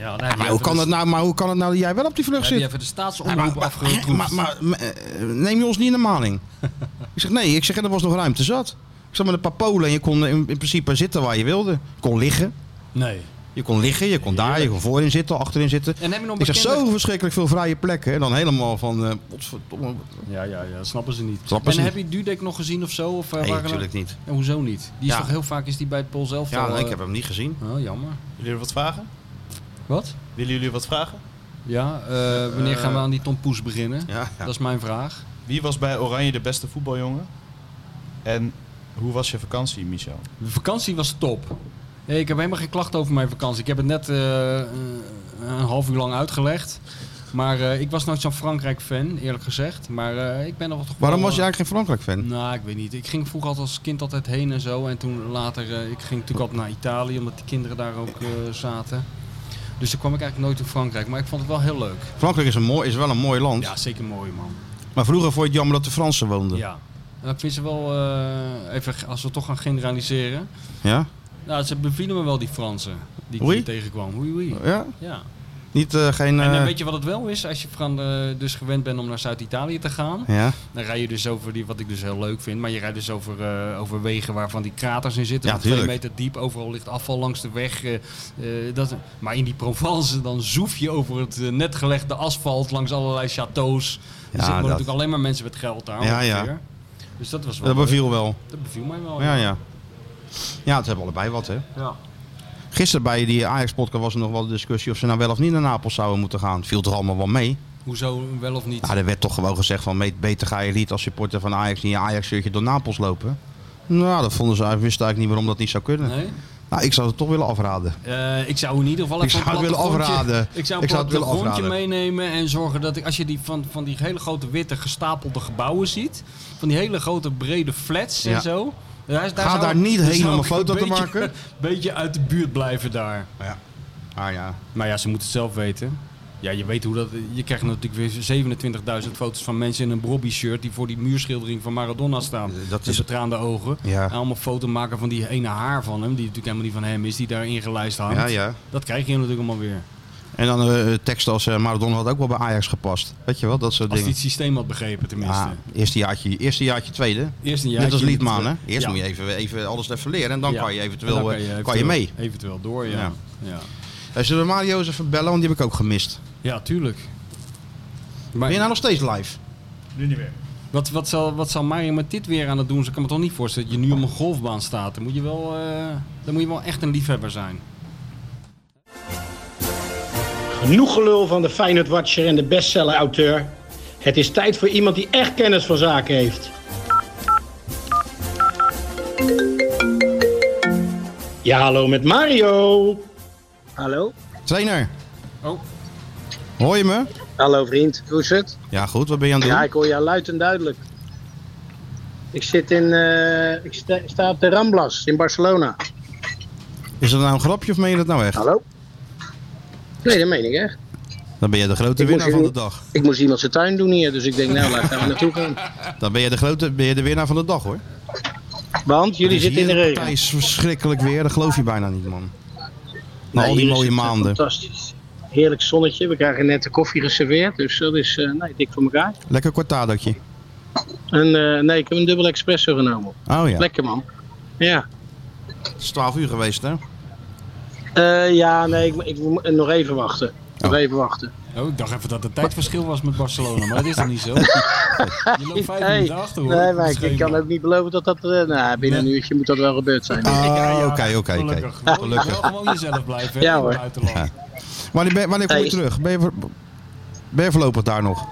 C: Ja,
B: Maar hoe, kan dat nou, maar hoe kan het nou dat jij wel op die vlucht
C: Heb je
B: zit?
C: even de
B: Ja,
C: staatsomroep
B: maar, maar,
C: afgeroepen?
B: maar- maar- maar, eh, neem je ons niet in de maling? ik zeg nee, ik zeg en er was nog ruimte zat. Ik zat met een paar polen en je kon in, in principe zitten waar je wilde. Je kon liggen,
C: Nee.
B: je kon liggen, je kon daar, je kon voorin zitten, achterin zitten.
C: En heb je nog
B: Ik zeg
C: bekende-
B: zo verschrikkelijk veel vrije plekken en dan helemaal van, eh potverdomme.
C: Ja, ja, ja, dat snappen ze niet.
B: Snappen
C: en
B: ze
C: heb je Dudek nog gezien of zo? Of, eh,
B: Nee,
C: waren er-
B: natuurlijk niet.
C: Ja, hoezo niet? Die is
B: Ja.
C: toch heel vaak is die bij het Pool zelf
B: Ja,
C: al,
B: nee,
C: eh,
B: ik heb hem niet gezien.
C: Oh, jammer.
D: Willen jullie wat vragen?
C: Wat?
D: Willen jullie wat vragen?
C: Ja, eh, wanneer gaan we aan die Tom Poes beginnen?
B: Ja, ja.
C: Dat is mijn vraag.
D: Wie was bij Oranje de beste voetbaljongen? En hoe was je vakantie, Michel?
C: De vakantie was top. Nee, ik heb helemaal geen klachten over mijn vakantie. Ik heb het net eh, eh, een half uur lang uitgelegd. Maar eh, ik was nooit zo'n Frankrijk-fan, eerlijk gezegd. Maar eh, ik ben er wel toch
B: Waarom
C: wel,
B: was je eigenlijk geen Frankrijk-fan?
C: Nou, ik weet niet. Ik ging vroeger altijd als kind altijd heen en zo. En toen later, eh, ik ging natuurlijk altijd naar Italië, omdat die kinderen daar ook eh, zaten. Dus toen kwam ik eigenlijk nooit in Frankrijk. Maar ik vond het wel heel leuk.
B: Frankrijk is, een mooi, is wel een mooi land,
C: Ja, zeker mooi, man.
B: maar vroeger vond je het jammer dat de Fransen woonden. Ja?
C: Ja. En ik vind ze wel, eh, even als we toch gaan generaliseren.
B: Ja?
C: Nou, ze bevielen me wel, die Fransen. Die ik
B: Oei?
C: hier tegenkwam. Oei, oei. Ja.
B: Niet eh, geen...
C: En eh,
B: eh,
C: weet je wat het wel is? Als je van, eh, dus gewend bent om naar Zuid-Italië te gaan,
B: Ja,
C: dan rij je dus over die, wat ik dus heel leuk vind, maar je rijdt dus over, eh, over wegen waarvan die kraters in zitten,
B: Ja,
C: van twee
B: tuurlijk.
C: meter diep, overal ligt afval langs de weg. eh, eh, dat, maar in die Provence, dan zoef je over het eh, net gelegde asfalt langs allerlei chateaus.
B: Ja,
C: er zitten
B: dat-
C: natuurlijk alleen maar mensen met geld daar.
B: Ja, ja.
C: ongeveer. Dus dat was wel
B: dat
C: leuk.
B: beviel wel.
C: Dat beviel mij wel.
B: Ja, ja. Ja, het hebben allebei wat, hè.
C: Ja.
B: Gisteren bij die Ajax-podcast was er nog wel de discussie of ze nou wel of niet naar Napels zouden moeten gaan. Viel toch allemaal wel mee?
C: Hoezo wel of niet?
B: Nou, er werd toch gewoon gezegd van "Meet, beter ga je niet als supporter van Ajax in je Ajax-shirtje door Napels lopen. Nou, dat vonden ze eigenlijk, wisten eigenlijk niet waarom dat niet zou kunnen.
C: nee?
B: Nou, ik zou het toch willen afraden.
C: Eh, ik zou in ieder geval
B: Ik
C: even een
B: zou het willen
C: plattegrondje-
B: afraden.
C: Ik zou een
B: Ik zou het willen
C: plattegrondje
B: afraden.
C: meenemen en zorgen dat ik, als je die van, van die hele grote witte gestapelde gebouwen ziet, van die hele grote brede flats
B: Ja.
C: en zo. Daar,
B: Ga
C: zou-
B: daar niet heen
C: zou
B: om een
C: ik
B: foto te
C: beetje-
B: maken.
C: beetje uit de buurt blijven daar.
B: Ah ja.
C: Maar ja, ze moeten het zelf weten. Ja, je weet hoe dat. Je krijgt natuurlijk weer 27.000 foto's van mensen in een Brobby shirt die voor die muurschildering van Maradona staan.
B: Eh, Dat
C: Met
B: is...
C: betraande ogen.
B: Ja.
C: En allemaal foto maken van die ene haar van hem, die natuurlijk helemaal niet van hem is, die daar ingelijst hangt.
B: Ja, ja.
C: Dat krijg je natuurlijk allemaal weer.
B: En dan eh, teksten als eh, Maradona had ook wel bij Ajax gepast. Weet je wel, dat soort
C: Als hij
B: dingen.
C: het systeem had begrepen tenminste.
B: Ja, eerste jaartje, eerste jaartje tweede.
C: Eerst een jaar.
B: Net als Liedman, hè? Eerst moet je even, even alles even leren en dan
C: Ja.
B: kan je eventueel, eh, kan je, mee.
C: Eventueel door, ja.
B: Ja.
C: Ja, ja.
B: Eh, Zullen we Mario eens even bellen, want die heb ik ook gemist.
C: tuurlijk.
B: Ben je nou
C: Maar
B: nog steeds live?
E: Nu niet meer.
C: wat, wat, zal, wat zal Mario met dit weer aan het doen? Ze kan me toch niet voorstellen dat je nu op een golfbaan staat. Dan moet je wel, eh, dan moet je wel echt een liefhebber zijn.
F: Genoeg gelul van de Feyenoord Watcher en de bestseller-auteur. Het is tijd voor iemand die echt kennis van zaken heeft. Ja, hallo met Mario.
G: Hallo?
B: Trainer,
C: Oh,
B: hoor je me?
G: Hallo vriend, hoe is het?
B: Ja goed, wat ben je aan het doen?
G: Ja, ik hoor jou luid en duidelijk. Ik zit in, eh, ik sta, sta op de Ramblas in Barcelona.
B: Is dat nou een grapje of meen je dat nou echt?
G: Hallo? Nee, dat meen ik echt.
B: Dan ben je de grote
G: Ik
B: winnaar
G: moest
B: van de
G: even-
B: dag.
G: Ik moest iemand zijn tuin doen hier, dus ik denk nou, laten we naartoe gaan.
B: Dan ben je de grote ben je de winnaar van de dag hoor.
G: Want jullie
B: Het is
G: zitten in de
B: hier
G: regen.
B: partij is verschrikkelijk weer, dat geloof je bijna niet man. Na
G: Nee,
B: al die
G: hier is
B: mooie
G: het, eh,
B: maanden.
G: Fantastisch. Heerlijk zonnetje. We krijgen net de koffie geserveerd, dus dat is eh, nee, dik voor elkaar.
B: Lekker Oh, cortadootje.
G: En eh, nee, ik heb een dubbel espresso genomen.
B: Oh ja,
G: Lekker man. Ja.
B: het is 12 uur geweest hè?
G: Eh, ja, nee, ik, ik moet eh, nog even wachten. Nog
B: Oh.
G: even wachten.
C: oh, ik dacht even dat het tijdverschil was met Barcelona, maar dat is dan niet zo. Je loopt vijf
G: Hey,
C: minuten achter hoor.
G: nee, maar ik, ik
C: Schema.
G: kan ook niet beloven dat dat... eh, nou, binnen
C: Nee.
G: een uurtje moet dat wel gebeurd zijn.
B: Ah, Oké, oké, oké.
C: Gelukkig. Gelukkig. Wel gewoon jezelf blijven hè,
G: Ja,
C: in het
G: hoor.
C: buitenland.
B: Ja. Wanneer, ben- wanneer kom je
G: Hey.
B: terug? Ben je, voor- ben je voorlopig daar nog?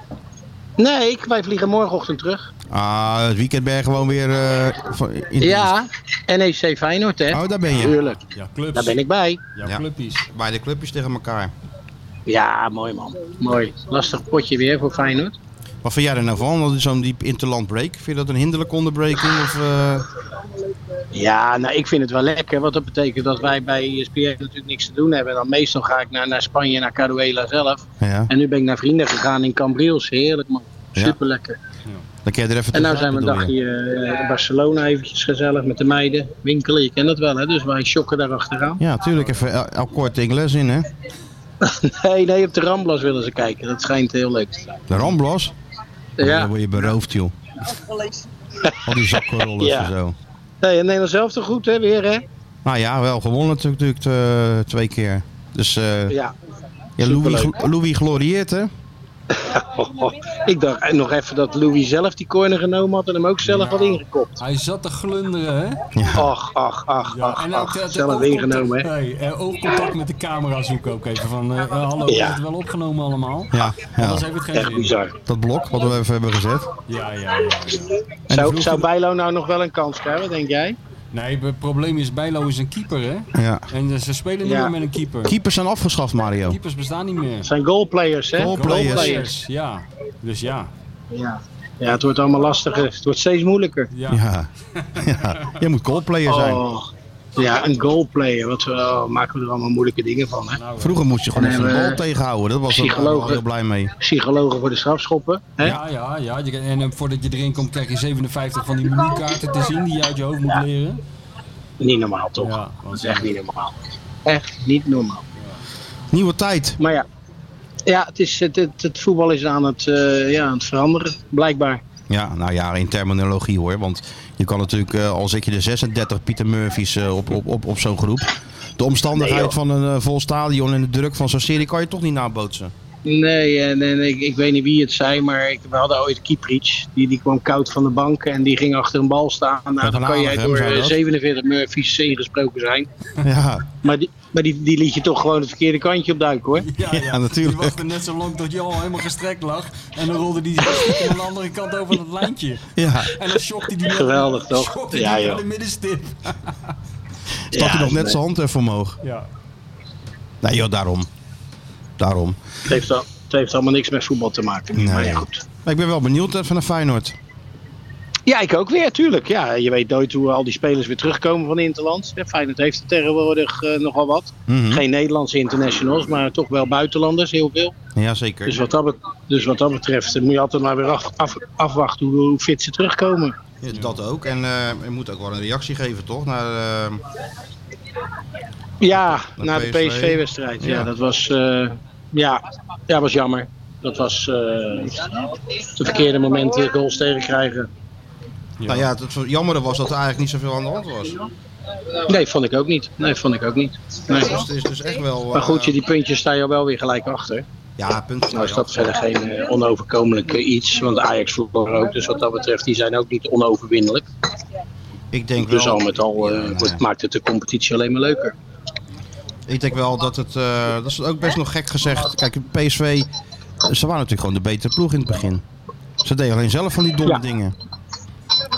G: Nee, ik, wij vliegen morgenochtend terug.
B: Ah, het weekend ben je gewoon weer eh, van- in
G: Ja, NEC Feyenoord, hè.
B: Oh, daar ben je.
G: Tuurlijk,
C: Ja, clubs.
G: daar ben ik bij.
C: Ja,
B: Ja.
C: clubpies.
B: Bij de clubjes tegen elkaar.
G: Ja, mooi man. Mooi. Lastig potje weer voor Feyenoord.
B: Wat vind jij er nou van? Dat is zo'n diep interland break. Vind je dat een hinderlijke onderbreking? Of, eh,
G: Ja, nou, ik vind het wel lekker. Want dat betekent dat wij bij E ESPN natuurlijk niks te doen hebben. En dan meestal ga ik naar, naar Spanje, naar Caruela zelf.
B: ja,
G: En nu ben ik naar vrienden gegaan in Cambriels. Heerlijk, man.
B: Ja.
G: Super lekker.
B: dan kun je er even
G: En nou
B: tussenuit,
G: zijn we een
B: bedoel je?
G: dagje eh, in Barcelona eventjes gezellig met de meiden. Winkelen, je kent dat wel hè, dus wij shocken daar achteraan.
B: Ja, tuurlijk. Even el, elk kort tegen les in, hè?
G: Nee, nee, op de Ramblas willen ze kijken. Dat schijnt heel leuk te zijn.
B: De Ramblas. Ja. Dan
G: Ja,
B: word je beroofd, joh. Al die zakkenrollers
G: Ja.
B: en zo.
G: nee, en Nederland zelf toch goed hè, weer hè?
B: Nou ja, wel gewonnen natuurlijk eh, twee keer. Dus eh,
G: Ja.
B: ja, Louis,
G: superleuk.
B: gl- Louis glorieert, hè?
G: Oh, Ik dacht eh, nog even dat Louis zelf die corner genomen had en hem ook zelf had ingekopt.
C: Hij zat te glunderen, hè?
G: Ach, ach, ach, ach,
C: en
G: ach.
C: ook
G: Zelf ingenomen hè.
C: Nee, eh, oogcontact met de camera zoeken ook even. Van, eh, eh, hallo,
G: Ja.
C: is het wel opgenomen allemaal?
B: Ja, ja.
C: Anders heeft het geen
G: Echt
C: zin.
G: bizar.
B: dat blok wat we even hebben gezet.
C: Ja, ja, ja, ja.
B: de
G: Zou,
B: vloer-
G: zou Bijlo nou nog wel een kans krijgen, denk jij?
C: Nee, het probleem is, Bijlo is een keeper, hè?
B: Ja.
C: En eh, ze spelen niet
G: Ja.
C: meer met een keeper.
B: Keepers zijn afgeschaft, Mario.
C: Keepers bestaan niet meer.
G: Het zijn goalplayers hè?
B: Goalplayers.
C: Ja, dus ja.
G: Ja. ja, het wordt allemaal lastiger. Het wordt steeds moeilijker.
C: Ja,
B: Ja. ja. Je moet goalplayer zijn.
G: Oh, ja, een goalplayer. Wat we, oh, maken we er allemaal moeilijke dingen van. Hè?
C: nou, eh,
B: Vroeger moest je gewoon
G: En
B: even de
G: hebben
B: bal tegenhouden. Dat was ik wel
G: psychologen.
B: heel blij mee.
G: Psychologen voor de strafschoppen. Hè?
C: Ja, ja, ja. Je- En eh, voordat je erin komt krijg je 57 van die menukaarten te zien die je uit je hoofd moet leren.
G: Niet normaal toch?
C: Ja,
G: Dat is
C: want
G: echt niet normaal. Echt niet normaal.
B: Nieuwe tijd.
G: Maar ja, Ja, het, is, het, het, het voetbal is aan het, eh, ja, aan het veranderen, blijkbaar.
B: Ja, nou ja, in terminologie hoor. Want je kan natuurlijk, eh, al zit je er 36 Pieter Murphy's eh, op, op, op, op zo'n groep. De omstandigheid
G: Nee, joh.
B: van een eh, vol stadion en de druk van zo'n serie kan je toch niet nabootsen.
G: Nee, eh, nee, nee ik, ik weet niet wie het zei, maar ik, we hadden ooit Kieprits. Die, die kwam koud van de bank en die ging achter een bal staan. Nou,
B: Van
G: dan kan jij
B: Hanegem,
G: door
B: zei
G: eh,
B: dat.
G: 47 Murphy's ingesproken zijn.
B: Ja,
G: Maar, die, maar die, die liet je toch gewoon het verkeerde kantje op duiken hoor.
C: Ja,
B: Ja, natuurlijk.
C: Die wachtte net zo lang tot je al helemaal gestrekt lag. En dan rolde die stiekem aan de andere kant over het lijntje.
B: ja.
C: En dan shockte die
G: Geweldig, toch?
C: Shockte
G: Ja,
C: die naar
G: joh.
C: de middenstip.
B: Stak hij
G: Ja,
B: nog net
G: nee.
B: zijn hand even omhoog.
C: Ja.
B: Nee joh, daarom. Daarom.
G: Het heeft, al, het heeft allemaal niks met voetbal te maken.
B: Nee.
G: Maar ja, goed.
B: Maar ik ben wel benieuwd eh, van de Feyenoord.
G: Ja, ik ook weer, tuurlijk. Ja, je weet nooit hoe al die spelers weer terugkomen van Interland. Ja, Feyenoord heeft er tegenwoordig eh, nogal wat.
B: Mhm.
G: Geen Nederlandse internationals, maar toch wel buitenlanders, heel veel.
B: Jazeker.
G: Dus wat dat, bet- dus wat dat betreft eh, moet je altijd maar weer af, af- afwachten hoe, hoe fit ze terugkomen.
B: Ja, Dat ook. En eh je moet ook wel een reactie geven, toch? Naar, eh,
G: Ja,
B: Naar
G: na de
B: PSV.
G: PSV-wedstrijd. Ja.
B: Ja.
G: dat was, eh, ja, ja, was jammer. Dat was eh de verkeerde moment weer goals tegenkrijgen.
B: Nou ja, het, het jammere was dat er eigenlijk niet zoveel aan de hand was.
G: Nee, vond ik ook niet. Nee, vond ik ook niet. Nee.
B: Dus het is dus echt wel...
G: Maar goed,
B: eh,
G: je- die puntjes sta je al wel weer gelijk achter.
B: Ja, punt.
G: Nou is dat verder geen eh, onoverkomelijk eh, iets. Want Ajax voetbal ook. Dus wat dat betreft, die zijn ook niet onoverwinnelijk.
B: Ik denk
G: Dus
B: wel...
G: al met al eh,
B: Ja, nou ja.
G: wordt, maakt het de competitie alleen maar leuker.
B: Ik denk wel dat het, eh, dat is ook best nog gek gezegd. Kijk, PSV, ze waren natuurlijk gewoon de betere ploeg in het begin. Ze deden alleen zelf van die domme
G: Ja.
B: dingen.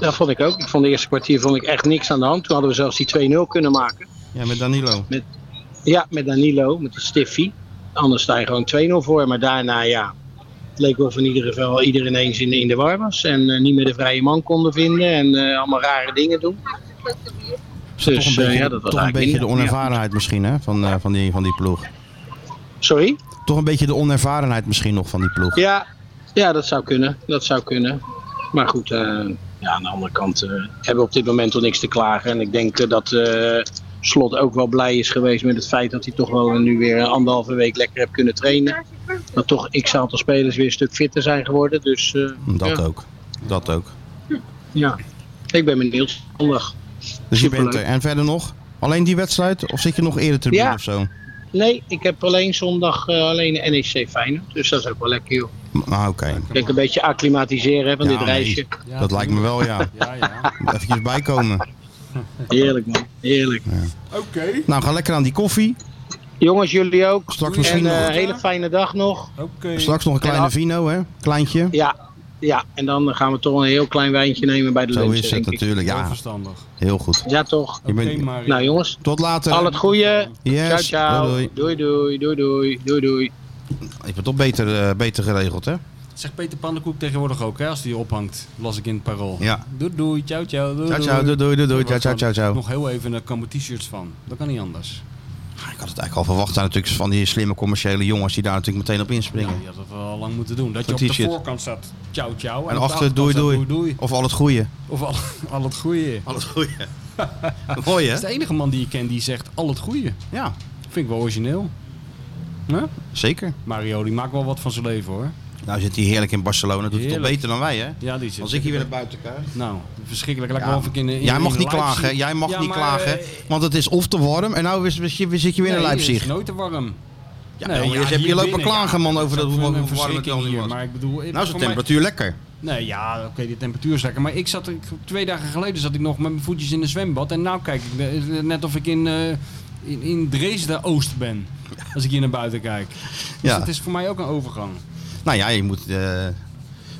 G: Dat vond ik ook. Ik vond de eerste kwartier vond ik echt niks aan de hand. Toen hadden we zelfs die 2-0 kunnen maken.
B: Ja, met Danilo.
G: Ja, met Danilo, met de Stiffy. Anders sta je gewoon 2-0 voor. Maar daarna, ja, het leek wel van ieder geval iedereen eens in, in de war was. En eh, niet meer de vrije man konden vinden. En eh, allemaal rare dingen doen.
B: Is dat
G: Dus,
B: toch een
G: eh,
B: beetje,
G: ja, dat was
B: toch een
G: eigenlijk
B: beetje de
G: minder, ja.
B: onervarenheid misschien hè, van, eh, van, die, van die ploeg.
G: Sorry?
B: Toch een beetje de onervarenheid misschien nog van die ploeg.
G: Ja, ja, dat zou kunnen. Dat zou kunnen. Maar goed, eh, ja, aan de andere kant eh, hebben we op dit moment toch niks te klagen. En ik denk eh, dat eh, Slot ook wel blij is geweest met het feit dat hij toch wel nu weer een anderhalve week lekker heeft kunnen trainen. Dat toch x aantal spelers weer een stuk fitter zijn geworden. Dus eh,
B: Dat
G: ja,
B: ook. Dat ook.
G: ja, ik ben benieuwd. Zondag.
B: Dus je bent er.
G: Superleuk.
B: En verder nog? Alleen die wedstrijd? Of zit je nog eerder tribune
G: Ja.
B: of zo?
G: Nee, ik heb alleen zondag eh, alleen de NEC Feyenoord. Dus dat is ook wel lekker joh.
B: Nou, oké.
G: Ik denk een beetje acclimatiseren hè, van
B: Ja,
G: dit
B: nee.
G: reisje.
C: Ja,
B: Dat lijkt me wel, ja.
C: Ja, ja.
B: Even bijkomen.
G: Heerlijk man, heerlijk.
C: Oké.
B: Nou, ga lekker aan die koffie.
G: Jongens, jullie ook.
B: Straks
G: En
B: misschien
G: eh,
B: nog,
G: een hele fijne dag nog.
C: Oké.
B: straks nog een kleine
G: af-
B: vino, hè? Kleintje.
G: Ja, ja, en dan gaan we toch een heel klein wijntje nemen bij de
B: Zo
G: lunch,
B: is het
G: denk ik.
B: natuurlijk.
C: Heel
B: Ja,
C: verstandig.
B: heel goed.
G: Ja, toch?
B: Je
C: Oké,
B: bent-
C: Mario.
G: Nou jongens,
B: Tot later.
G: al het goede.
B: Yes.
G: Ciao, ciao.
B: Doei,
G: Doei, doei, doei, doei, doei, doei.
B: Je bent toch beter, eh, beter geregeld, hè?
C: Zegt Peter Pandenkoek tegenwoordig ook, hè, als die ophangt, las ik in het parool.
B: Ja.
C: Doei, doei, ciao, ciao, doei,
B: Ciao, ciao, doei, doei, doei, doei,
C: Er wordt
B: ciao, ciao,
C: gewoon
B: ciao.
C: Nog heel even, daar komen t-shirts van. Dat kan niet anders.
B: Ah, Ik had het eigenlijk al verwacht. Daar natuurlijk van die slimme commerciële jongens die daar natuurlijk meteen op
C: Ja,
B: inspringen.
C: je had dat wel al lang moeten doen. Dat je
B: Zo'n
C: op de
B: t-shirt.
C: voorkant staat, ciao, ciao.
B: En
C: op de
B: achter, doei,
C: achterkant
B: doei.
C: staat doei.
B: Of al het goede.
C: Of al, al het goeie.
B: Al het goede. Mooi, hè?
C: Dat is de enige man die ik ken die zegt al het goeie.
B: Ja,
C: Vind ik wel origineel. Hè?
B: zeker.
C: Mario, die maakt wel wat van zijn leven, hoor.
B: Nou zit hij heerlijk in Barcelona. Doet het
C: Heerlijk.
B: toch beter dan wij, hè?
C: Ja, die zit.
B: Als ik hier weer naar buiten kijk.
C: Nou, verschrikkelijk. Lijkt
B: Ja,
C: wel of ik in, in
B: Jij mag
C: in
B: niet
C: Leipzig-
B: klagen, hè? Jij mag
C: Ja,
B: niet
C: maar,
B: klagen.
C: eh,
B: Want het is of te warm en nou is- is- is- zit je weer in
C: nee, het
B: Leipzig.
C: is nooit te warm.
B: Ja,
C: Nee,
B: jongen,
C: ja,
B: je hebt
C: hier
B: hier lopen
C: binnen,
B: klagen, man, over dat,
C: Dat
B: hoe hoe
C: wordt een
B: warm het
C: verschrikking
B: wel niet
C: hier,
B: was.
C: maar ik bedoel... ik-
B: Nou is de
C: voor mij-
B: temperatuur lekker.
C: Nee, ja, oké, de temperatuur is lekker. Maar ik zat, ik, twee dagen geleden zat ik nog met mijn voetjes in een zwembad. En nou kijk ik eh, net of ik in, eh, in, in Dresden-Oost ben. Als ik hier naar buiten kijk. Dus
B: Ja.
C: dat is voor mij ook een overgang.
B: Nou ja, je moet eh,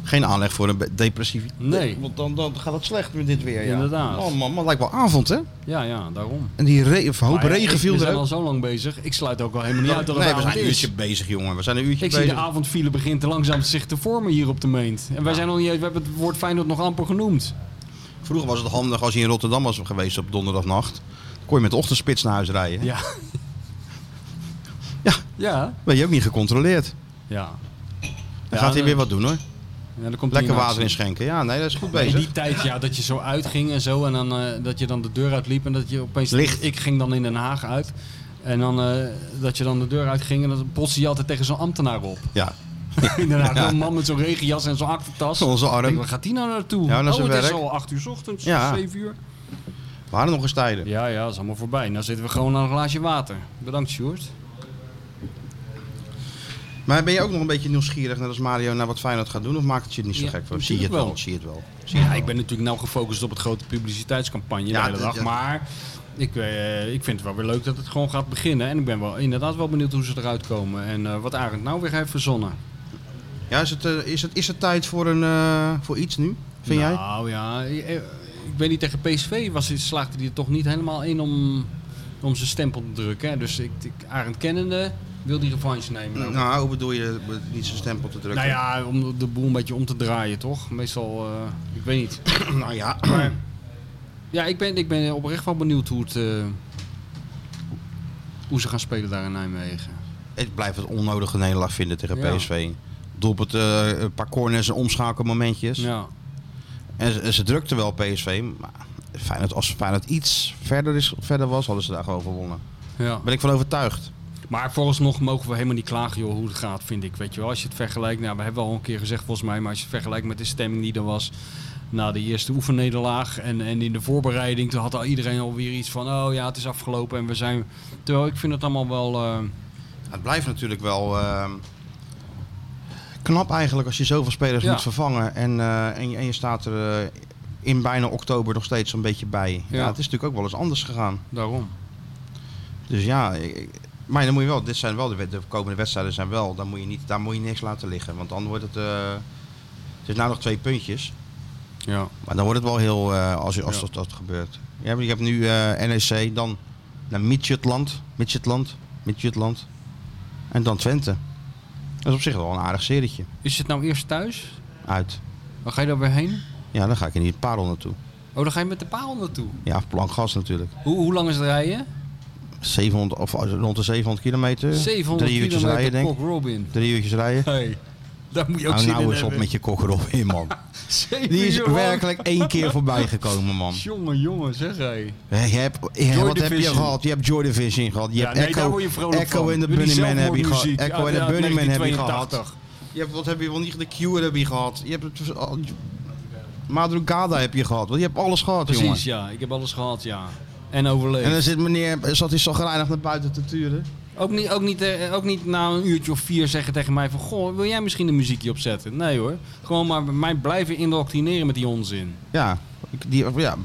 B: geen aanleg voor een be- depressiviteit.
C: Nee.
B: Want dan, dan gaat het slecht met dit weer. Ja.
C: Inderdaad.
B: Oh man, man, lijkt wel avond hè?
C: Ja, ja, daarom.
B: En die re- of een hoop
C: Maar ja,
B: regen viel
C: We
B: er
C: zijn al
B: ook.
C: zo lang bezig. Ik sluit ook al helemaal niet uit dat het
B: Nee, we
C: avond
B: zijn een
C: is.
B: uurtje bezig jongen. We zijn een uurtje
C: Ik zie
B: bezig.
C: de avondfile begint te langzaam zich te vormen hier op de meent. En wij zijn nog niet eens, we hebben het woord Feyenoord nog amper genoemd.
B: Vroeger was het handig als je in Rotterdam was geweest op donderdagnacht. Dan kon je met de ochtendspits naar huis rijden.
C: Ja.
B: Ja.
C: Ja.
B: Ben je ook niet gecontroleerd.
C: Ja.
B: Dan gaat hij weer wat doen hoor.
C: Ja, dan komt hij
B: Lekker
C: in
B: water
C: actie.
B: inschenken. Ja, nee, dat is goed
C: In
B: bezig.
C: die tijd, ja, dat je zo uitging en zo. En dan, eh, dat je dan de deur uitliep en dat je opeens...
B: Licht.
C: Ik ging dan in Den Haag uit. En dan, eh, dat je dan de deur uitging en dan botste je altijd tegen zo'n ambtenaar op.
B: Ja.
C: Inderdaad,
B: Ja.
C: zo'n man met zo'n regenjas en zo'n achtertas.
B: Onze
C: Ik denk,
B: arm.
C: waar gaat die nou naartoe?
B: Ja, naar
C: oh,
B: zijn
C: het is
B: werk.
C: al 8 uur 's ochtends,
B: Ja.
C: 7 uur.
B: Waren nog eens tijden.
C: Ja, ja, dat is allemaal voorbij. Dan zitten we gewoon aan een glaasje water. Bedankt, Sjoerd.
B: Maar ben je ook nog een beetje nieuwsgierig, net als Mario, naar wat Feyenoord gaat doen? Of maakt het je niet zo
C: Ja,
B: gek voor? Zie je het
C: natuurlijk
B: wel?
C: wel.
B: Zie je het wel?
C: Ja, ik ben natuurlijk nou gefocust op het grote publiciteitscampagne
B: Ja,
C: de hele
B: dat-
C: dag.
B: ja.
C: Maar ik, eh, ik vind het wel weer leuk dat het gewoon gaat beginnen. En ik ben wel inderdaad wel benieuwd hoe ze eruit komen. En eh, wat Arend nou weer heeft verzonnen.
B: Ja, is het, eh, is het, is het tijd voor, een, eh, voor iets nu? Vind jij?
C: Nou ja, eh, eh, ik weet niet, tegen PSV was, hij- slaagde hij er toch niet helemaal in om, om zijn stempel te drukken. hè. Dus ik, ik, Arend kennende wil die revanche nemen. ook.
B: Nou, hoe bedoel je eh, niet zijn stempel te drukken?
C: Nou ja, om de boel een beetje om te draaien, toch? Meestal, eh, ik weet niet.
B: Nou ja,
C: Ja, ik ben, ik ben oprecht wel benieuwd hoe, het, eh, hoe ze gaan spelen daar in Nijmegen.
B: ik blijf het onnodige nederlaag vinden tegen
C: Ja.
B: PSV. Doelpunt, eh, een paar corners en omschakelmomentjes.
C: Ja,
B: En ze, ze drukten wel PSV, maar Feyenoord, als Feyenoord iets verder, is, verder was, hadden ze daar gewoon gewonnen.
C: ja.
B: Daar ben ik van overtuigd.
C: Maar vooralsnog mogen we helemaal niet klagen joh, hoe het gaat, vind ik. Weet je wel, als je het vergelijkt, nou, we hebben al een keer gezegd volgens mij, maar als je het vergelijkt met de stemming die er was na de eerste oefennederlaag en, en in de voorbereiding, toen had al iedereen alweer iets van, oh ja, het is afgelopen en we zijn... Terwijl ik vind het allemaal wel... eh,
B: Het blijft natuurlijk wel ehm, knap eigenlijk als je zoveel spelers
C: Ja.
B: moet vervangen. En, eh, en, je, en je staat er eh, in bijna oktober nog steeds een beetje bij. Ja.
C: Ja.
B: het is natuurlijk ook wel eens anders gegaan.
C: daarom.
B: Dus ja, ik- ik- maar dan moet je wel, dit zijn wel de, wed- de komende wedstrijden zijn wel, daar moet, je niet, daar moet je niks laten liggen. Want dan wordt het, eh, het is nou nog twee puntjes.
C: Ja.
B: Maar dan wordt het wel heel, eh, als, je- als
C: Ja.
B: dat, dat gebeurt. Ja, maar je hebt nu eh, NEC, dan naar Midtjutland, Midtjutland, Midtjutland. En dan Twente. Dat is op zich wel een aardig serietje.
C: Is het nou eerst thuis?
B: Uit.
C: Waar ga je dan weer heen?
B: Ja, dan ga ik in die parel naartoe.
C: Oh, dan ga je met de paal naartoe.
B: Ja, of plank gas natuurlijk.
C: Hoe, hoe lang is het rijden?
B: 700, of eh, rond de 700 kilometer.
C: 700
B: Drie uurtjes
C: kilometer
B: rijden, denk ik.
C: Cock Robin.
B: Drie uurtjes rijden.
C: Hey, daar moet je ook
B: Hou
C: zin
B: nou
C: in
B: eens op
C: hebben.
B: met je kokkerop in, man.
C: Zeven
B: Die is
C: uur lang.
B: werkelijk één keer voorbij gekomen, man.
C: Jongen, jongen, zeg hij.
B: Hè, Je hebt, je-
C: Joy
B: wat heb je
C: Division.
B: gehad? Je hebt Joy Division gehad. Je
C: Ja,
B: hebt
C: nee,
B: Echo,
C: daar word je vrolijk
B: Echo
C: van.
B: en de
C: Door die
B: Bunnyman heb je gehad.
C: zelfmoordmuziek.
B: Echo en
C: Ja,
B: de
C: ja,
B: Bunnyman heb je
C: 1982.
B: gehad. Je hebt, wat heb je wel niet? De Cure heb je gehad. Je hebt het, al- Madrugada heb je gehad. Want Je hebt alles gehad,
C: Precies,
B: jongen.
C: ja. Ik heb alles gehad, ja. En
B: En
C: overleefd.
B: dan zit meneer, zat hij zo grijnig naar buiten te turen.
C: Ook niet, ook, niet, eh, ook niet na een uurtje of vier zeggen tegen mij van... Goh, wil jij misschien een muziekje opzetten? Nee hoor. Gewoon maar mij blijven indoctrineren met die onzin.
B: Ja, die, ja,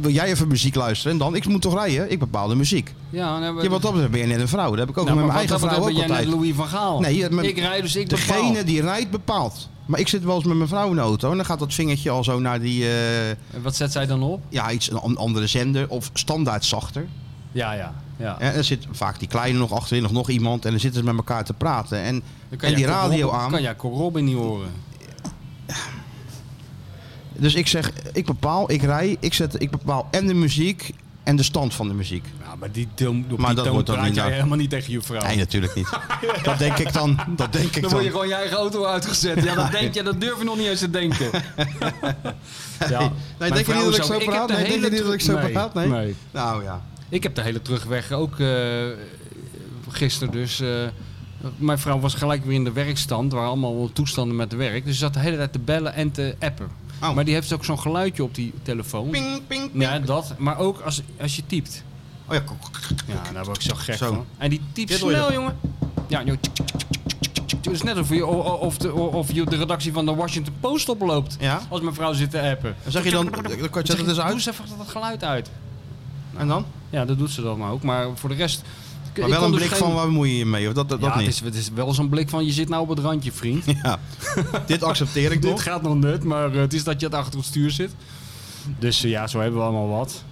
B: wil jij even muziek luisteren? En dan, ik moet toch rijden? Ik bepaal de muziek.
C: Ja, nou,
B: Ja, wat dat betreft ben je net een vrouw. Dat heb ik ook
C: nou,
B: met
C: maar
B: mijn eigen
C: wat dat
B: vrouw ook
C: betreft ben jij
B: altijd.
C: net Louis van Gaal.
B: Nee, je- mijn-
C: ik rijd dus ik bepaal.
B: Degene die rijdt bepaalt. Maar ik zit wel eens met mijn vrouw in de auto en dan gaat dat vingertje al zo naar die, eh,
C: En Wat zet zij dan op?
B: ja, iets, een an- andere zender of standaard zachter.
C: Ja, ja. ja.
B: En er zit vaak die kleine nog achterin of nog iemand en dan zitten ze met elkaar te praten. En, en
C: Dan kan jij
B: die
C: Cock
B: radio
C: Robin- kan
B: aan.
C: jij Cock Robin niet horen.
B: Dus ik zeg, ik bepaal, ik rij, ik, zet, ik bepaal en de muziek en de stand van de muziek.
C: Ja, maar die, toon- op
B: Maar
C: die
B: dat
C: toon
B: wordt dan
C: praat
B: niet
C: jij
B: nou-
C: helemaal niet tegen je vrouw.
B: Nee, natuurlijk niet. Dat denk ik dan. Dat denk ik
C: dan word
B: dan.
C: je gewoon je eigen auto uitgezet. Ja, dat, denk je, dat durf je nog niet eens te denken. ja.
B: Nee,
C: Mijn
B: denk je
C: vrouw
B: niet dat ik
C: is
B: zo
C: ook- heb
B: praat?
C: de
B: Nee, denk
C: hele
B: je niet dat ik zo
C: teru-
B: praat? Nee.
C: nee.
B: Nou ja.
C: Ik heb de hele terugweg ook eh, gisteren dus. eh, mijn vrouw was gelijk weer in de werkstand. Er waren allemaal toestanden met werk. Dus ze zat de hele tijd te bellen en te appen.
B: Oh.
C: Maar die heeft ook zo'n geluidje op die telefoon.
B: Ping, ping, ping.
C: Ja, dat. Maar ook als, als je typt.
B: Oh ja, nou,
C: Ja, daar word ik zo gek
B: Zo.
C: van. En die typt
B: Dit hoor je
C: snel,
B: dan.
C: jongen. Ja, joh. tjik, tjik, tjik, tjik, tjik, tjik. Het is net of je, o- o- of de, o- of je de redactie van de Washington Post oploopt.
B: Ja.
C: Als mijn vrouw zit te appen.
B: Dan zeg je dan, dan kan je
C: Zeg
B: dat
C: ik,
B: dus
C: Doe
B: uit.
C: eens even dat geluid uit.
B: En dan?
C: Ja, dat doet ze dan maar ook. Maar voor de rest... ik-
B: Maar
C: ik
B: wel
C: kon
B: een
C: dus
B: blik
C: geen-
B: van waar bemoei je je mee? Of dat, dat, dat
C: ja,
B: niet?
C: Het, is, het is wel zo'n blik van je zit nou op het randje, vriend.
B: Ja. Dit accepteer ik
C: Dit
B: nog.
C: gaat nog net, maar eh, het is dat je het achter het stuur zit. Dus eh, ja, zo hebben we allemaal wat.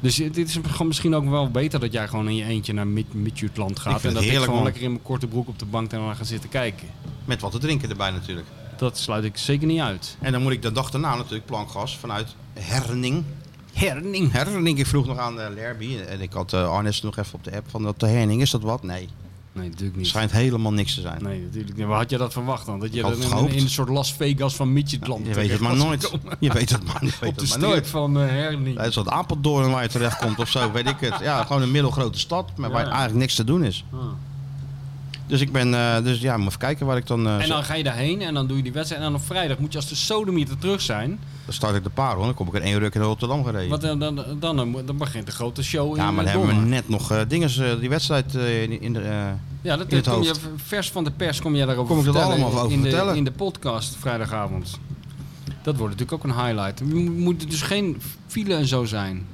C: Dus eh, dit is gewoon misschien ook wel beter dat jij gewoon in je eentje naar Mid- Midtjutland
B: Ik
C: gaat.
B: vind
C: En
B: het
C: dat ik
B: heerlijk,
C: gewoon
B: man.
C: lekker in mijn korte broek op de bank daarna ga zitten kijken.
B: Met wat te drinken erbij natuurlijk.
C: Dat sluit ik zeker niet uit.
B: En dan moet ik de dag daarna natuurlijk plankgas vanuit Herning.
C: Herning.
B: Herning, ik vroeg nog aan eh Lerby en ik had eh Arnes nog even op de app van dat de Herning, is dat wat? Nee.
C: Nee, natuurlijk niet.
B: Schijnt helemaal niks te zijn.
C: Nee, natuurlijk niet. Maar had je dat verwacht dan? Dat je
B: had
C: dat
B: het
C: in,
B: gehoopt.
C: in een soort Las Vegas van Midgetland
B: Je weet het maar nooit. Je weet het maar, je weet
C: Op de
B: het maar
C: streep
B: nooit.
C: van eh Herning.
B: Het is dat Apeldoorn waar je terecht komt of zo, weet ik het. Ja, gewoon een middelgrote stad, maar waar
C: Ja.
B: eigenlijk niks te doen is.
C: Ah.
B: Dus ik ben, eh, dus ja, moet even kijken waar ik dan. eh,
C: En dan ga je daarheen en dan doe je die wedstrijd. En dan op vrijdag moet je als de sodemieter terug zijn.
B: Dan start ik de parel, dan kom ik in één ruk in Rotterdam gereden.
C: Want dan, dan, dan, dan, dan begint de grote show
B: eh, ja,
C: in
B: maar
C: eh,
B: dan hebben we
C: Donner.
B: net nog eh dingen, eh, die wedstrijd eh, in, in de. eh,
C: Ja, dat,
B: in het
C: dat kom je
B: hoofd.
C: vers van de pers kom je daarover
B: Kom ik dat
C: vertellen
B: allemaal over
C: in
B: vertellen?
C: De, in de podcast vrijdagavond. Dat wordt natuurlijk ook een highlight. Er mo- Moet dus geen file en zo zijn.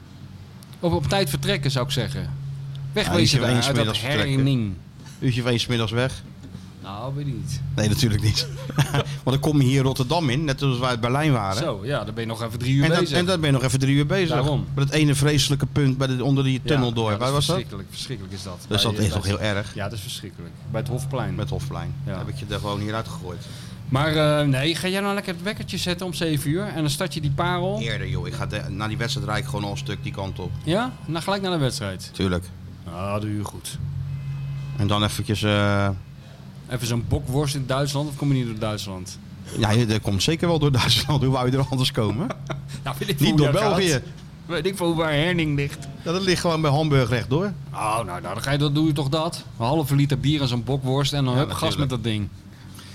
C: Of op tijd vertrekken zou ik zeggen.
B: uurtje
C: Wegwezen
B: of één
C: daar uit dat
B: smiddags vertrekken.
C: herning.
B: uurtje of één 's middags weg.
C: Nou, weet ik niet.
B: Nee, natuurlijk niet. Want dan kom je hier Rotterdam in, net als wij uit Berlijn waren.
C: Zo, ja, dan ben je nog even drie uur
B: En, dat,
C: bezig.
B: en dan ben je nog even drie uur bezig.
C: Daarom.
B: Bij dat ene vreselijke punt bij de, onder die
C: Ja,
B: tunnel door.
C: ja,
B: Waar
C: is
B: was dat?
C: verschrikkelijk, Verschrikkelijk is dat.
B: Dus
C: Bij,
B: dat is
C: eh,
B: toch heel erg.
C: Ja, dat is verschrikkelijk. Bij het Hofplein.
B: Met Hofplein.
C: Ja.
B: Heb ik je er gewoon hier uitgegooid.
C: Maar eh, nee, ga jij nou lekker het wekkertje zetten om 7 uur en dan start je die parel.
B: Eerder joh, ik ga de- na die wedstrijd rijd ik gewoon al een stuk die kant op.
C: Ja? Nou, gelijk naar de wedstrijd.
B: Tuurlijk.
C: Ah, doe je goed.
B: En dan eventjes, eh,
C: Even zo'n bokworst in Duitsland of kom je niet door Duitsland?
B: ja, je- dat komt zeker wel door Duitsland. Hoe wou je er anders komen?
C: Nou, weet ik veel
B: Niet
C: hoe
B: door
C: dat
B: België.
C: gaat. Weet ik veel waar Herning ligt.
B: Ja, Nou, dat ligt gewoon bij Hamburg rechtdoor.
C: Oh, nou, nou dan, ga je, dan doe je toch dat? Een halve liter bier en zo'n bokworst en dan
B: Ja,
C: hup, gas met
B: natuurlijk.
C: dat ding.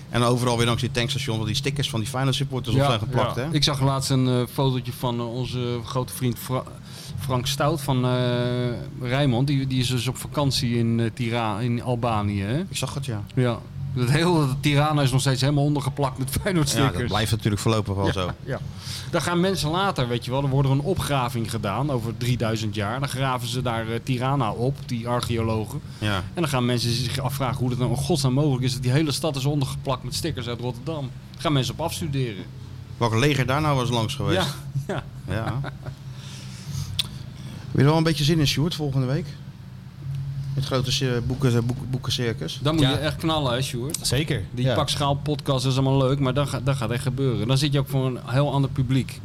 B: En overal weer langs die tankstation, want die stickers van die Final supporters op zijn geplakt.
C: ja.
B: Hè?
C: Ik zag laatst een eh, fotootje van eh, onze grote vriend Fra- Frank Stout van eh Rijmond. Die, die is dus op vakantie in, eh, Tira in Albanië. Hè?
B: Ik zag het, ja.
C: Ja. Dat hele dat Tirana is nog steeds helemaal ondergeplakt met Feyenoord
B: Ja,
C: stickers.
B: dat blijft natuurlijk voorlopig wel zo.
C: Ja. Dan gaan mensen later, weet je wel, dan wordt er een opgraving gedaan over 3000 jaar. Dan graven ze daar eh, Tirana op, die archeologen.
B: Ja.
C: En dan gaan mensen zich afvragen hoe dat nou in godsnaam mogelijk is dat die hele stad is ondergeplakt met stickers uit Rotterdam. Daar gaan mensen op afstuderen.
B: Welk leger daar nou was langs geweest?
C: Ja, ja.
B: Ja. Heb je er wel een beetje zin in, Sjoerd, volgende week? Het grote cir- boeken, boeken, boekencircus.
C: Dan moet
D: Ja.
C: je echt knallen, hè, Sjoerd.
D: Zeker.
C: Die
B: Ja.
C: pakschaal podcast is allemaal leuk, maar dat, ga- dat gaat echt gebeuren. Dan zit je ook voor een heel ander publiek,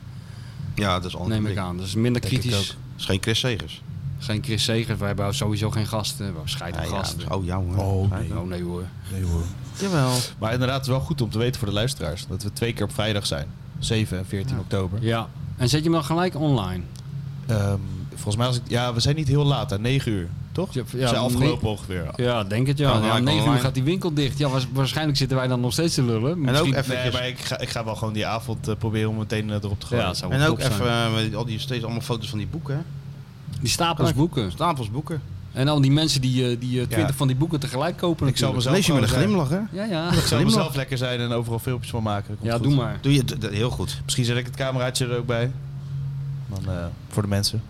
B: Ja, dat is anders.
C: neem ik aan. Dus minder
B: Denk ik
C: kritisch.
B: Dat is geen Chris Segers.
C: Geen Chris Segers, wij hebben sowieso geen gasten. We scheiden
B: Nee, ja,
C: gasten.
B: dat is- oh, jou hoor.
D: Oh,
B: Ja,
D: nee.
B: nou,
C: Oh nee hoor.
B: Jawel.
D: Maar inderdaad, het is wel goed om te weten voor de luisteraars dat we twee keer op vrijdag zijn. 7 en 14 oktober.
C: Ja. En zet je hem dan gelijk online?
D: Ehm, volgens mij, als ik, ja, we zijn niet heel laat, hè, 9 uur, toch?
C: Ja,
D: we zijn afgelopen ongeveer.
C: Ja, denk het
B: Ja,
C: ja.
B: dan
C: ja
B: ga
C: om
B: ik
C: 9 uur
B: online.
C: gaat die winkel dicht. Ja, waars- waarschijnlijk zitten wij dan nog steeds te lullen.
B: En ook
C: Misschien-
B: even,
D: Nee, maar ik ga, ik ga wel gewoon die avond eh, proberen om meteen eh, erop te gaan.
C: ja, het zou wel
B: en ook
C: top zijn.
B: even eh, met al die steeds allemaal foto's van die boeken. hè.
C: Die stapels boeken.
B: Stapels boeken.
C: En al die mensen die, eh, die eh, 20 van die boeken tegelijk kopen
D: Ik zal
C: natuurlijk.
D: mezelf
B: Lees je met een
D: gewoon
B: glimlach, hè?
C: Ja, ja.
D: Ik zou
B: Glimlach.
D: mezelf lekker zijn en overal filmpjes van maken. dat komt
C: Ja,
D: goed.
C: doe maar.
B: Doe je d- d- heel goed.
D: Misschien zet ik het cameraatje er ook bij. Dan, eh, voor de mensen.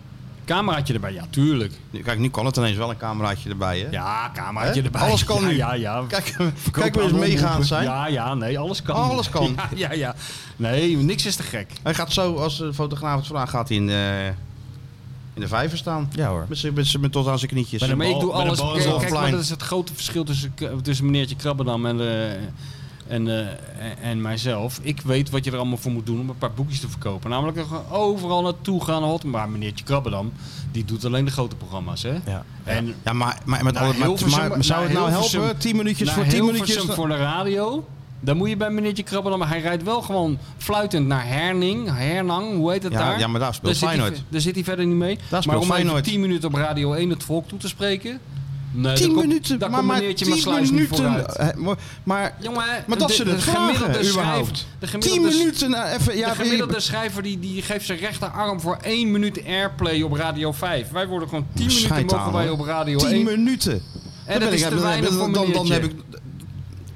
C: Cameraatje erbij. Ja, tuurlijk.
B: Nu- Kijk, nu kan het ineens wel een cameraatje erbij, hè?
C: Ja, cameraatje
B: Hè?
C: erbij.
B: Alles kan
C: ja,
B: nu.
C: Ja, ja.
B: Kijk,
C: Verkoop
B: kijk weer eens
C: aan de
B: meegaand
C: omroepen.
B: zijn.
C: Ja, ja, nee, alles kan.
B: Alles kan.
C: Ja, ja, ja. Nee, niks is te gek.
B: Hij gaat zo, als de fotograaf het vraagt, gaat hij in de, in de vijver staan.
D: Ja hoor.
B: Met, z'n- met, z'n- met tot aan zijn knietjes.
D: Met een
C: Maar ik
D: bal-
C: doe
D: met een
C: alles.
D: bal
C: Kijk,
D: is
C: kijk,
B: offline.
C: maar dat is het grote verschil tussen, k- tussen meneertje Krabbendam en, eh, en, eh, en, en mijzelf. Ik weet wat je er allemaal voor moet doen om een paar boekjes te verkopen. Namelijk er gewoon overal naartoe gaan. Hot. Maar meneertje Krabbendam, die doet alleen de grote programma's. Hè?
D: Ja.
C: En
B: Ja, maar, maar, met
C: Naar
B: alle, maar,
C: Hilversum-
B: maar- maar zou
C: naar
B: het nou
C: Hilversum-
B: helpen? 10 minuutjes
C: naar
B: voor 10
C: Hilversum
B: minuutjes.
C: voor de radio. Dan moet je bij meneertje Krabbendam. Maar hij rijdt wel gewoon fluitend naar Herning. Hernang, hoe heet het
B: Ja,
C: daar?
B: ja, maar daar speelt
C: zit hij
B: Feyenoord.
C: ver- daar zit hij verder niet mee.
B: speelt
C: maar om even
B: Feyenoord.
C: 10 minuten op Radio 1 het volk toe te spreken... Nee,
B: 10
C: daar
B: minuten,
C: komt, daar
B: maar,
C: komt
B: maar
C: meneertje
B: 10
C: Maasluis niet
B: minuten.
C: vooruit.
B: eh, maar- maar,
C: Jongen,
B: maar dat
C: de,
B: ze
C: de
B: het
C: gemiddelde
B: vragen, überhaupt.
C: schrijver... De
B: 10
C: gemiddelde,
B: minuten, nou, even.
C: de
B: Ja,
C: gemiddelde schrijver die, die geeft zijn rechterarm voor 1 minuut airplay op Radio 5. Wij worden gewoon 10 minuten
B: Scheid aan,
C: mogen wij
B: hoor.
C: op Radio
B: 10
C: 1.
B: minuten.
C: en dat is te weinig voor
B: dan, dan, dan
C: meneertje.
B: heb ik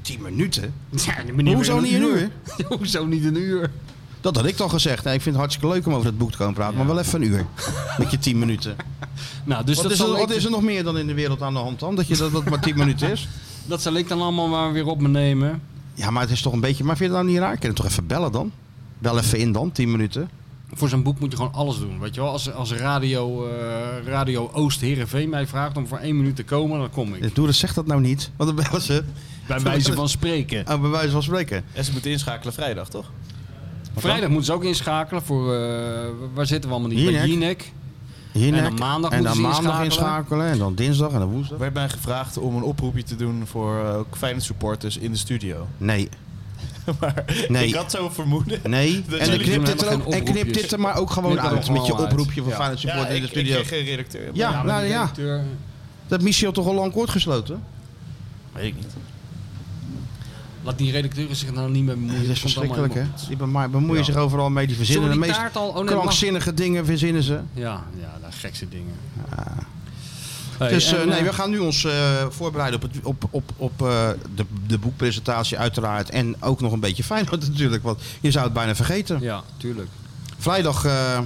B: 10 minuten.
C: Ja, de meneer
B: Hoezo
C: wil
B: niet een uur?
C: Hoezo niet een uur?
B: Dat had ik dan gezegd. Nee, ik vind het hartstikke leuk om over dat boek te komen praten, maar wel even een uur. Met je 10 minuten.
C: Nou, dus
B: wat
C: dat
B: is, er,
C: zal,
B: wat
C: ik,
B: is er nog meer dan in de wereld aan de hand dan? Dat je dat, dat maar 10 minuten is?
C: dat zal ik dan allemaal maar weer op me nemen.
B: Ja, maar het is toch een beetje. Maar vind je dat nou niet raar? Ik kan hem toch even bellen dan? Bel even in dan, 10 minuten.
C: Voor zo'n boek moet je gewoon alles doen. Weet je wel, als, als radio, eh, radio Oost Herenveen mij vraagt om voor één minuut te komen, dan kom ik.
B: Doe dat, zeg dat nou niet. Want dan bellen ze.
C: Bij wijze van spreken.
B: Oh, bij wijze van spreken.
D: En ze moeten inschakelen vrijdag, toch?
C: Vrijdag moeten ze ook inschakelen voor. eh, waar zitten we allemaal niet?
B: Jinek.
C: Bij Jinek.
B: Jinek,
C: en dan maandag
B: en
C: moeten
B: dan
C: ze
B: maandag
C: inschakelen.
B: inschakelen. En dan dinsdag en dan woensdag.
D: werd mij gevraagd om een oproepje te doen voor eh, ook Feyenoord supporters in de studio.
B: Nee,
D: maar
B: Nee.
D: ik had zo'n vermoeden.
B: nee.
D: jullie
B: En
D: doen
B: ik knip dit er
C: helemaal
B: ook.
C: geen
B: En knip
C: oproepjes.
B: dit er maar ook
C: Knip
B: gewoon
C: er
B: uit
C: gewoon
B: met je
C: uit.
B: oproepje van
C: Ja.
B: Feyenoord Support in de
D: ik, ik
B: studio.
D: kreeg geen redacteur.
B: Ja,
D: maar
B: nou ja. Dat Michiel toch al lang kort gesloten?
D: Weet ik niet.
C: Laat die redacteuren zich nou niet meer bemoeien.
B: Dat is
C: komt allemaal
B: verschrikkelijk, hè?
C: helemaal goed.
B: Die bema- bemoeien zich overal mee. Die verzinnen
C: Zullen
B: de
C: we die
B: meest
C: taart al... Oh, nee, dat mag.
B: krankzinnige dingen verzinnen ze.
C: Ja, ja, de gekste dingen.
B: Ah. Dus eh, nee, we gaan nu ons eh, voorbereiden op, het, op, op, op eh, de, de boekpresentatie uiteraard. En ook nog een beetje Feyenoord natuurlijk, want je zou het bijna vergeten.
C: Ja, tuurlijk.
B: Vrijdag eh,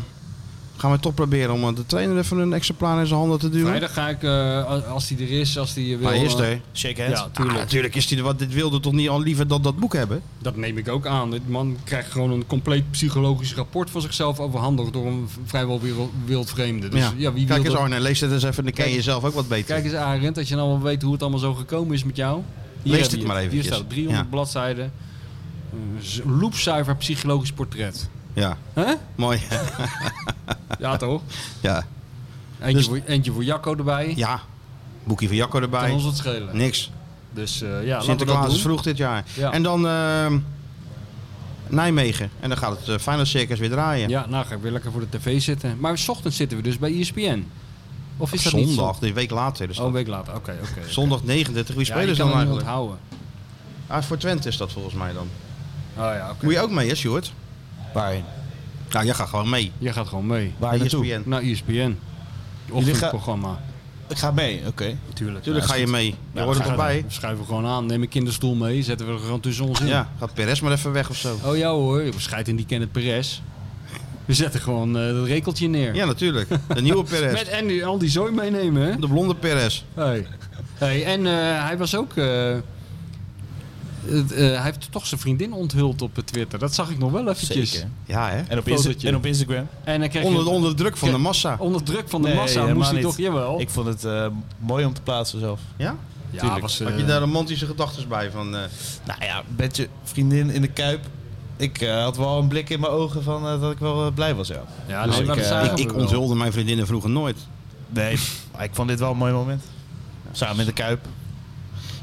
B: gaan we toch proberen om eh, de trainer even een exemplaar in zijn handen te duwen.
C: Vrijdag ga ik, eh, als die er is, als die wil...
B: Maar is
C: eh,
B: er.
D: Shake hands.
C: Ja, tuurlijk.
B: Ah, natuurlijk is hij er, want dit wilde toch niet al liever dan dat boek hebben?
C: Dat neem ik ook aan. Dit man krijgt gewoon een compleet psychologisch rapport van zichzelf overhandigd door een v- vrijwel wiel- wild vreemde. Dus ja, wie
B: Kijk
C: wil
B: eens
C: dat-
B: Arne, lees dit eens even, dan ken je
C: Kijk-
B: zelf ook wat beter.
C: Kijk eens Arend, als je nou wel weet hoe het allemaal zo gekomen is met jou. Hier
B: Lees
C: heb
B: dit
C: je
B: maar eventjes.
C: Hier staat 300
B: Ja.
C: bladzijden. Een z- loepzuiver psychologisch portret.
B: Ja,
C: Hè?
B: mooi.
C: Ja toch?
B: ja.
C: Eentje,
B: Dus-
C: voor, eentje voor Jacco erbij.
B: ja, boekje van Jacco
C: Kan
B: erbij.
C: ons wat schelen.
B: Niks.
C: Dus eh, ja, laten we dat
B: Sinterklaas
C: doen.
B: is vroeg dit jaar.
C: Ja.
B: En dan ehm, Nijmegen. En dan gaat het eh, Feyenoord Circus weer draaien.
C: Ja, nou ga ik weer lekker voor de tv zitten. Maar s ochtends zitten we dus bij ESPN. Of is dat niet
B: Zondag,
C: zo?
B: de week later. Dus
C: Oh, een week later. Oké, oké. oké.
B: Zondag 39. Wie
C: Ja,
B: spelen
C: je
B: ze
C: kan
B: dan
C: het niet
B: eigenlijk?
C: onthouden.
B: Ah, voor Twente is dat volgens mij dan.
C: Oh ja, oké.
B: Moet je ook mee, hè, Sjoerd?
D: Waarin?
B: Nou, jij gaat gewoon mee.
C: Jij gaat gewoon mee.
D: Waar naartoe?
B: ESPN.
C: Naar E ESPN. Ochtendprogramma.
D: Ik ga mee, oké.
C: Natuurlijk.
B: Tuurlijk ga je mee. Je hoort er toch bij?
C: We schuiven we gewoon aan. Neem een kinderstoel mee. Zetten we er gewoon tussen ons in.
B: Ja, gaat Perez maar even weg of zo.
C: Oh ja hoor. Scheid in die Kenneth Perez. We zetten gewoon eh dat rekeltje neer.
B: Ja, natuurlijk. De nieuwe
C: Met
B: Perez.
C: en die, al die zooi meenemen hè.
B: De blonde Perez.
C: Hey. Hey, en eh, hij was ook... eh, het, eh, hij heeft toch zijn vriendin onthuld op eh, Twitter. Dat zag ik nog wel eventjes.
D: Zeker.
B: Ja, hè?
D: En op,
C: Fotootje.
D: Insta- en op Instagram.
C: En Oh. dan kreeg
B: Onder,
C: je,
B: onder de druk van de massa.
C: onder druk van de
D: Nee,
C: massa
D: helemaal
C: moest hij
D: niet.
C: toch... Jawel.
D: Ik vond het eh, mooi om te plaatsen zelf.
B: Ja?
C: ja,
D: tuurlijk.
C: was,
B: Had je
C: eh,
B: daar romantische gedachten bij? Van, eh,
D: Nou ja, met je vriendin in de Kuip. Ik eh, had wel een blik in mijn ogen van eh, dat ik wel eh, blij was, ja.
C: ja,
D: Dus
C: nee,
D: ik,
C: maar dat
D: eh,
C: zagen
B: ik,
C: we
B: ik
C: wel.
B: onthulde mijn vriendinnen vroeger nooit.
D: Nee, maar ik vond dit wel een mooi moment. Samen in de Kuip.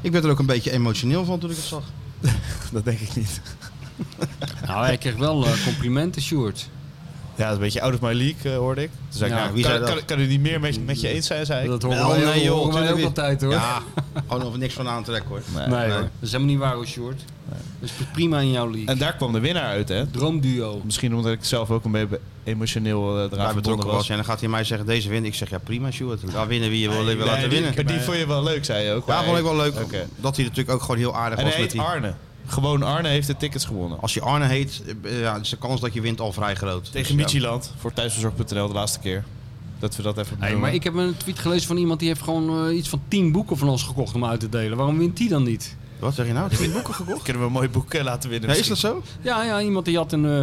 B: Ik werd er ook een beetje emotioneel van toen ik het zag.
D: Dat denk ik niet.
C: Nou, hij kreeg wel eh, complimenten, Sjoerd.
D: Ja, dat is een beetje out of my league, eh, hoorde ik. Toen zei ik,
C: Ja,
D: nou,
B: wie
D: kan,
B: zei dat?
D: kan, kan het niet meer met, met je eens zijn, zei ik.
C: Dat
B: Wel,
C: horen wij,
B: nee,
C: ook-
B: joh,
C: horen wij
B: tuurlijk
C: ook
B: niet.
C: altijd, hoor.
B: Ja, gewoon over niks van aantrekken hoor.
C: nee,
B: nee.
C: hoor. Dat is helemaal niet waar, hoor, Sjoerd. Dat is prima in jouw league.
D: En daar kwam de winnaar uit, hè?
C: Droomduo.
D: Misschien omdat ik zelf ook een beetje emotioneel eh,
B: Wij
D: eraan verbonden
B: betrokken was.
D: was.
B: En dan gaat hij mij zeggen, deze win. Ik zeg, ja prima Sjoerd. Ga winnen wie je wil wil
D: Nee,
B: laten
D: die-
B: winnen.
D: Maar die vond je wel leuk, zei je ook.
B: Ja,
D: maar-
B: vond ik wel leuk.
D: Oké.
B: Dat hij natuurlijk ook gewoon heel aardig
D: En
B: was
D: hij
B: met
D: heet
B: die...
D: Arne. Gewoon Arne heeft de tickets gewonnen.
B: Als je Arne heet, eh, ja, is de kans dat je wint al vrij groot.
D: Tegen
B: Dus, ja.
D: Michieland voor thuisverzorg.nl de laatste keer. Dat we dat even
C: Hey,
D: benoemen.
C: maar ik heb een tweet gelezen van iemand die heeft gewoon eh, iets van 10 boeken van ons gekocht om uit te delen. Waarom wint die dan niet?
B: Wat zeg je nou? Tien boeken?
D: Kunnen we een mooi boek eh, laten winnen
B: Ja, is
D: misschien.
B: dat zo?
C: Ja, ja, iemand die had een... eh,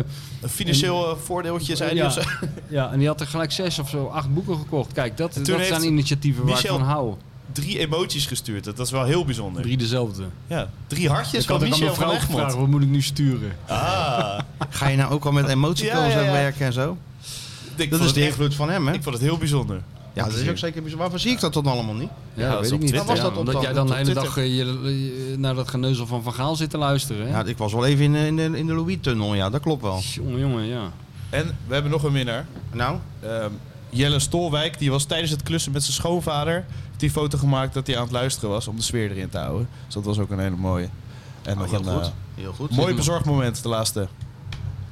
D: Een financieel eh, voordeeltje, zei hij
C: ja,
D: of zo.
C: ja, en die had er gelijk zes of zo, acht boeken gekocht. Kijk, dat, dat
D: toen heeft
C: zijn initiatieven waar
D: Michel-
C: ik van hou.
D: Drie emoties gestuurd. Dat is wel heel bijzonder.
C: Drie dezelfde.
D: Ja, drie hartjes
C: ik
D: van
C: had ook aan
D: Michel
C: mijn
D: van
C: vrouw
D: Egmond.
C: gevraagd, wat moet ik nu sturen?
D: Ah,
B: Ga je nou ook al met emoticons
D: Ja, ja, ja.
B: aan werken en zo?
D: ik
B: Dat
D: vond
B: is
D: het
B: de
D: echt-
B: invloed van hem, hè?
D: Ik vond het heel bijzonder.
B: Ja, dat is ook zeker bijzonder. Waarvoor zie ik dat dan allemaal niet?
C: Ja,
D: dat
C: dat weet
D: is op
C: ik niet.
B: Waar
D: Twitter.
B: was
C: Ja,
B: dat op
C: omdat
B: dan?
C: jij dan de
B: Op
C: hele dag
B: Twitter?
C: eh, je- je- naar dat geneuzel van Van Gaal zit te luisteren. Hè?
B: Ja, ik was wel even in, eh, in de, in de Louis-tunnel, ja. Dat klopt wel.
C: Jongen, jongen, ja.
D: En we hebben nog een winnaar.
B: Nou?
D: Ehm, Jelle Stolwijk, die was tijdens het klussen met zijn schoonvader... heeft die foto gemaakt dat hij aan het luisteren was om de sfeer erin te houden. Dus dat was ook een hele mooie. En nog
B: Oh, heel
D: een
B: goed.
D: eh,
B: Heel goed.
D: mooi bezorgd moment, de laatste.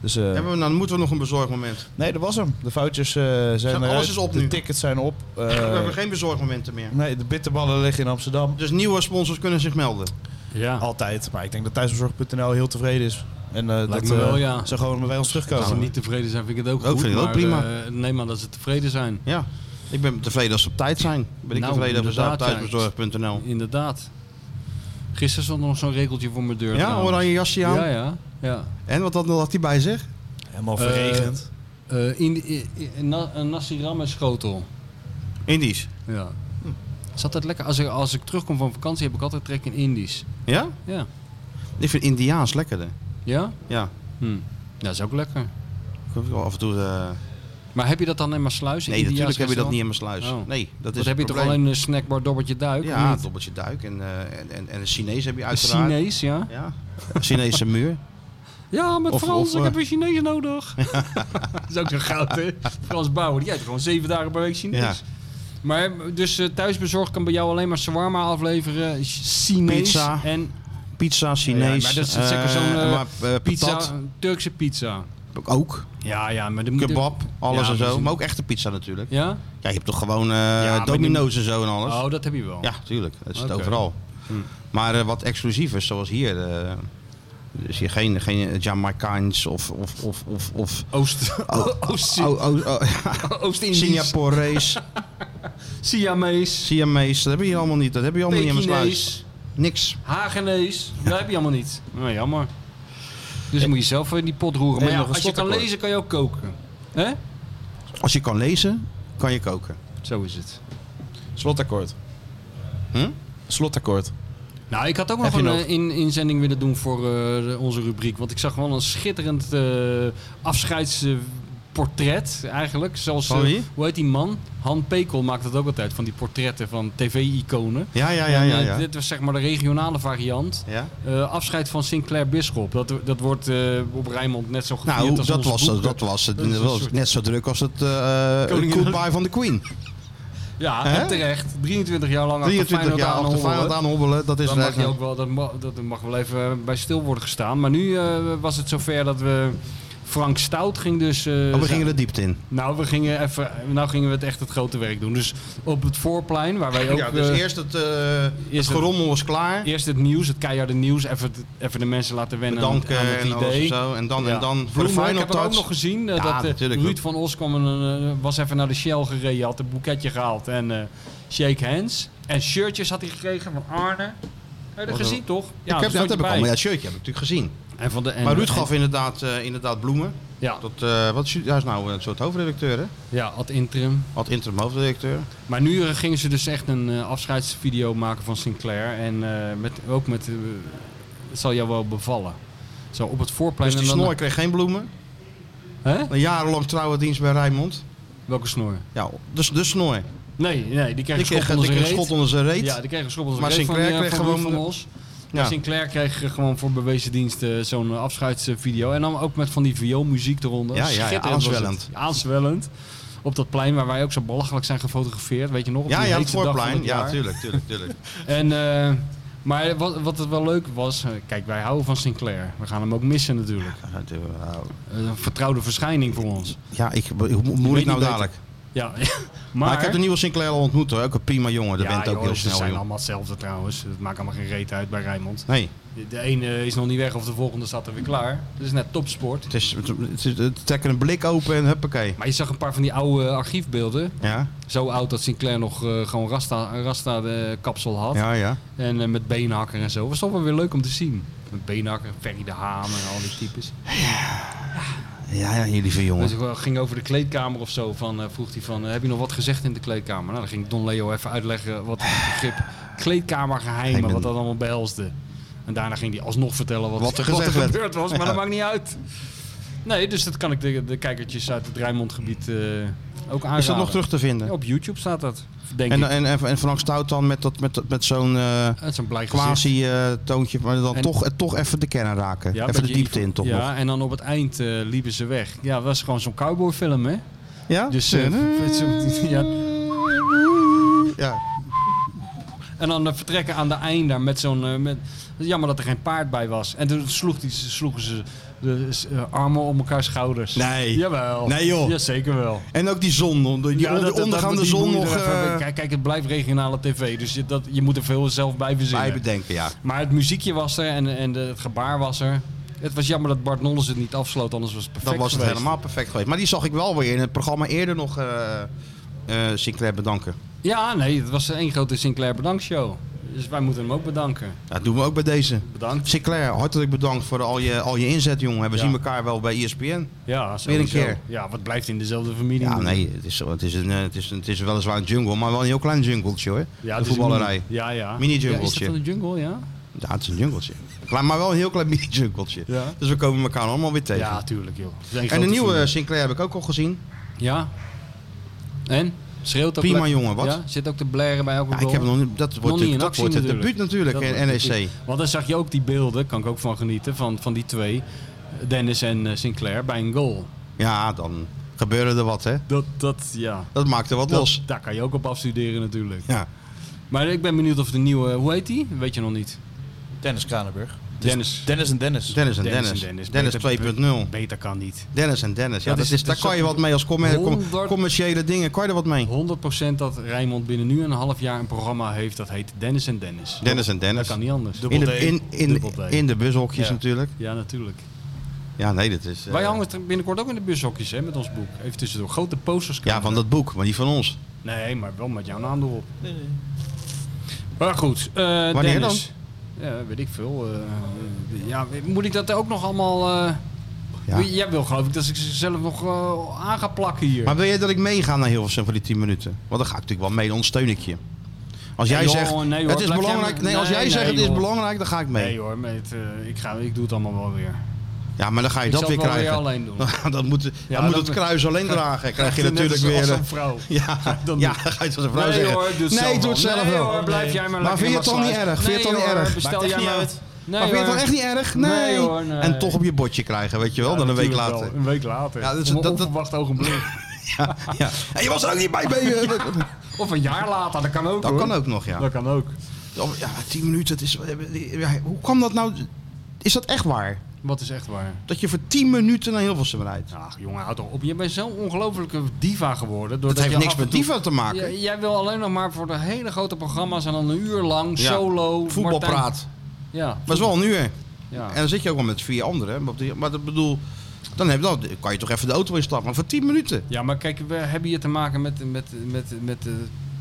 D: Dus, eh,
B: Hebben we, dan moeten we nog een bezorgmoment.
D: nee, dat was hem. De foutjes eh, zijn
B: alles
D: eruit.
B: is op
D: De
B: nu.
D: tickets zijn op. Eh,
B: we hebben geen bezorgmomenten meer.
D: nee, de bitterballen liggen in Amsterdam.
B: Dus nieuwe sponsors kunnen zich melden.
C: Ja.
D: Altijd. Maar ik denk dat thuisbezorg.nl heel tevreden is. En eh, dat
C: me wel,
D: eh,
C: ja.
D: ze gewoon bij ons terugkomen.
C: Als ze niet tevreden zijn, vind ik het ook,
B: Ook
C: goed.
B: vind ik het ook
C: maar,
B: prima.
C: eh, neem aan dat ze tevreden zijn.
B: Ja. Ik ben tevreden als ze op tijd zijn. Ben ik
C: Nou,
B: tevreden als ze op
C: inderdaad, ja.
B: thuisbezorg.nl.
C: Inderdaad. Gisteren stond er nog zo'n regeltje voor mijn deur.
B: Ja,
C: trouwens.
B: oranje jasje aan.
C: Ja, ja. ja.
B: En wat had, wat had hij bij zich?
D: Helemaal verregend.
C: Eh, in, in, in, na- een nasi ramen schotel.
B: Indisch.
C: Ja. Hm. Het is altijd lekker. Als ik, als ik terugkom van vakantie heb ik altijd trek in Indisch.
B: Ja?
C: Ja.
B: Ik vind Indiaans lekkerder.
C: Ja?
B: Ja.
C: Hm. Ja, is ook lekker.
B: Ik heb wel af en toe... eh,
C: Maar heb je dat dan in Maasluis? in
B: Nee,
C: India's
B: natuurlijk heb je dat niet in
C: restaurant?
B: mijn sluis.
C: Oh.
B: Nee, dat is
C: Dat heb je
B: het
C: toch
B: probleem.
C: alleen een eh, snackbar dobbertje duik? Hm.
B: Ja,
C: of
B: een
C: niet?
B: dobbeltje duik en, eh, en, en, en een Chinees heb je
C: Een
B: uiteraard.
C: Chinees, ja.
B: Ja, een Chinese muur.
C: Ja, met
B: Of-
C: Frans,
B: of,
C: ik
B: eh,
C: heb een Chinees nodig. dat is ook zo goud, hè? Frans Bauer, die eet gewoon zeven dagen per week Chinees. Maar dus eh, thuisbezorgd kan bij jou alleen maar shawarma afleveren, Ch- Chinees
B: Pizza.
C: en
B: Pizza, Chinees.
C: Ja, maar dat is
B: eh,
C: zeker zo'n eh,
B: maar, eh,
C: pizza,
B: patat
C: Turkse pizza.
B: ook.
C: Ja, ja, maar de moet-
B: Kebab, alles
C: Ja,
B: en zo.
C: precies.
B: Maar ook echte pizza natuurlijk. Ja,
C: Ja?
B: je hebt toch gewoon eh,
C: maar die-
B: domino's en zo en alles.
C: Oh, dat heb je wel.
B: Ja, tuurlijk. Dat is
C: Oké. Hm.
B: het overal. Maar eh, wat exclusief is, zoals hier. eh dus hier geen, geen Jamaicaans of, of, of, of, of
C: Oost, Oost,
B: oh, oh, oh,
C: Oost-Indisch,
B: Singaporees,
C: Siamees,
B: Siamese. Dat heb je hier allemaal niet. Dat heb je allemaal niet in mijn sluis.
C: Pekinees,
B: Niks.
C: Hagenees. Dat heb je allemaal niet. Nou, jammer. Dus dan moet je zelf in die pot roeren. Maar
B: En
C: ja,
B: nog een
C: als je kan
B: slottekort.
C: lezen, kan je ook koken. Hè?
B: Als je kan lezen, kan je koken.
C: Zo is het.
D: Slotakkoord.
B: Hm?
D: Slotakkoord.
C: Nou, ik had ook
B: Heb
C: nog
B: je
C: een
B: nog?
C: eh, in, inzending willen doen voor eh, de- onze rubriek. Want ik zag wel een schitterend eh afscheidsportret eigenlijk. Zoals,
B: Van
C: eh,
B: wie?
C: hoe heet die man? Han Pekel maakt dat ook altijd, van die portretten van tv-iconen.
B: Ja, ja, ja, ja.
C: En, eh,
B: ja.
C: Dit was zeg maar de regionale variant.
B: ja?
C: Eh, afscheid van Sinclair Bisschop. Dat, dat wordt eh, op Rijnmond net zo gevierd
B: Nou,
C: als
B: dat
C: onze
B: was,
C: boeken.
B: dat was, het.
C: Dat is
B: dat
C: een
B: was
C: soort-
B: net zo druk als het eh
C: Koningin-
B: goodbye van de Queen.
C: Ja,
B: Hè?
C: en terecht. 23 jaar lang
B: 23
C: achter Feyenoord
B: jaar
C: aan
B: achter
C: hobbelen.
B: Feyenoord aan hobbelen. Dat is
C: Dan mag je
B: eigenlijk-
C: ook wel, dat, mag, dat mag wel even eh, bij stil worden gestaan. Maar nu eh, was het zover dat we... Frank Stout ging dus... eh,
B: Oh, we gingen er diepte in.
C: Nou, we gingen even, nou gingen we het echt het grote werk doen. Dus op het voorplein, waar wij ook...
B: Ja, dus
C: eh,
B: eerst het, eh, het
C: eerst het-
B: gerommel was klaar.
C: eerst het nieuws, het keiharde nieuws. Even, even de mensen laten wennen aan-
B: Bedanken
C: aan het
B: en alles en
C: idee.
B: zo. En dan,
C: Ja.
B: en dan voor de
C: Bloemen, ik
B: final
C: heb hem ook nog
B: touch.
C: gezien. eh,
B: Ja,
C: dat, eh,
B: natuurlijk.
C: Ruud van Os kwam en, eh, was even naar de Shell gereden. Had een boeketje gehaald en eh, shake hands. En shirtjes had hij gekregen van Arne. Heb je dat
B: Wat
C: gezien, toch?
B: ik heb,
C: daar
B: dat
C: stond
B: heb
C: je
B: ik al,
C: bij.
B: maar dat Oh shirtje heb ik natuurlijk gezien.
C: En van de, en,
B: maar Ruud
C: en-
B: gaf inderdaad, eh, inderdaad bloemen.
C: ja,
B: Tot, eh, wat is, hij is nou een soort hoofdredacteur, hè?
C: ja, ad interim.
B: Had interim hoofdredacteur. Dus
C: Maar nu eh, gingen ze dus echt een eh, afscheidsvideo maken van Sinclair. En eh, met, ook met... eh, het zal jou wel bevallen. Zo op het voorplein.
B: Dus die
C: en dan-
B: snor kreeg geen bloemen.
C: Hè?
B: Een jarenlang trouwe dienst bij Rijnmond.
C: Welke snor?
B: Ja, dus de snor.
C: Nee, nee, die kreeg
B: Die
C: een
B: kreeg
C: schop
B: die
C: onder zijn
B: kreeg een
C: reet.
B: schot onder zijn reet.
C: Ja, die kreeg een schop onder
B: Maar
C: zijn reet van,
B: Sinclair
C: eh,
B: kreeg
C: van Ruud
B: gewoon
C: van
B: de-
C: Os.
B: Ja.
C: Maar Sinclair kreeg eh, gewoon voor bewezen diensten zo'n eh, afscheidsvideo. En dan ook met van die vioolmuziek eronder.
B: Ja, ja, ja,
C: Schitterend was
B: aanzwellend.
C: het. Aanzwellend. Op dat plein waar wij ook zo belachelijk zijn gefotografeerd. Weet je nog? Op
B: ja,
C: die
B: ja, het
C: heetste dag van
B: voorplein.
C: het
B: Ja,
C: jaar.
B: tuurlijk, tuurlijk, tuurlijk.
C: En, eh, maar wat, wat het wel leuk was... eh, Kijk, wij houden van Sinclair. We gaan hem ook missen natuurlijk. Eh,
B: Ja, natuurlijk, nou.
C: Een vertrouwde verschijning voor ons.
B: Ja, ik, hoe- hoe moet
C: weet
B: ik nou
C: niet
B: dadelijk?
C: Ja,
B: Maar, ik heb de nieuwe Sinclair al ontmoet hoor. Ook een prima jongen. Dat
C: ja,
B: bent ook
C: joh,
B: heel
C: ze
B: snel,
C: zijn
B: joh.
C: allemaal hetzelfde trouwens. Het maakt allemaal geen reet uit bij Rijnmond.
B: Nee,
C: De- De ene is nog niet weg of de volgende staat er weer klaar. Dat is net topsport.
B: het is, het, het is- het trekken een blik open en huppakee.
C: Maar je zag een paar van die oude archiefbeelden.
B: Ja,
C: Zo oud dat Sinclair nog eh, gewoon Rasta, Rasta de kapsel had.
B: ja, ja.
C: En eh, met beenhakker en zo. Was toch wel weer leuk om te zien. Met beenhakker, Ferry de Haan en al die types.
B: Ja, ja, jullie lieve jongen.
C: Dus ik ging over de kleedkamer of zo. Van, eh, vroeg hij van, eh, heb je nog wat gezegd in de kleedkamer? Nou, dan ging Don Leo even uitleggen wat het begrip kleedkamergeheimen,
B: Geheimen.
C: wat dat allemaal behelsde. En daarna ging hij alsnog vertellen wat,
B: Wat er gezegd werd.
C: gebeurd was, maar
B: Ja.
C: dat maakt niet uit. Nee, dus dat kan ik de, de kijkertjes uit het Rijnmondgebied eh, ook aanraden.
B: Is dat nog terug te vinden?
C: Ja, op YouTube staat dat, denk
B: En, eh,
C: ik.
B: en, en, en Frank Stout dan met, dat, met, dat- met zo'n eh,
C: Het is een blij gezicht.
B: quasi-toontje, maar dan
C: En-
B: toch, eh, toch even de kennen raken.
C: Ja,
B: even de
C: beetje
B: diepte
C: Ivo-
B: in toch
C: ja,
B: nog.
C: en dan op het eind eh, liepen ze weg. Ja, dat was gewoon zo'n cowboyfilm, hè?
B: Ja?
C: Dus, eh, ja.
B: ja.
C: En dan eh, vertrekken aan de eind daar met zo'n... eh, met... Jammer dat er geen paard bij was. En toen sloeg die, sloegen ze de s- eh, armen om elkaar schouders.
B: Nee.
C: Jawel.
B: Nee, joh.
C: Jazeker wel.
B: En ook die zon, die
C: Ja,
B: onder-
C: dat- dat-
B: ondergaande
C: dat- die
B: zon
C: moet je
B: nog
C: er even-
B: eh
C: Kijk, kijk, het blijft regionale tv, dus je, dat, je moet er veel zelf bij verzinnen.
B: bij bedenken, ja.
C: Maar het muziekje was er en, en de- het gebaar was er. Het was jammer dat Bart Nolles het niet afsloot, anders was het perfect
B: Dan was het
C: geweest.
B: helemaal perfect geweest. Maar die zag ik wel weer in het programma eerder nog eh eh, Sinclair bedanken.
C: Ja, nee, het was één grote Sinclair Bedankt show. Dus wij moeten hem ook bedanken.
B: Ja, dat doen we ook bij deze.
C: Bedankt.
B: Sinclair, hartelijk bedankt voor al je, al je inzet, jongen. We
C: Ja.
B: zien elkaar wel bij E ESPN.
C: Ja,
B: Weer een
C: sowieso.
B: keer.
C: Ja, wat blijft in dezelfde familie.
B: Ja, nee, het is, zo- het, is een, eh, het, is, een- het is weliswaar een jungle, maar wel een heel klein jungletje hoor.
C: Ja,
B: de
C: het is een
B: voetballerij.
C: mini- Ja, ja.
B: Mini-jungletje.
C: Ja, is dat van de jungle, ja?
B: Ja, het is een jungletje. Klein, maar wel een heel klein mini-jungletje.
C: Ja.
B: Dus we komen elkaar allemaal weer tegen.
C: Ja, tuurlijk joh.
B: en de nieuwe Sinclair heb eh, ik ook al gezien.
C: Ja. En? Schreeuwt ook
B: Prima,
C: lekker.
B: jongen, wat?
C: Ja, zit ook te blaren bij elke
B: Ja, ik
C: goal.
B: heb nog niet, dat wordt,
C: niet in
B: natuurlijk, dat
C: actie
B: wordt het
C: natuurlijk.
B: debuut natuurlijk
C: Dat
B: in E
C: wordt het
B: NEC.
C: debuut. Want dan zag je ook die beelden, kan ik ook van genieten, van, van die twee, Dennis en eh, Sinclair, bij een goal.
B: Ja, dan gebeurde er wat, hè.
C: Dat, dat ja.
B: Dat maakte wat
C: Dat-
B: los.
C: daar kan je ook op afstuderen natuurlijk.
B: Ja.
C: Maar ik ben benieuwd of de nieuwe, hoe heet die? Weet je nog niet.
D: Dennis Kranenburg.
C: Dennis.
D: Dus Dennis en Dennis.
B: Dennis en
C: Dennis en
B: Dennis.
C: Dennis.
B: Dennis,
C: Beter-
B: 2.0.
C: Beter kan niet.
B: Dennis en Dennis. Ja,
D: Ja,
B: dat
D: dus-
B: is, daar
D: dus
B: kan je wat mee als commer- com-
C: Honderd-
B: commerciële dingen. Kan je er wat mee?
C: 100% dat Rijnmond binnen nu een half jaar een programma heeft dat heet Dennis en Dennis.
B: Dennis en
C: Dat
B: Dennis.
C: kan niet anders.
B: In
D: Dubbel
B: de,
D: D.
B: in, in,
C: Dubbel D.
B: in de bushokjes
D: Ja.
B: natuurlijk.
C: Ja, natuurlijk.
B: Ja, nee, dat is... eh,
C: Wij hangen het binnenkort ook in de bushokjes hè, met ons boek. Even tussendoor. Grote posters.
B: Ja, van dat boek, maar niet van ons.
C: Nee, maar wel met jouw naam erop. Maar goed, eh
B: Wanneer
C: Dennis. Ja, weet ik veel. eh, ja, moet ik dat ook nog allemaal... eh,
B: Ja.
C: Jij wil geloof ik dat ik ze zelf nog eh, aan ga plakken hier.
B: Maar wil je dat ik meega naar Hilversum voor die 10 minuten? Want dan ga ik natuurlijk wel mee, dan steun ik je. Als jij
C: joh,
B: zegt,
C: nee, hoor,
B: het is
C: blijf jij
B: belangrijk.
C: maar-
B: Nee, als
C: nee,
B: jij zegt,
C: nee,
B: het is
C: joh.
B: belangrijk, dan ga ik mee.
C: nee hoor, met, eh, ik, ga, ik doe het allemaal wel weer.
B: ja, maar dan ga je
C: Ik
B: dat
C: zal
B: weer
C: het wel weer
B: krijgen.
C: alleen doen.
B: Nou, dan moet, dan moet
C: dat-
B: het kruis alleen dragen. Krijg je
C: Net
B: natuurlijk
C: als-
B: weer...
C: als
B: eh,
C: een vrouw.
B: ja,
C: Dan
B: ja,
C: doe
B: dan ga je het als een vrouw
C: nee
B: zeggen.
C: hoor, doe het
B: nee,
C: zelf
B: doe het
C: wel.
B: zelf
C: nee,
B: wel.
C: Hoor, blijf jij maar
B: Maar
C: lekker
B: vind je het
C: maar
B: dan niet
C: slapen.
B: erg? Vind je het dan
C: Nee,
B: niet
C: hoor,
B: erg?
D: Maakt
C: Bestel
D: echt
C: jij
D: niet
C: maar...
D: uit.
C: Nee,
B: maar vind je het
C: hoor.
B: dan echt niet erg? Nee.
C: Nee, hoor, nee.
B: En toch op je bordje krijgen, weet je wel,
C: Ja,
B: dan een week
C: natuurlijk
B: later.
C: wel, Een week later.
B: Ja, dus dat is-
C: Op een
B: dat- dat-
C: onverwacht ogenblik.
B: Ja. En je was er ook niet bij. bij je-
C: Of een jaar later, dat kan ook
B: Dat
C: hoor.
B: kan ook nog, ja.
C: Dat kan ook.
B: Oh, Ja, 10 minuten. Het is, ja, hoe kwam dat nou? Is dat echt waar?
C: Wat is echt waar?
B: Dat je voor 10 minuten naar Hilversum rijdt?
C: Ach jongen, houd toch op. Je bent zo'n ongelofelijke diva geworden.
B: Dat
C: doordat
B: heeft
C: je
B: niks
C: af en
B: met
C: toe-
B: diva te maken.
C: J- jij wil alleen nog maar voor de hele grote programma's en dan een uur lang
B: Ja,
C: solo. Martijn-
B: Voetbalpraat.
C: Ja,
B: Maar dat is wel een uur.
C: ja.
B: En dan zit je ook wel met vier anderen. hè. Maar, die- maar dat bedoel, dan, heb, dan kan je toch even de auto instappen. Maar voor 10 minuten.
C: ja, maar kijk, we hebben hier te maken met, met, met, met eh,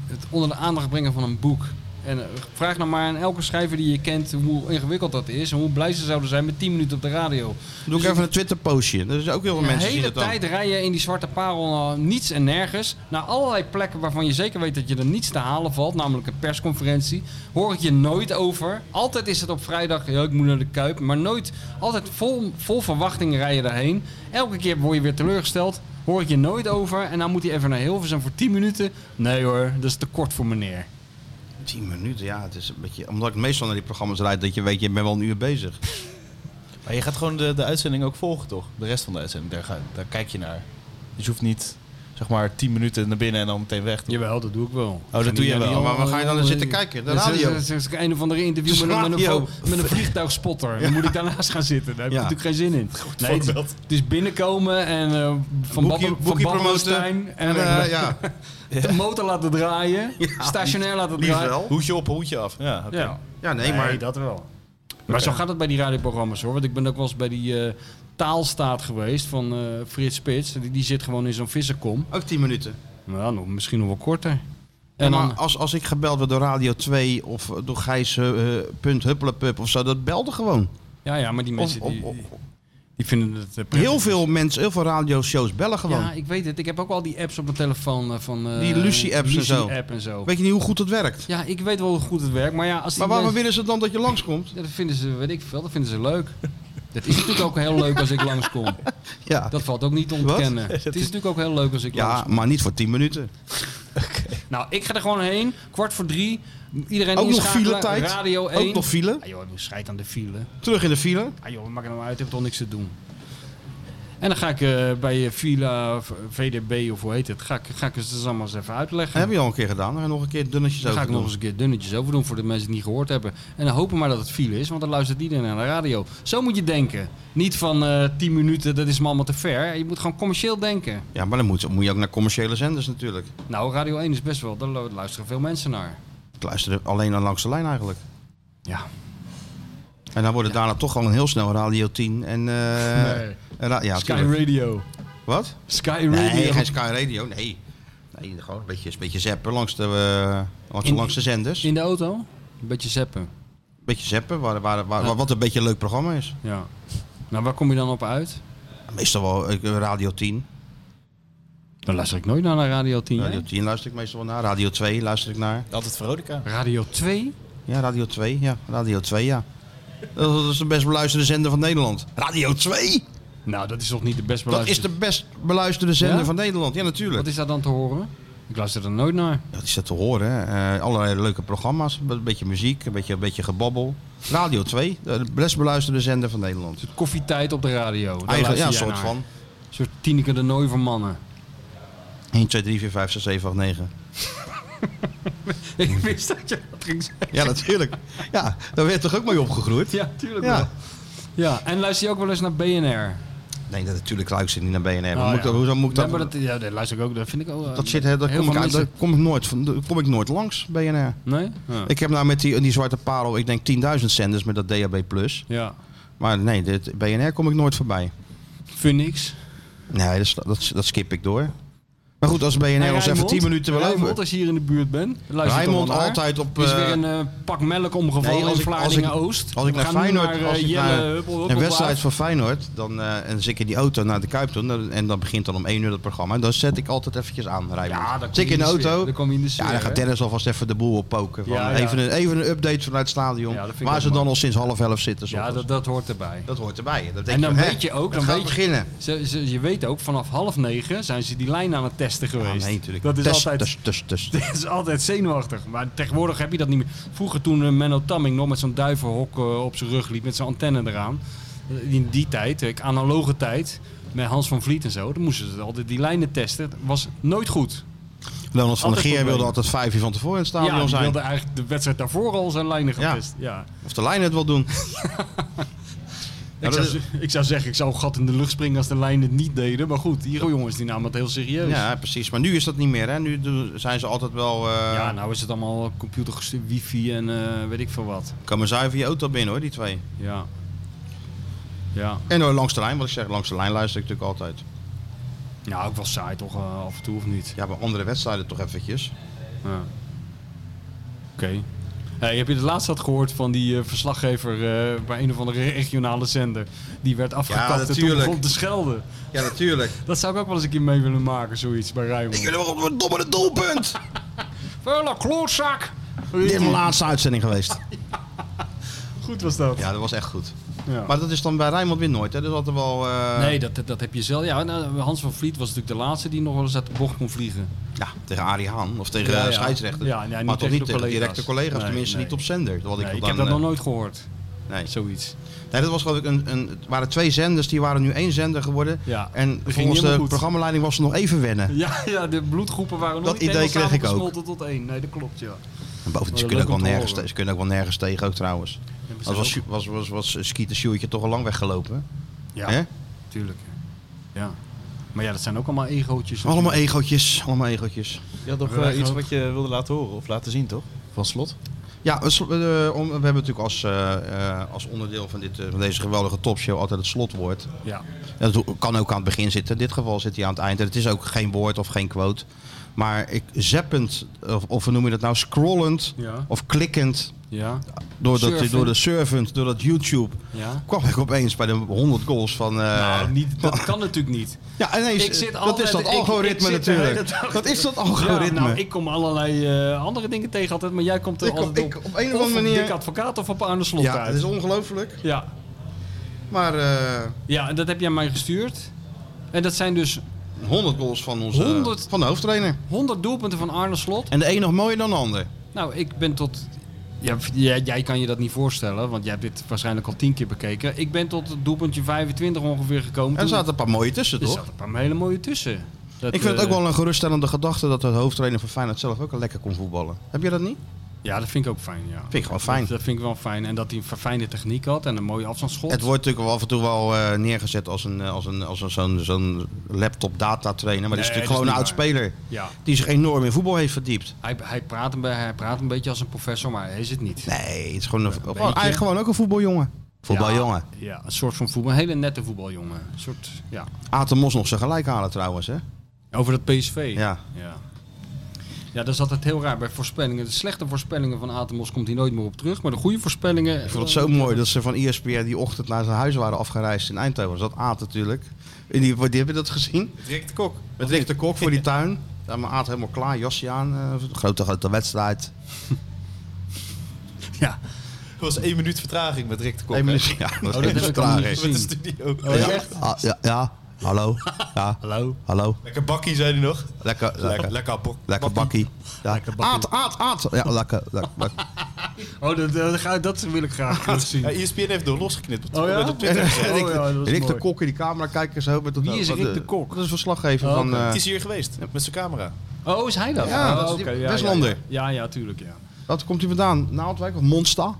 C: het onder de aandacht brengen van een boek. En eh, vraag nou maar aan elke schrijver die je kent hoe ingewikkeld dat is. En hoe blij ze zouden zijn met 10 minuten op de radio.
B: Doe ik even een Twitter postje. Er zijn ook heel veel
C: De
B: mensen die
C: Dus hele
B: dat dan.
C: tijd rij je in die zwarte parel naar niets en nergens. Naar allerlei plekken waarvan je zeker weet dat je er niets te halen valt. Namelijk een persconferentie. Hoor ik je nooit over. Altijd is het op vrijdag, ja, ik moet naar de Kuip. Maar nooit, altijd vol, vol verwachting rij je daarheen. Elke keer word je weer teleurgesteld. Hoor ik je nooit over. En dan moet hij even naar Hilversum voor 10 minuten. Nee hoor, dat is te kort voor meneer.
B: 10 minuten, ja. Het is een beetje, omdat ik meestal naar die programma's rijd, dat je weet, je bent wel een uur
C: Oh,
B: bezig.
D: Maar je gaat gewoon de, de uitzending ook volgen, toch? De rest van de uitzending, daar, ga, daar kijk je naar. Dus je hoeft niet, zeg maar, 10 minuten naar binnen en dan meteen weg.
C: Jawel, dat doe ik wel. Dus, eh,
D: dat doe je wel.
B: Maar waar ga je dan naar zitten kijken? De radio.
C: Dat is, dat is een of andere interview
B: De
C: met een, met een,
B: radio.
C: vo- met een vliegtuigspotter. Dan moet ik daarnaast gaan zitten. Daar heb ik
B: Ja.
C: natuurlijk geen zin in. Nee, het, is-
D: voorbeeld.
C: het is binnenkomen en eh, van
B: Boekie-
C: Babbel- van
B: boekie promoten.
C: Babbelstein en
B: En, eh,
C: eh,
B: ja,
C: de motor laten draaien. Stationair laten
B: liefst
C: draaien.
B: wel.
D: Hoedje op, hoedje af. Ja, oké.
C: Ja.
B: Ja, nee, maar...
C: dat wel. Maar zo gaat het bij die radioprogramma's hoor. Want ik ben ook wel eens bij die eh, taalstaat geweest van eh, Frits Spits. Die, die zit gewoon in zo'n vissenkom.
B: Ook 10 minuten.
C: Nou, nog, misschien nog wel korter. En
B: maar
C: dan,
B: als, als ik gebeld werd door Radio 2 of eh, door Gijs eh, eh, punt Huppelepup of zo, dat belde gewoon.
C: ja, ja, maar die
B: Of,
C: mensen
B: of-
C: die,
B: of-
C: die vinden het eh, prettig.
B: heel veel mensen, heel veel radioshows bellen gewoon.
C: Ja, ik weet het. Ik heb ook al die apps op mijn telefoon eh, van... eh,
B: Die Lucy-apps en zo.
C: Lucy-app en zo.
B: Weet je niet hoe goed dat werkt?
C: Ja, ik weet wel hoe goed het werkt, maar ja, als die
B: Maar waarom
C: mensen-
B: willen ze dan dat je langskomt?
C: Ja, dat vinden ze, weet ik veel, dat vinden ze leuk. Dat is natuurlijk ook heel leuk als ik langskom.
B: Ja.
C: Dat valt ook niet te ontkennen. Het is natuurlijk ook heel leuk als ik
B: ja,
C: langskom.
B: maar niet voor 10 minuten.
C: Nou, ik ga er gewoon heen. Kwart voor drie. Iedereen
B: Ook nog
C: inschakelen.
B: file tijd.
C: Radio 1.
B: Ook nog file.
C: Ah, joh, scheid aan de file.
B: Terug in de file.
C: Ah joh, maak er nou uit, ik heb toch niks te doen. En dan ga ik eh, bij eh, Villa, of VDB of hoe heet het, ga ik, ga ik het dus allemaal eens even
B: Dat
C: uitleggen.
B: heb je al een keer gedaan. Dan ga je nog een keer dunnetjes
C: Dan
B: over
C: ga ik nog
B: doen.
C: eens een keer dunnetjes over doen voor de mensen die het niet gehoord hebben. En dan hopen maar dat het file is, want dan luistert iedereen naar de radio. Zo moet je denken. Niet van eh 10 minuten, dat is me allemaal te ver. Je moet gewoon commercieel denken.
B: Ja, maar dan moet, moet je ook naar commerciële zenders natuurlijk.
C: Nou, Radio 1 is best wel, daar lu- luisteren veel mensen naar.
B: Ik luister alleen aan langs de lijn eigenlijk.
C: Ja.
B: En dan wordt het daarna toch gewoon heel snel Radio 10 en... eh,
C: Nee.
B: en ra- ja,
C: Sky
B: tuurlijk.
C: Radio.
B: Wat?
C: Sky
B: Nee,
C: Radio.
B: geen Sky Radio, nee. Nee, gewoon een beetje, een beetje zappen langs de, eh, langs,
C: In-
B: langs de zenders. Een
C: In de auto? Een beetje zeppen.
B: beetje zappen, waar, waar, waar, waar- wat een beetje een leuk programma is.
C: Ja. Nou, waar kom je dan op uit?
B: Meestal wel eh, Radio 10.
C: Dan luister ik nooit naar naar Radio 10. jij?
B: Radio 10 luister ik meestal wel naar. Radio 2 luister ik naar.
D: Altijd Veronica.
C: Radio 2?
B: Ja, Radio Eh, 2, ja. Radio 2, ja. Dat is de best beluisterde zender van Nederland. Radio 2?
C: Nou, dat is toch niet de best
B: Dat is
C: beluisterde...
B: de best beluisterde zender
C: Ja?
B: van Nederland. Ja,
C: Wat
B: natuurlijk.
C: is daar dan te horen? Ik luister er nooit naar.
B: Dat is dat te horen. hè. Eh, allerlei leuke programma's. Een beetje muziek, een beetje, een beetje gebabbel. Radio 2, de best beluisterde zender van Nederland.
C: Koffietijd op de radio. Daar
B: Eigen, Ah, ja,
C: luister
B: een
C: jij
B: soort
C: naar.
B: van.
C: Een soort Tineke de Nooi voor mannen.
B: 1, 2, 3, 4, 5, 6, 7, 8, 9.
C: Ik wist dat je dat ging zeggen.
B: Ja, natuurlijk. Ja, daar werd toch ook mee opgegroeid?
C: Ja, tuurlijk
B: Ja.
C: wel. Ja, en luister je ook wel eens naar BNR?
B: Nee, dat, natuurlijk luister ik niet naar BNR.
C: Oh,
B: Hoe moet ik
C: ja.
B: dat- Hoezo moet ik dat...
C: Ja, maar dat, ja, dat luister ik ook. Dat vind ik ook... eh,
B: Dat, zit, hè, dat,
C: heel
B: kom ik,
C: veel
B: uit-
C: mensen-
B: daar kom, ik nooit, van- daar kom ik nooit langs, BNR.
C: Nee? Ja.
B: Ik heb nou met die, die zwarte parel, ik denk 10.000 zenders met dat DAB+.
C: ja.
B: Maar nee, dit, BNR kom ik nooit voorbij.
C: Vind niks.
B: Nee, dat, is- dat, dat skip ik door. Maar goed, als BNR ons even 10 minuten wil
C: Rijnmond,
B: over...
C: als je hier in de buurt bent. Luister
B: Rijnmond
C: toch wel naar.
B: altijd op...
C: Er is
B: eh,
C: weer een eh, pak melk omgevallen
B: Nee, als
C: in
B: ik- als ik-
C: Vlaardingen-Oost.
B: Als ik
C: We
B: naar
C: gaan nu
B: Feyenoord,
C: naar, eh,
B: als ik
C: Jelle
B: naar
C: Huppel,
B: een
C: Huppelblaas.
B: wedstrijd van Feyenoord, dan eh, en zit ik in die auto naar de Kuip toe, dan- en dan begint dan om 1 uur het programma. Dan zet ik altijd eventjes aan, Rijnmond.
C: Ja, dan kom
B: zit ik
C: je
B: in de
C: sfeer.
B: auto.
C: Dan kom je in de sfeer,
B: ja, dan
C: hè?
B: gaat Dennis alvast even de boel oppoken. Van,
C: Ja, ja.
B: Even, een, even een update vanuit het stadion,
C: Ja, dat vind ik
B: waar
C: ook
B: ze dan
C: mooi.
B: al sinds half elf zitten.
C: Ja,
B: dat,
C: dat, dat hoort erbij.
B: dat hoort erbij. Dat denk
C: en dan
B: je, hè,
C: weet je ook,
B: het
C: dan
B: gaat
C: weet
B: beginnen.
C: Je, ze, ze- je weet ook, vanaf half negen zijn ze die lijn aan het testen
B: Ah,
C: geweest.
B: nee, natuurlijk.
C: Dat is
B: Test,
C: altijd...
B: test, test, test.
C: Dat is altijd zenuwachtig. Maar tegenwoordig heb je dat niet meer. Vroeger toen eh, Menno Tamming nog met zo'n duivenhok eh, op zijn rug liep, met zijn antenne eraan. Eh, In die tijd, eh, analoge tijd, met Hans van Vliet en zo, dan moesten ze altijd die lijnen testen. Dat was nooit goed.
B: Leonard van der
C: Altijd
B: Geer wilde
C: problemen.
B: altijd vijf uur van tevoren in het
C: ja,
B: stadion
C: die
B: zijn.
C: wilde eigenlijk de wedstrijd daarvoor al zijn lijnen
B: Ja.
C: getest. Ja.
B: Of de lijn het wil doen.
C: Ik,
B: dat
C: zou,
B: is-
C: z- ik zou zeggen, ik zou een gat in de lucht springen als de lijnen het niet deden. Maar goed, hier jongens, die namen het heel serieus. Ja.
B: Ja, precies. Maar nu is dat niet meer. Hè. Nu doen- zijn ze altijd wel... eh,
C: nou is het allemaal computergestuurd, wifi en eh, weet ik veel wat.
B: Komen zuiver je auto binnen hoor, die twee.
C: Ja. Ja.
B: En hoor, langs de lijn, wat ik zeg, langs de lijn luister ik natuurlijk altijd.
C: Nou, ook wel saai toch eh, af en toe of niet?
B: Ja, bij andere wedstrijden toch eventjes.
C: Ja. Oké. Hey, heb je het laatst had gehoord van die eh, verslaggever eh, bij een of andere regionale zender? Die werd afgekapt en toen
B: natuurlijk.
C: begon te schelden.
B: Ja, natuurlijk.
C: Dat zou ik ook wel eens een keer mee willen maken, zoiets, bij Rijnmond.
B: Jullie waren op een domme doelpunt!
C: Vuile klootzak!
B: Dit is mijn laatste uitzending geweest.
C: Goed was dat.
B: Ja, dat was echt goed.
C: Ja.
B: Maar dat is dan bij Rijnmond weer nooit, hè? Dat is altijd wel... eh,
C: nee, dat, dat heb je zelf. Ja, nou, Hans van Vliet was natuurlijk de laatste die nog wel eens uit de bocht kon vliegen.
B: Ja, tegen Arie Haan of tegen
C: Ja,
B: eh,
C: ja.
B: scheidsrechter.
C: Ja, ja, niet
B: maar toch
C: tegen
B: niet
C: de
B: tegen
C: collega's.
B: directe collega's,
C: Nee,
B: tenminste
C: nee.
B: niet op zender. Wat
C: Nee,
B: ik,
C: ik
B: dan,
C: heb dat
B: eh,
C: nog nooit gehoord.
B: nee.
C: Zoiets.
B: nee, dat was geloof ik een, een... Het waren twee zenders, die waren nu één zender geworden.
C: Ja, dat
B: En
C: ging
B: volgens
C: helemaal
B: de
C: goed.
B: programmaleiding was ze nog even wennen.
C: Ja, ja, de bloedgroepen waren nog
B: Dat
C: niet
B: idee
C: helemaal
B: kreeg ik ook.
C: samengesmolten tot één. Nee, dat klopt, ja.
B: En bovendien, ze
C: Wel
B: kunnen, ook
C: leuk
B: wel
C: om te
B: nergens,
C: horen.
B: te- ze kunnen ook wel nergens tegen ook trouwens. Dat was, was, was, was Skeeter Sjoertje toch al lang weggelopen.
C: Ja,
B: hè?
C: tuurlijk. Ja. Maar ja, dat zijn ook allemaal egootjes.
B: Allemaal egootjes, allemaal egootjes.
D: Je had nog
C: Wij
D: eh, iets
C: gaan-
D: wat je wilde laten horen of laten zien, toch? Van slot.
B: Ja, we, sl- eh, om- we hebben natuurlijk als, eh, eh, als onderdeel van, dit, eh, van deze geweldige topshow altijd het slotwoord.
C: Ja.
B: En dat kan ook aan het begin zitten. In dit geval zit hij aan het eind. En het is ook geen woord of geen quote. Maar ik zeppend, of, of hoe noem je dat nou, scrollend
C: Ja.
B: of klikkend
C: Ja.
B: door, dat,
C: Surfen.
B: door de servant, door dat YouTube,
C: Ja.
B: kwam ik opeens bij de 100 goals van... eh,
C: nou, niet, dat kan natuurlijk niet.
B: Ja, ineens,
C: Ik zit
B: dat
C: altijd-
B: is dat
C: ik- ik
B: algoritme
C: zit de hele
B: natuurlijk.
C: dag-
B: Dat is dat
C: Ja,
B: algoritme.
C: nou, ik kom allerlei eh, andere dingen tegen altijd, maar jij komt er
B: Ik kom-
C: altijd
B: ik-
C: op.
B: op een of
C: of
B: andere manier-
C: Dik advocaat of op Arne Slot
B: ja,
C: uit.
B: het is ongelooflijk.
C: Ja.
B: Maar eh,
C: ja, en dat heb jij mij gestuurd. En dat zijn dus
B: 100 goals van onze
C: 100?
B: van de hoofdtrainer.
C: 100 doelpunten van Arne Slot.
B: En de een nog mooier dan de ander.
C: Nou, ik ben tot. Ja, v- jij, jij kan je dat niet voorstellen, want jij hebt dit waarschijnlijk al tien keer bekeken. Ik ben tot het doelpuntje 25 ongeveer gekomen.
B: En er
C: Toen-
B: zaten een paar mooie tussen,
C: Er
B: toch?
C: zaten een paar hele mooie tussen. Dat,
B: Ik vind het
C: eh,
B: ook wel een geruststellende gedachte dat de hoofdtrainer van Feyenoord zelf ook al lekker kon voetballen. Heb je dat niet?
C: Ja, dat vind ik ook fijn. Ja.
B: Vind ik gewoon fijn.
C: Dat, eh, dat vind ik wel fijn. En dat hij een verfijnde techniek had en een mooie afstandsschot.
B: Het wordt natuurlijk wel af en toe wel eh, neergezet als, een, eh, als, een, als een, zo'n, zo'n laptop data trainer. Maar dat is
C: Nee,
B: natuurlijk
C: dat is
B: gewoon een oud
C: niet
B: speler
C: Ja,
B: die zich enorm in voetbal heeft verdiept.
C: hij, hij, praat een, be- hij praat een beetje als een professor, maar hij is het niet.
B: Nee, het is gewoon een, gewoon-
C: beetje.
B: eigenlijk gewoon ook een voetbaljongen. Voetbaljongen.
C: Ja, ja, een soort van voetbal. Een hele nette voetbaljongen. Een soort, ja.
B: Aad de Mos nog zijn gelijk halen trouwens, hè?
C: Over dat PSV.
B: Ja.
C: Ja, ja dat is altijd heel raar bij voorspellingen. De slechte voorspellingen van Atemos komt hij nooit meer op terug. Maar de goede voorspellingen...
B: Ik vond het zo mooi dat ze van E ESPN die ochtend naar zijn huis waren afgereisd in Eindhoven. Dat Aad natuurlijk. En die, die hebben dat gezien.
D: Direct de kok.
B: Met Rick de Kok voor die tuin. Daar maar Aad helemaal klaar, jasje aan. eh, grote, grote wedstrijd.
C: Ja.
D: was één minuut vertraging met Rick de Kok.
B: Eén
D: hè?
B: minuut. Ja, Oh, dat
H: dat heb
B: is een
H: ik
B: vertraging.
H: nog niet
D: Met de studio.
B: Ja, ah, ja, ja, hallo. Ja,
H: Hallo.
B: hallo.
D: Lekker bakkie, zei hij nog.
B: Lekker, lekker, lekker,
D: Lekker bok-
B: bakkie. Ja. Aad, aad, aad. Ja, lekker, lekker, lekker.
C: Oh, dat, dat, ga- dat wil ik graag terug zien.
D: Ja, E ESPN heeft door losgeknipt.
C: Oh ja?
D: Met op Twitter.
C: Oh, ja, dat is
B: Rick de
C: mooi.
B: Kok in die camera kijken zo. Met
H: Wie is Rick de Kok?
B: Dat is een verslaggever
C: Oh,
B: van...
C: oké.
B: eh,
D: Die is hier geweest, met zijn camera.
H: Oh, is hij dat?
B: Ja,
H: Oh,
B: dat is die
H: oké,
B: Westlander.
C: Ja, ja, tuurlijk, ja.
B: Wat komt hij vandaan? Naaldwijk of Monsta?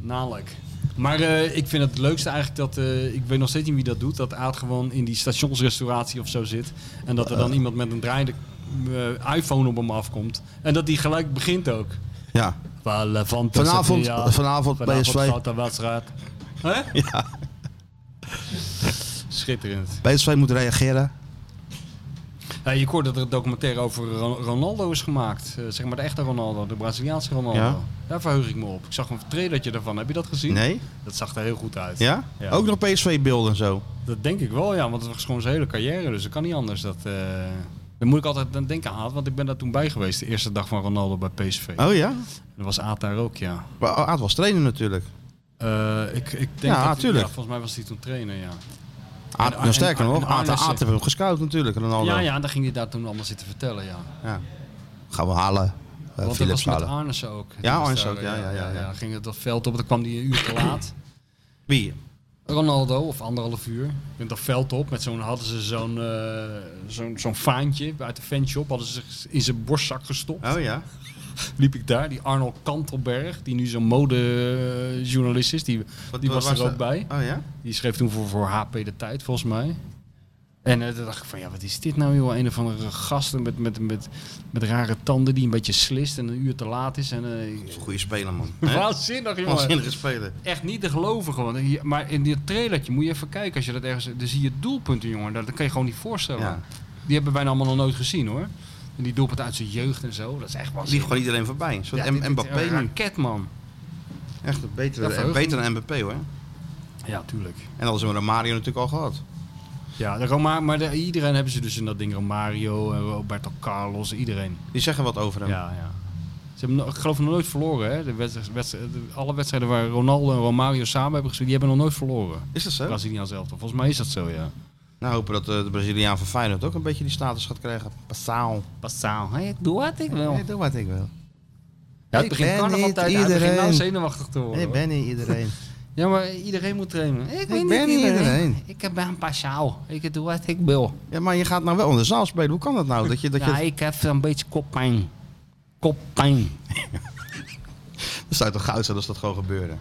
C: Namelijk. Maar eh, ik vind het leukste eigenlijk dat, eh, ik weet nog steeds niet wie dat doet, dat Aad gewoon in die stationsrestauratie of zo zit. En dat er dan iemand met een draaiende eh, iPhone op hem afkomt. En dat die gelijk begint ook.
B: Ja.
C: Wel, van
B: Vanavond, vanavond, PSV.
C: de wedstrijd. Hè?
B: Ja.
C: Schitterend.
B: PSV moet reageren.
C: Hey, je hoort dat er een documentaire over Ro- Ronaldo is gemaakt. Eh, zeg maar de echte Ronaldo, de Braziliaanse Ronaldo.
B: Ja.
C: Daar verheug ik me op. Ik zag een trailertje daarvan. Heb je dat gezien?
B: Nee?
C: Dat zag er heel goed uit.
B: Ja?
C: Ja.
B: Ook nog PSV-beelden en zo.
C: Dat denk ik wel, ja. Want het was gewoon zijn hele carrière. Dus dat kan niet anders. Dat, eh, Daar moet ik altijd aan denken aan. Want ik ben daar toen bij geweest. De eerste dag van Ronaldo bij PSV.
B: Oh ja?
C: Dat was Aad daar ook, ja.
B: Maar Aad was trainer natuurlijk.
C: Eh, ik, ik denk
B: Ja,
C: dat,
B: tuurlijk.
C: volgens mij was hij toen trainer, ja.
B: Aad,
C: En-
B: nou,
C: en-
B: sterker
C: en
B: nog, Aad, Aad
C: Arnissen.
B: heeft hem gescout natuurlijk. Ronaldo.
C: Ja, ja, dan ging hij daar toen allemaal zitten vertellen, ja.
B: Gaan we halen. eh,
C: Want dat was
B: Philips
C: met
B: halen.
C: Arnissen ook.
B: Ja,
C: Die was
B: Arnissen
C: daar, eh,
B: ook, ja, ja, ja, ja.
C: Ging het dat veld op, dan kwam hij een uur te laat.
B: Wie?
C: Ronaldo, of anderhalf uur, ging dat veld op. Met zo'n, hadden ze zo'n, eh, zo'n, zo'n faantje uit de fanshop, hadden ze in zijn borstzak gestopt.
B: Oh ja.
C: Liep ik daar, die Arnold Kantelberg, die nu zo'n modejournalist is, die,
B: Wat-
C: die
B: wat
C: was er ook
B: dat?
C: bij.
B: Oh ja?
C: Die schreef toen voor, voor HP de tijd, volgens mij. En eh, toen dacht ik van, ja, wat is dit nou, joh? Een of andere gasten met, met, met, met rare tanden die een beetje slist en een uur te laat is. En, eh,
B: Dat is een goede speler, man. Hè?
C: waanzinnig, jongen.
B: Waanzinnige speler.
C: Echt niet te geloven gewoon. En hier- Maar in dit trailertje moet je even kijken. Als je dat ergens... Dan zie je doelpunten, jongen. Dat dat kan je gewoon niet voorstellen.
B: Ja.
C: Die hebben wij nou allemaal nog nooit gezien, hoor. En die doelpunten uit zijn jeugd en zo. Dat is echt
B: Liep
C: waanzinnig.
B: gewoon iedereen voorbij. Een soort
C: Ja,
B: M-
C: dit- dit-
B: Mbappé
C: Een
B: nu.
C: raket, man.
B: Echt een
C: Ja,
B: betere,
C: verheugd
B: betere dan Mbappé hoor.
C: Ja, tuurlijk.
B: En dat is met Romario natuurlijk al gehad.
C: Ja, de Roma, maar de, iedereen hebben ze dus in dat ding. Romario, en Roberto Carlos, iedereen.
B: Die zeggen wat over
C: Ja,
B: hem.
C: ja. Ze hebben, nog- ik geloof nog nooit verloren, hè. De wedst- wedst- de- alle wedstrijden waar Ronaldo en Romario samen hebben gespeeld, die hebben nog nooit verloren.
B: Is dat zo?
C: Braziliaan zelf. Volgens mij is dat zo, ja.
B: Nou, hopen dat eh, de Braziliaan van Feyenoord ook een beetje die status gaat krijgen. Passaal.
C: Passaal. Hey, ik doe wat ik wil.
B: Ik doe wat ik wil.
C: Ja,
B: Ik
C: het begint
B: ben niet
C: carnavaltijd. Hij begint nou
B: iedereen.
C: zenuwachtig te worden.
B: Ik ben niet iedereen.
C: Ja, maar iedereen moet trainen. Ik,
B: ben niet iedereen.
C: Ik heb een passaal. Ik doe wat ik wil.
B: Ja, maar je gaat nou wel in de zaal spelen. Hoe kan dat nou? Dat je, dat je...
C: Ja, ik heb een beetje koppijn. Koppijn.
B: Dat zou toch goud zijn als dat gewoon gebeurde.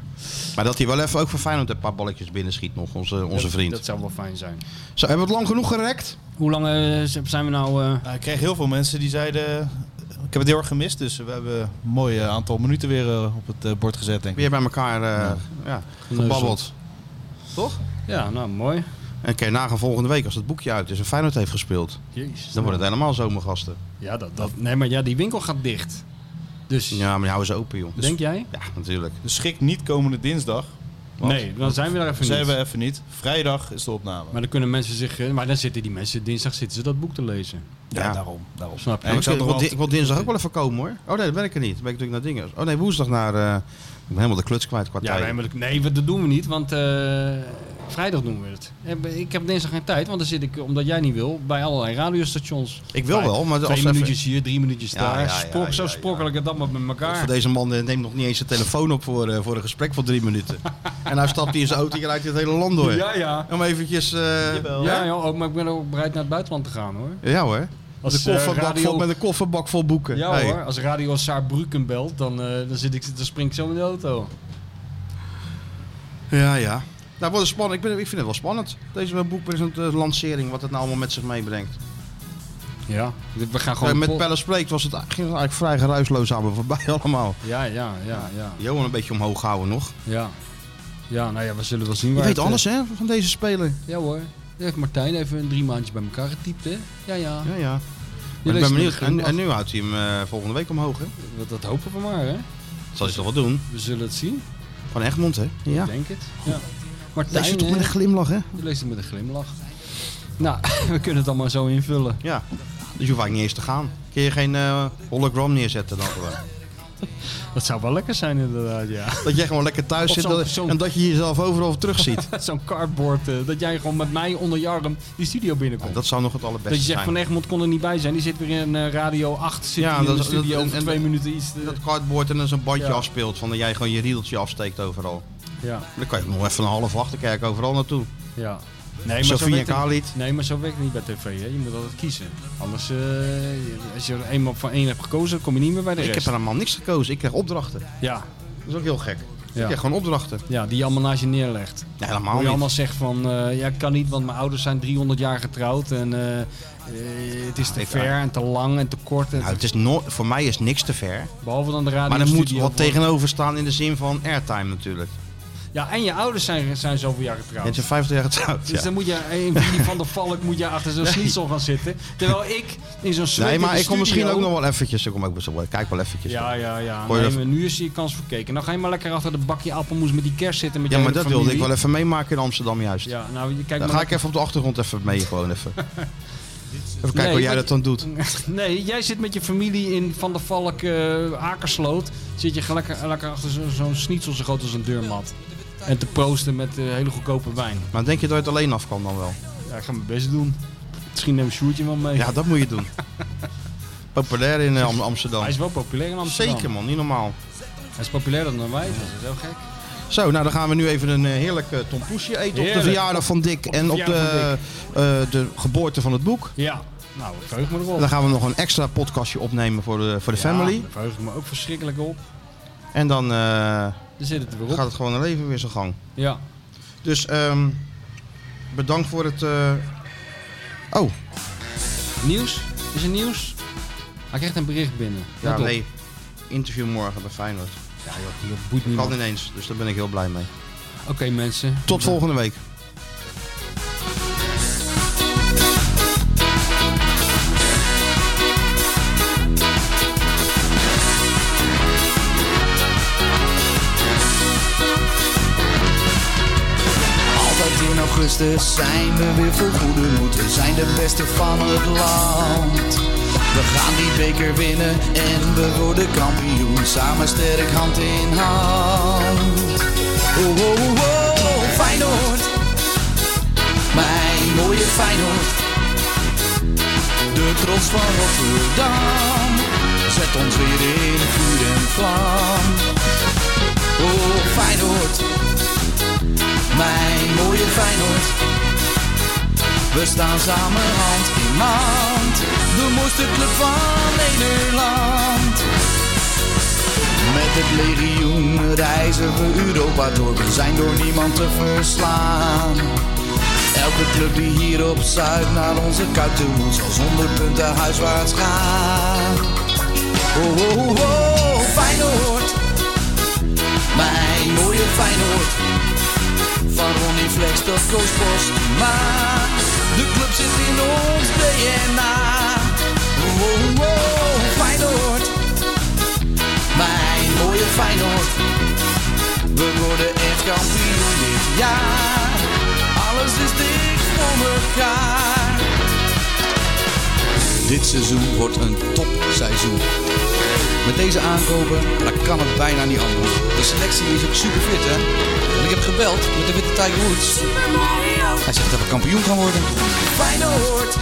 B: Maar dat hij wel even ook voor Feyenoord een paar balletjes binnenschiet nog, onze, onze vriend.
C: Dat zou wel fijn zijn.
B: Zo, hebben we het lang genoeg gerekt?
C: Hoe lang eh, z- zijn we nou... eh,
D: Nou, ik kreeg heel veel mensen die zeiden... Ik heb het heel erg gemist, dus we hebben een mooi eh, aantal minuten weer eh, op het eh, bord gezet, denk ik.
B: Weer bij elkaar eh ja, gebabbeld. Toch?
C: Ja, nou, mooi.
B: En kun je nagaan volgende week als het boekje uit is en Feyenoord heeft gespeeld.
C: Jezus.
B: Dan worden het helemaal zomergasten.
C: Ja, dat, dat... Nee, maar ja, die winkel gaat dicht. Dus,
B: Ja, Dus maar die houden ze open, joh.
C: denk jij?
B: Ja, natuurlijk.
D: Dus schik niet komende dinsdag.
C: Nee, dan zijn we daar even
D: Zijn
C: niet.
D: we even niet. Vrijdag is de opname.
C: Maar dan kunnen mensen zich... eh, Maar dan zitten die mensen... Dinsdag zitten ze dat boek te lezen.
B: Ja,
D: daarom. daarom.
C: Snap je?
B: Ja, maar
D: En
B: ik, zou toch
D: kun je
B: wel,
D: wel-
B: di- ik wil dinsdag ook wel even komen, hoor. Oh nee, dat ben ik er niet. Dan ben ik natuurlijk naar dingen. Oh nee, woensdag naar... eh, ik ben helemaal de kluts kwijt qua
C: Ja,
B: tijd.
C: nee, maar dat- nee, we- dat doen we niet, want eh, vrijdag doen we het. En we- Ik heb dinsdag geen tijd, want dan zit ik, omdat jij niet wil, bij allerlei radiostations.
B: Ik wil
C: Bij
B: wel, maar
C: Twee
B: als even-
C: minuutjes hier, drie minuutjes
B: Ja,
C: daar.
B: ja, ja,
C: Sprok-
B: ja,
C: zo
B: ja.
C: sprokkel ik het allemaal met elkaar.
B: Voor deze man eh, neemt nog niet eens zijn telefoon op voor, eh, voor een gesprek van drie minuten. en nou stapt hij in zijn auto en rijdt hij het hele land door.
C: Ja, ja.
B: Om eventjes... eh,
C: Ja, joh, ook, maar ik ben ook bereid naar het buitenland te gaan hoor.
B: ja hoor.
C: Als
B: de
C: eh,
B: kofferbak vol, met een kofferbak vol boeken.
C: Ja
B: Hey.
C: hoor, als radio Saarbrücken belt, dan, eh, dan, zit ik, dan spring ik zo in de auto.
B: Ja, ja. Nou, wat is spannend. Ik, ben, ik vind het wel spannend. Deze boekpresentatie, eh, lancering, wat het nou allemaal met zich meebrengt.
C: Ja, we gaan
B: Eh,
C: gewoon...
B: met
C: pol-
B: Pelle Spreekt was het, ging het eigenlijk vrij geruisloos aan me voorbij allemaal.
C: Ja, ja, ja, ja,
B: Johan een beetje omhoog houden nog.
C: ja. Ja, nou ja, we zullen wel zien
B: Je
C: waar
B: weet
C: het, eh,
B: alles hè, van deze speler.
C: Ja hoor. Heeft Martijn even een drie maandjes bij elkaar getypt, hè? Ja, ja.
B: Ja, ja.
C: Je
B: Maar ik
C: leest
B: ben benieuwd.
C: het in,
B: En, en nu houdt hij hem eh, volgende week omhoog hè.
C: Dat- Dat hopen we maar, hè?
B: Zal hij toch wel doen?
C: We zullen het zien.
B: Van Egmond hè. Ja.
C: Ik denk het. Ja.
B: Lees je
C: Martijn,
B: toch met
C: hè?
B: een glimlach hè.
C: Die leest het met een glimlach. Nou, we kunnen het allemaal zo invullen.
B: Ja. Dus je hoeft eigenlijk niet eens te gaan. Kun je geen eh, hologram neerzetten dan gewoon.
C: Dat zou wel lekker zijn inderdaad, ja.
B: Dat jij gewoon lekker thuis
C: Of
B: zit
C: zo'n-
B: dat-
C: zo'n-
B: en dat je jezelf overal terug ziet.
C: Zo'n cardboard, eh, dat jij gewoon met mij onder je arm die studio binnenkomt.
B: Dat zou nog het allerbeste
C: dat je zegt,
B: zijn.
C: Van Egmond kon er niet bij zijn. Die zit weer in eh, Radio 8, zit
B: Ja,
C: ja, in
B: dat-
C: de studio
B: dat- en-
C: over
B: en-
C: twee minuten iets. te-
B: dat cardboard en dan zo'n bandje
C: Ja.
B: afspeelt. Van dat jij gewoon je riedeltje afsteekt overal.
C: ja,
B: Dan kan je nog even een half achterkerk overal naartoe.
C: ja. Nee, maar zo
B: Sofie en
C: werkt het,
B: Khalid.
C: nee, maar zo werkt het niet bij tv. Hè. Je moet altijd kiezen. Anders, eh, als je er eenmaal van één hebt gekozen, kom je niet meer bij de
B: Ik
C: rest.
B: heb helemaal niks gekozen. Ik krijg opdrachten.
C: ja,
B: Dat is ook heel gek. Ik
C: Ja.
B: krijg gewoon opdrachten.
C: ja, die je allemaal naast je neerlegt.
B: Nee,
C: Hoe
B: helemaal
C: je
B: niet.
C: allemaal zegt van, eh, ja, kan niet, want mijn ouders zijn 300 jaar getrouwd. En eh, eh, het is te
B: ik-
C: ver en te lang en te kort. En
B: Nou, het is no- voor mij is niks te ver.
C: behalve dan de radio.
B: Maar er moet
C: Ah, studio
B: wat
C: worden.
B: tegenover staan in de zin van airtime natuurlijk.
C: Ja, en je ouders zijn, zijn zoveel jaar getrouwd.
B: Mensen zijn 50 jaar getrouwd.
C: Dus
B: ja.
C: dan moet je, een van die van de valk moet je achter zo'n schnitzel gaan zitten. Terwijl ik in zo'n slot
B: Nee,
C: in
B: maar
C: de
B: ik kom misschien
C: studio-
B: ook nog wel eventjes. Ik kom ook best wel, kijk wel eventjes.
C: Ja, ja, ja.
B: Hoor je
C: Nee,
B: dat-
C: maar nu is je kans verkeken. Dan ga je maar lekker achter de bakje appelmoes met die kerst zitten met
B: Ja,
C: je
B: maar
C: hele
B: dat wilde ik
C: familie.
B: wel even meemaken in Amsterdam juist.
C: Ja, nou, je kijkt
B: Dan
C: maar
B: ga ik even op de achtergrond even mee, gewoon even. Even kijken
C: Nee,
B: hoe jij
C: maar-
B: dat dan doet.
C: Nee, jij zit met je familie in Van der Valk eh, Akersloot. Zit je lekker, lekker achter zo- zo'n schnitzel zo groot als een deurmat. En te proosten met eh, hele goedkope wijn.
B: Maar denk je dat je het alleen af kan dan wel?
C: Ja, ik ga mijn best doen. Misschien neem ik Sjoertje wel mee.
B: Ja, dat moet je doen. Populair in eh, Am- Amsterdam.
C: Hij is wel populair in Amsterdam.
B: Zeker man, niet normaal.
C: Hij is populairder dan wij. Dat is heel gek.
B: Zo, nou dan gaan we nu even een eh, heerlijk eh, tompoesje eten op de
C: Heerlijk.
B: verjaardag van Dick en op de,
C: verjaardag
B: eh, de geboorte van het boek.
C: Ja. Nou, daar verheug ik me
B: En
C: erop.
B: dan gaan we nog een extra podcastje opnemen voor de, voor de family.
C: Ja, daar verheug ik me ook verschrikkelijk op.
B: En dan eh,
C: Daar zit het er weer op.
B: gaat het gewoon een leven weer zijn gang.
C: Ja.
B: Dus ehm, bedankt voor het... eh, Oh,
C: Nieuws? Is er nieuws? Hij krijgt een bericht binnen.
B: ja,
C: Let op.
B: nee. Interview morgen bij Feyenoord.
C: Ja, joh, die boeit
B: Kan
C: niemand.
B: ineens, dus daar ben ik heel blij mee.
C: Oké mensen.
B: Tot volgende week.
A: Altijd in augustus zijn we weer vol goede moed. We zijn de beste van het land. We gaan die beker winnen en we worden kampioen. Samen sterk hand in hand. Oh, oh, oh, oh Feyenoord. Mijn mooie Feyenoord. De trots van Rotterdam. Zet ons weer in vuur en vlam. Oh, Feyenoord mijn mooie Feyenoord. We staan samen hand in hand, de mooiste club van Nederland. Met het legioen reizen we Europa door, we zijn door niemand te verslaan. Elke club die hier op Zuid naar onze kuit toe moet, zal zonder punten huiswaarts gaan. Oh, oh, oh, oh, Feyenoord, mijn mooie Feyenoord. Van Ronnie Flex tot Koos Bos. Maar de club zit in ons DNA. Oh, oh, oh, Feyenoord. Mijn mooie Feyenoord. We worden echt kampioen dit jaar. Alles is dicht voor elkaar. Dit seizoen wordt een topseizoen. Met deze aankopen, dan kan het bijna niet anders. De selectie is ook super fit, hè? En ik heb gebeld met de witte Tiger Woods. Hij zegt dat we kampioen gaan worden. Feyenoord,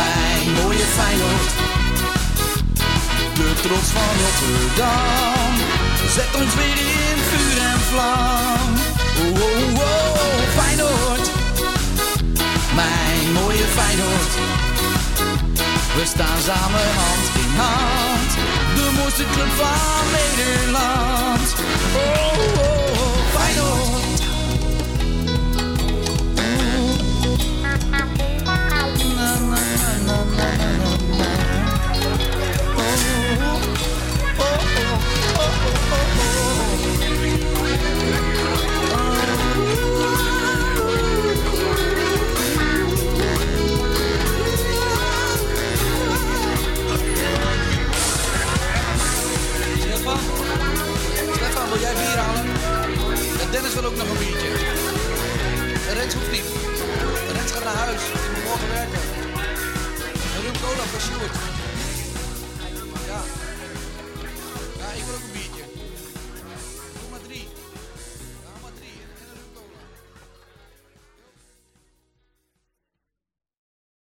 A: mijn mooie Feyenoord. De trots van Rotterdam, zet ons weer in vuur en vlam. Oh, oh, oh, Feyenoord, mijn mooie Feyenoord. We staan samen hand in hand, de mooiste club van Nederland. Oh, oh, oh Feyenoord. Oh. Na, na, na, na, na, na, na. Oh, oh, oh, oh, Stefan? Stefan, wil jij bier halen? En Dennis wil ook nog een biertje. En Rens hoeft niet. Rens gaat naar huis. Die moet morgen werken. En Ruud Cola voor Sjoerd.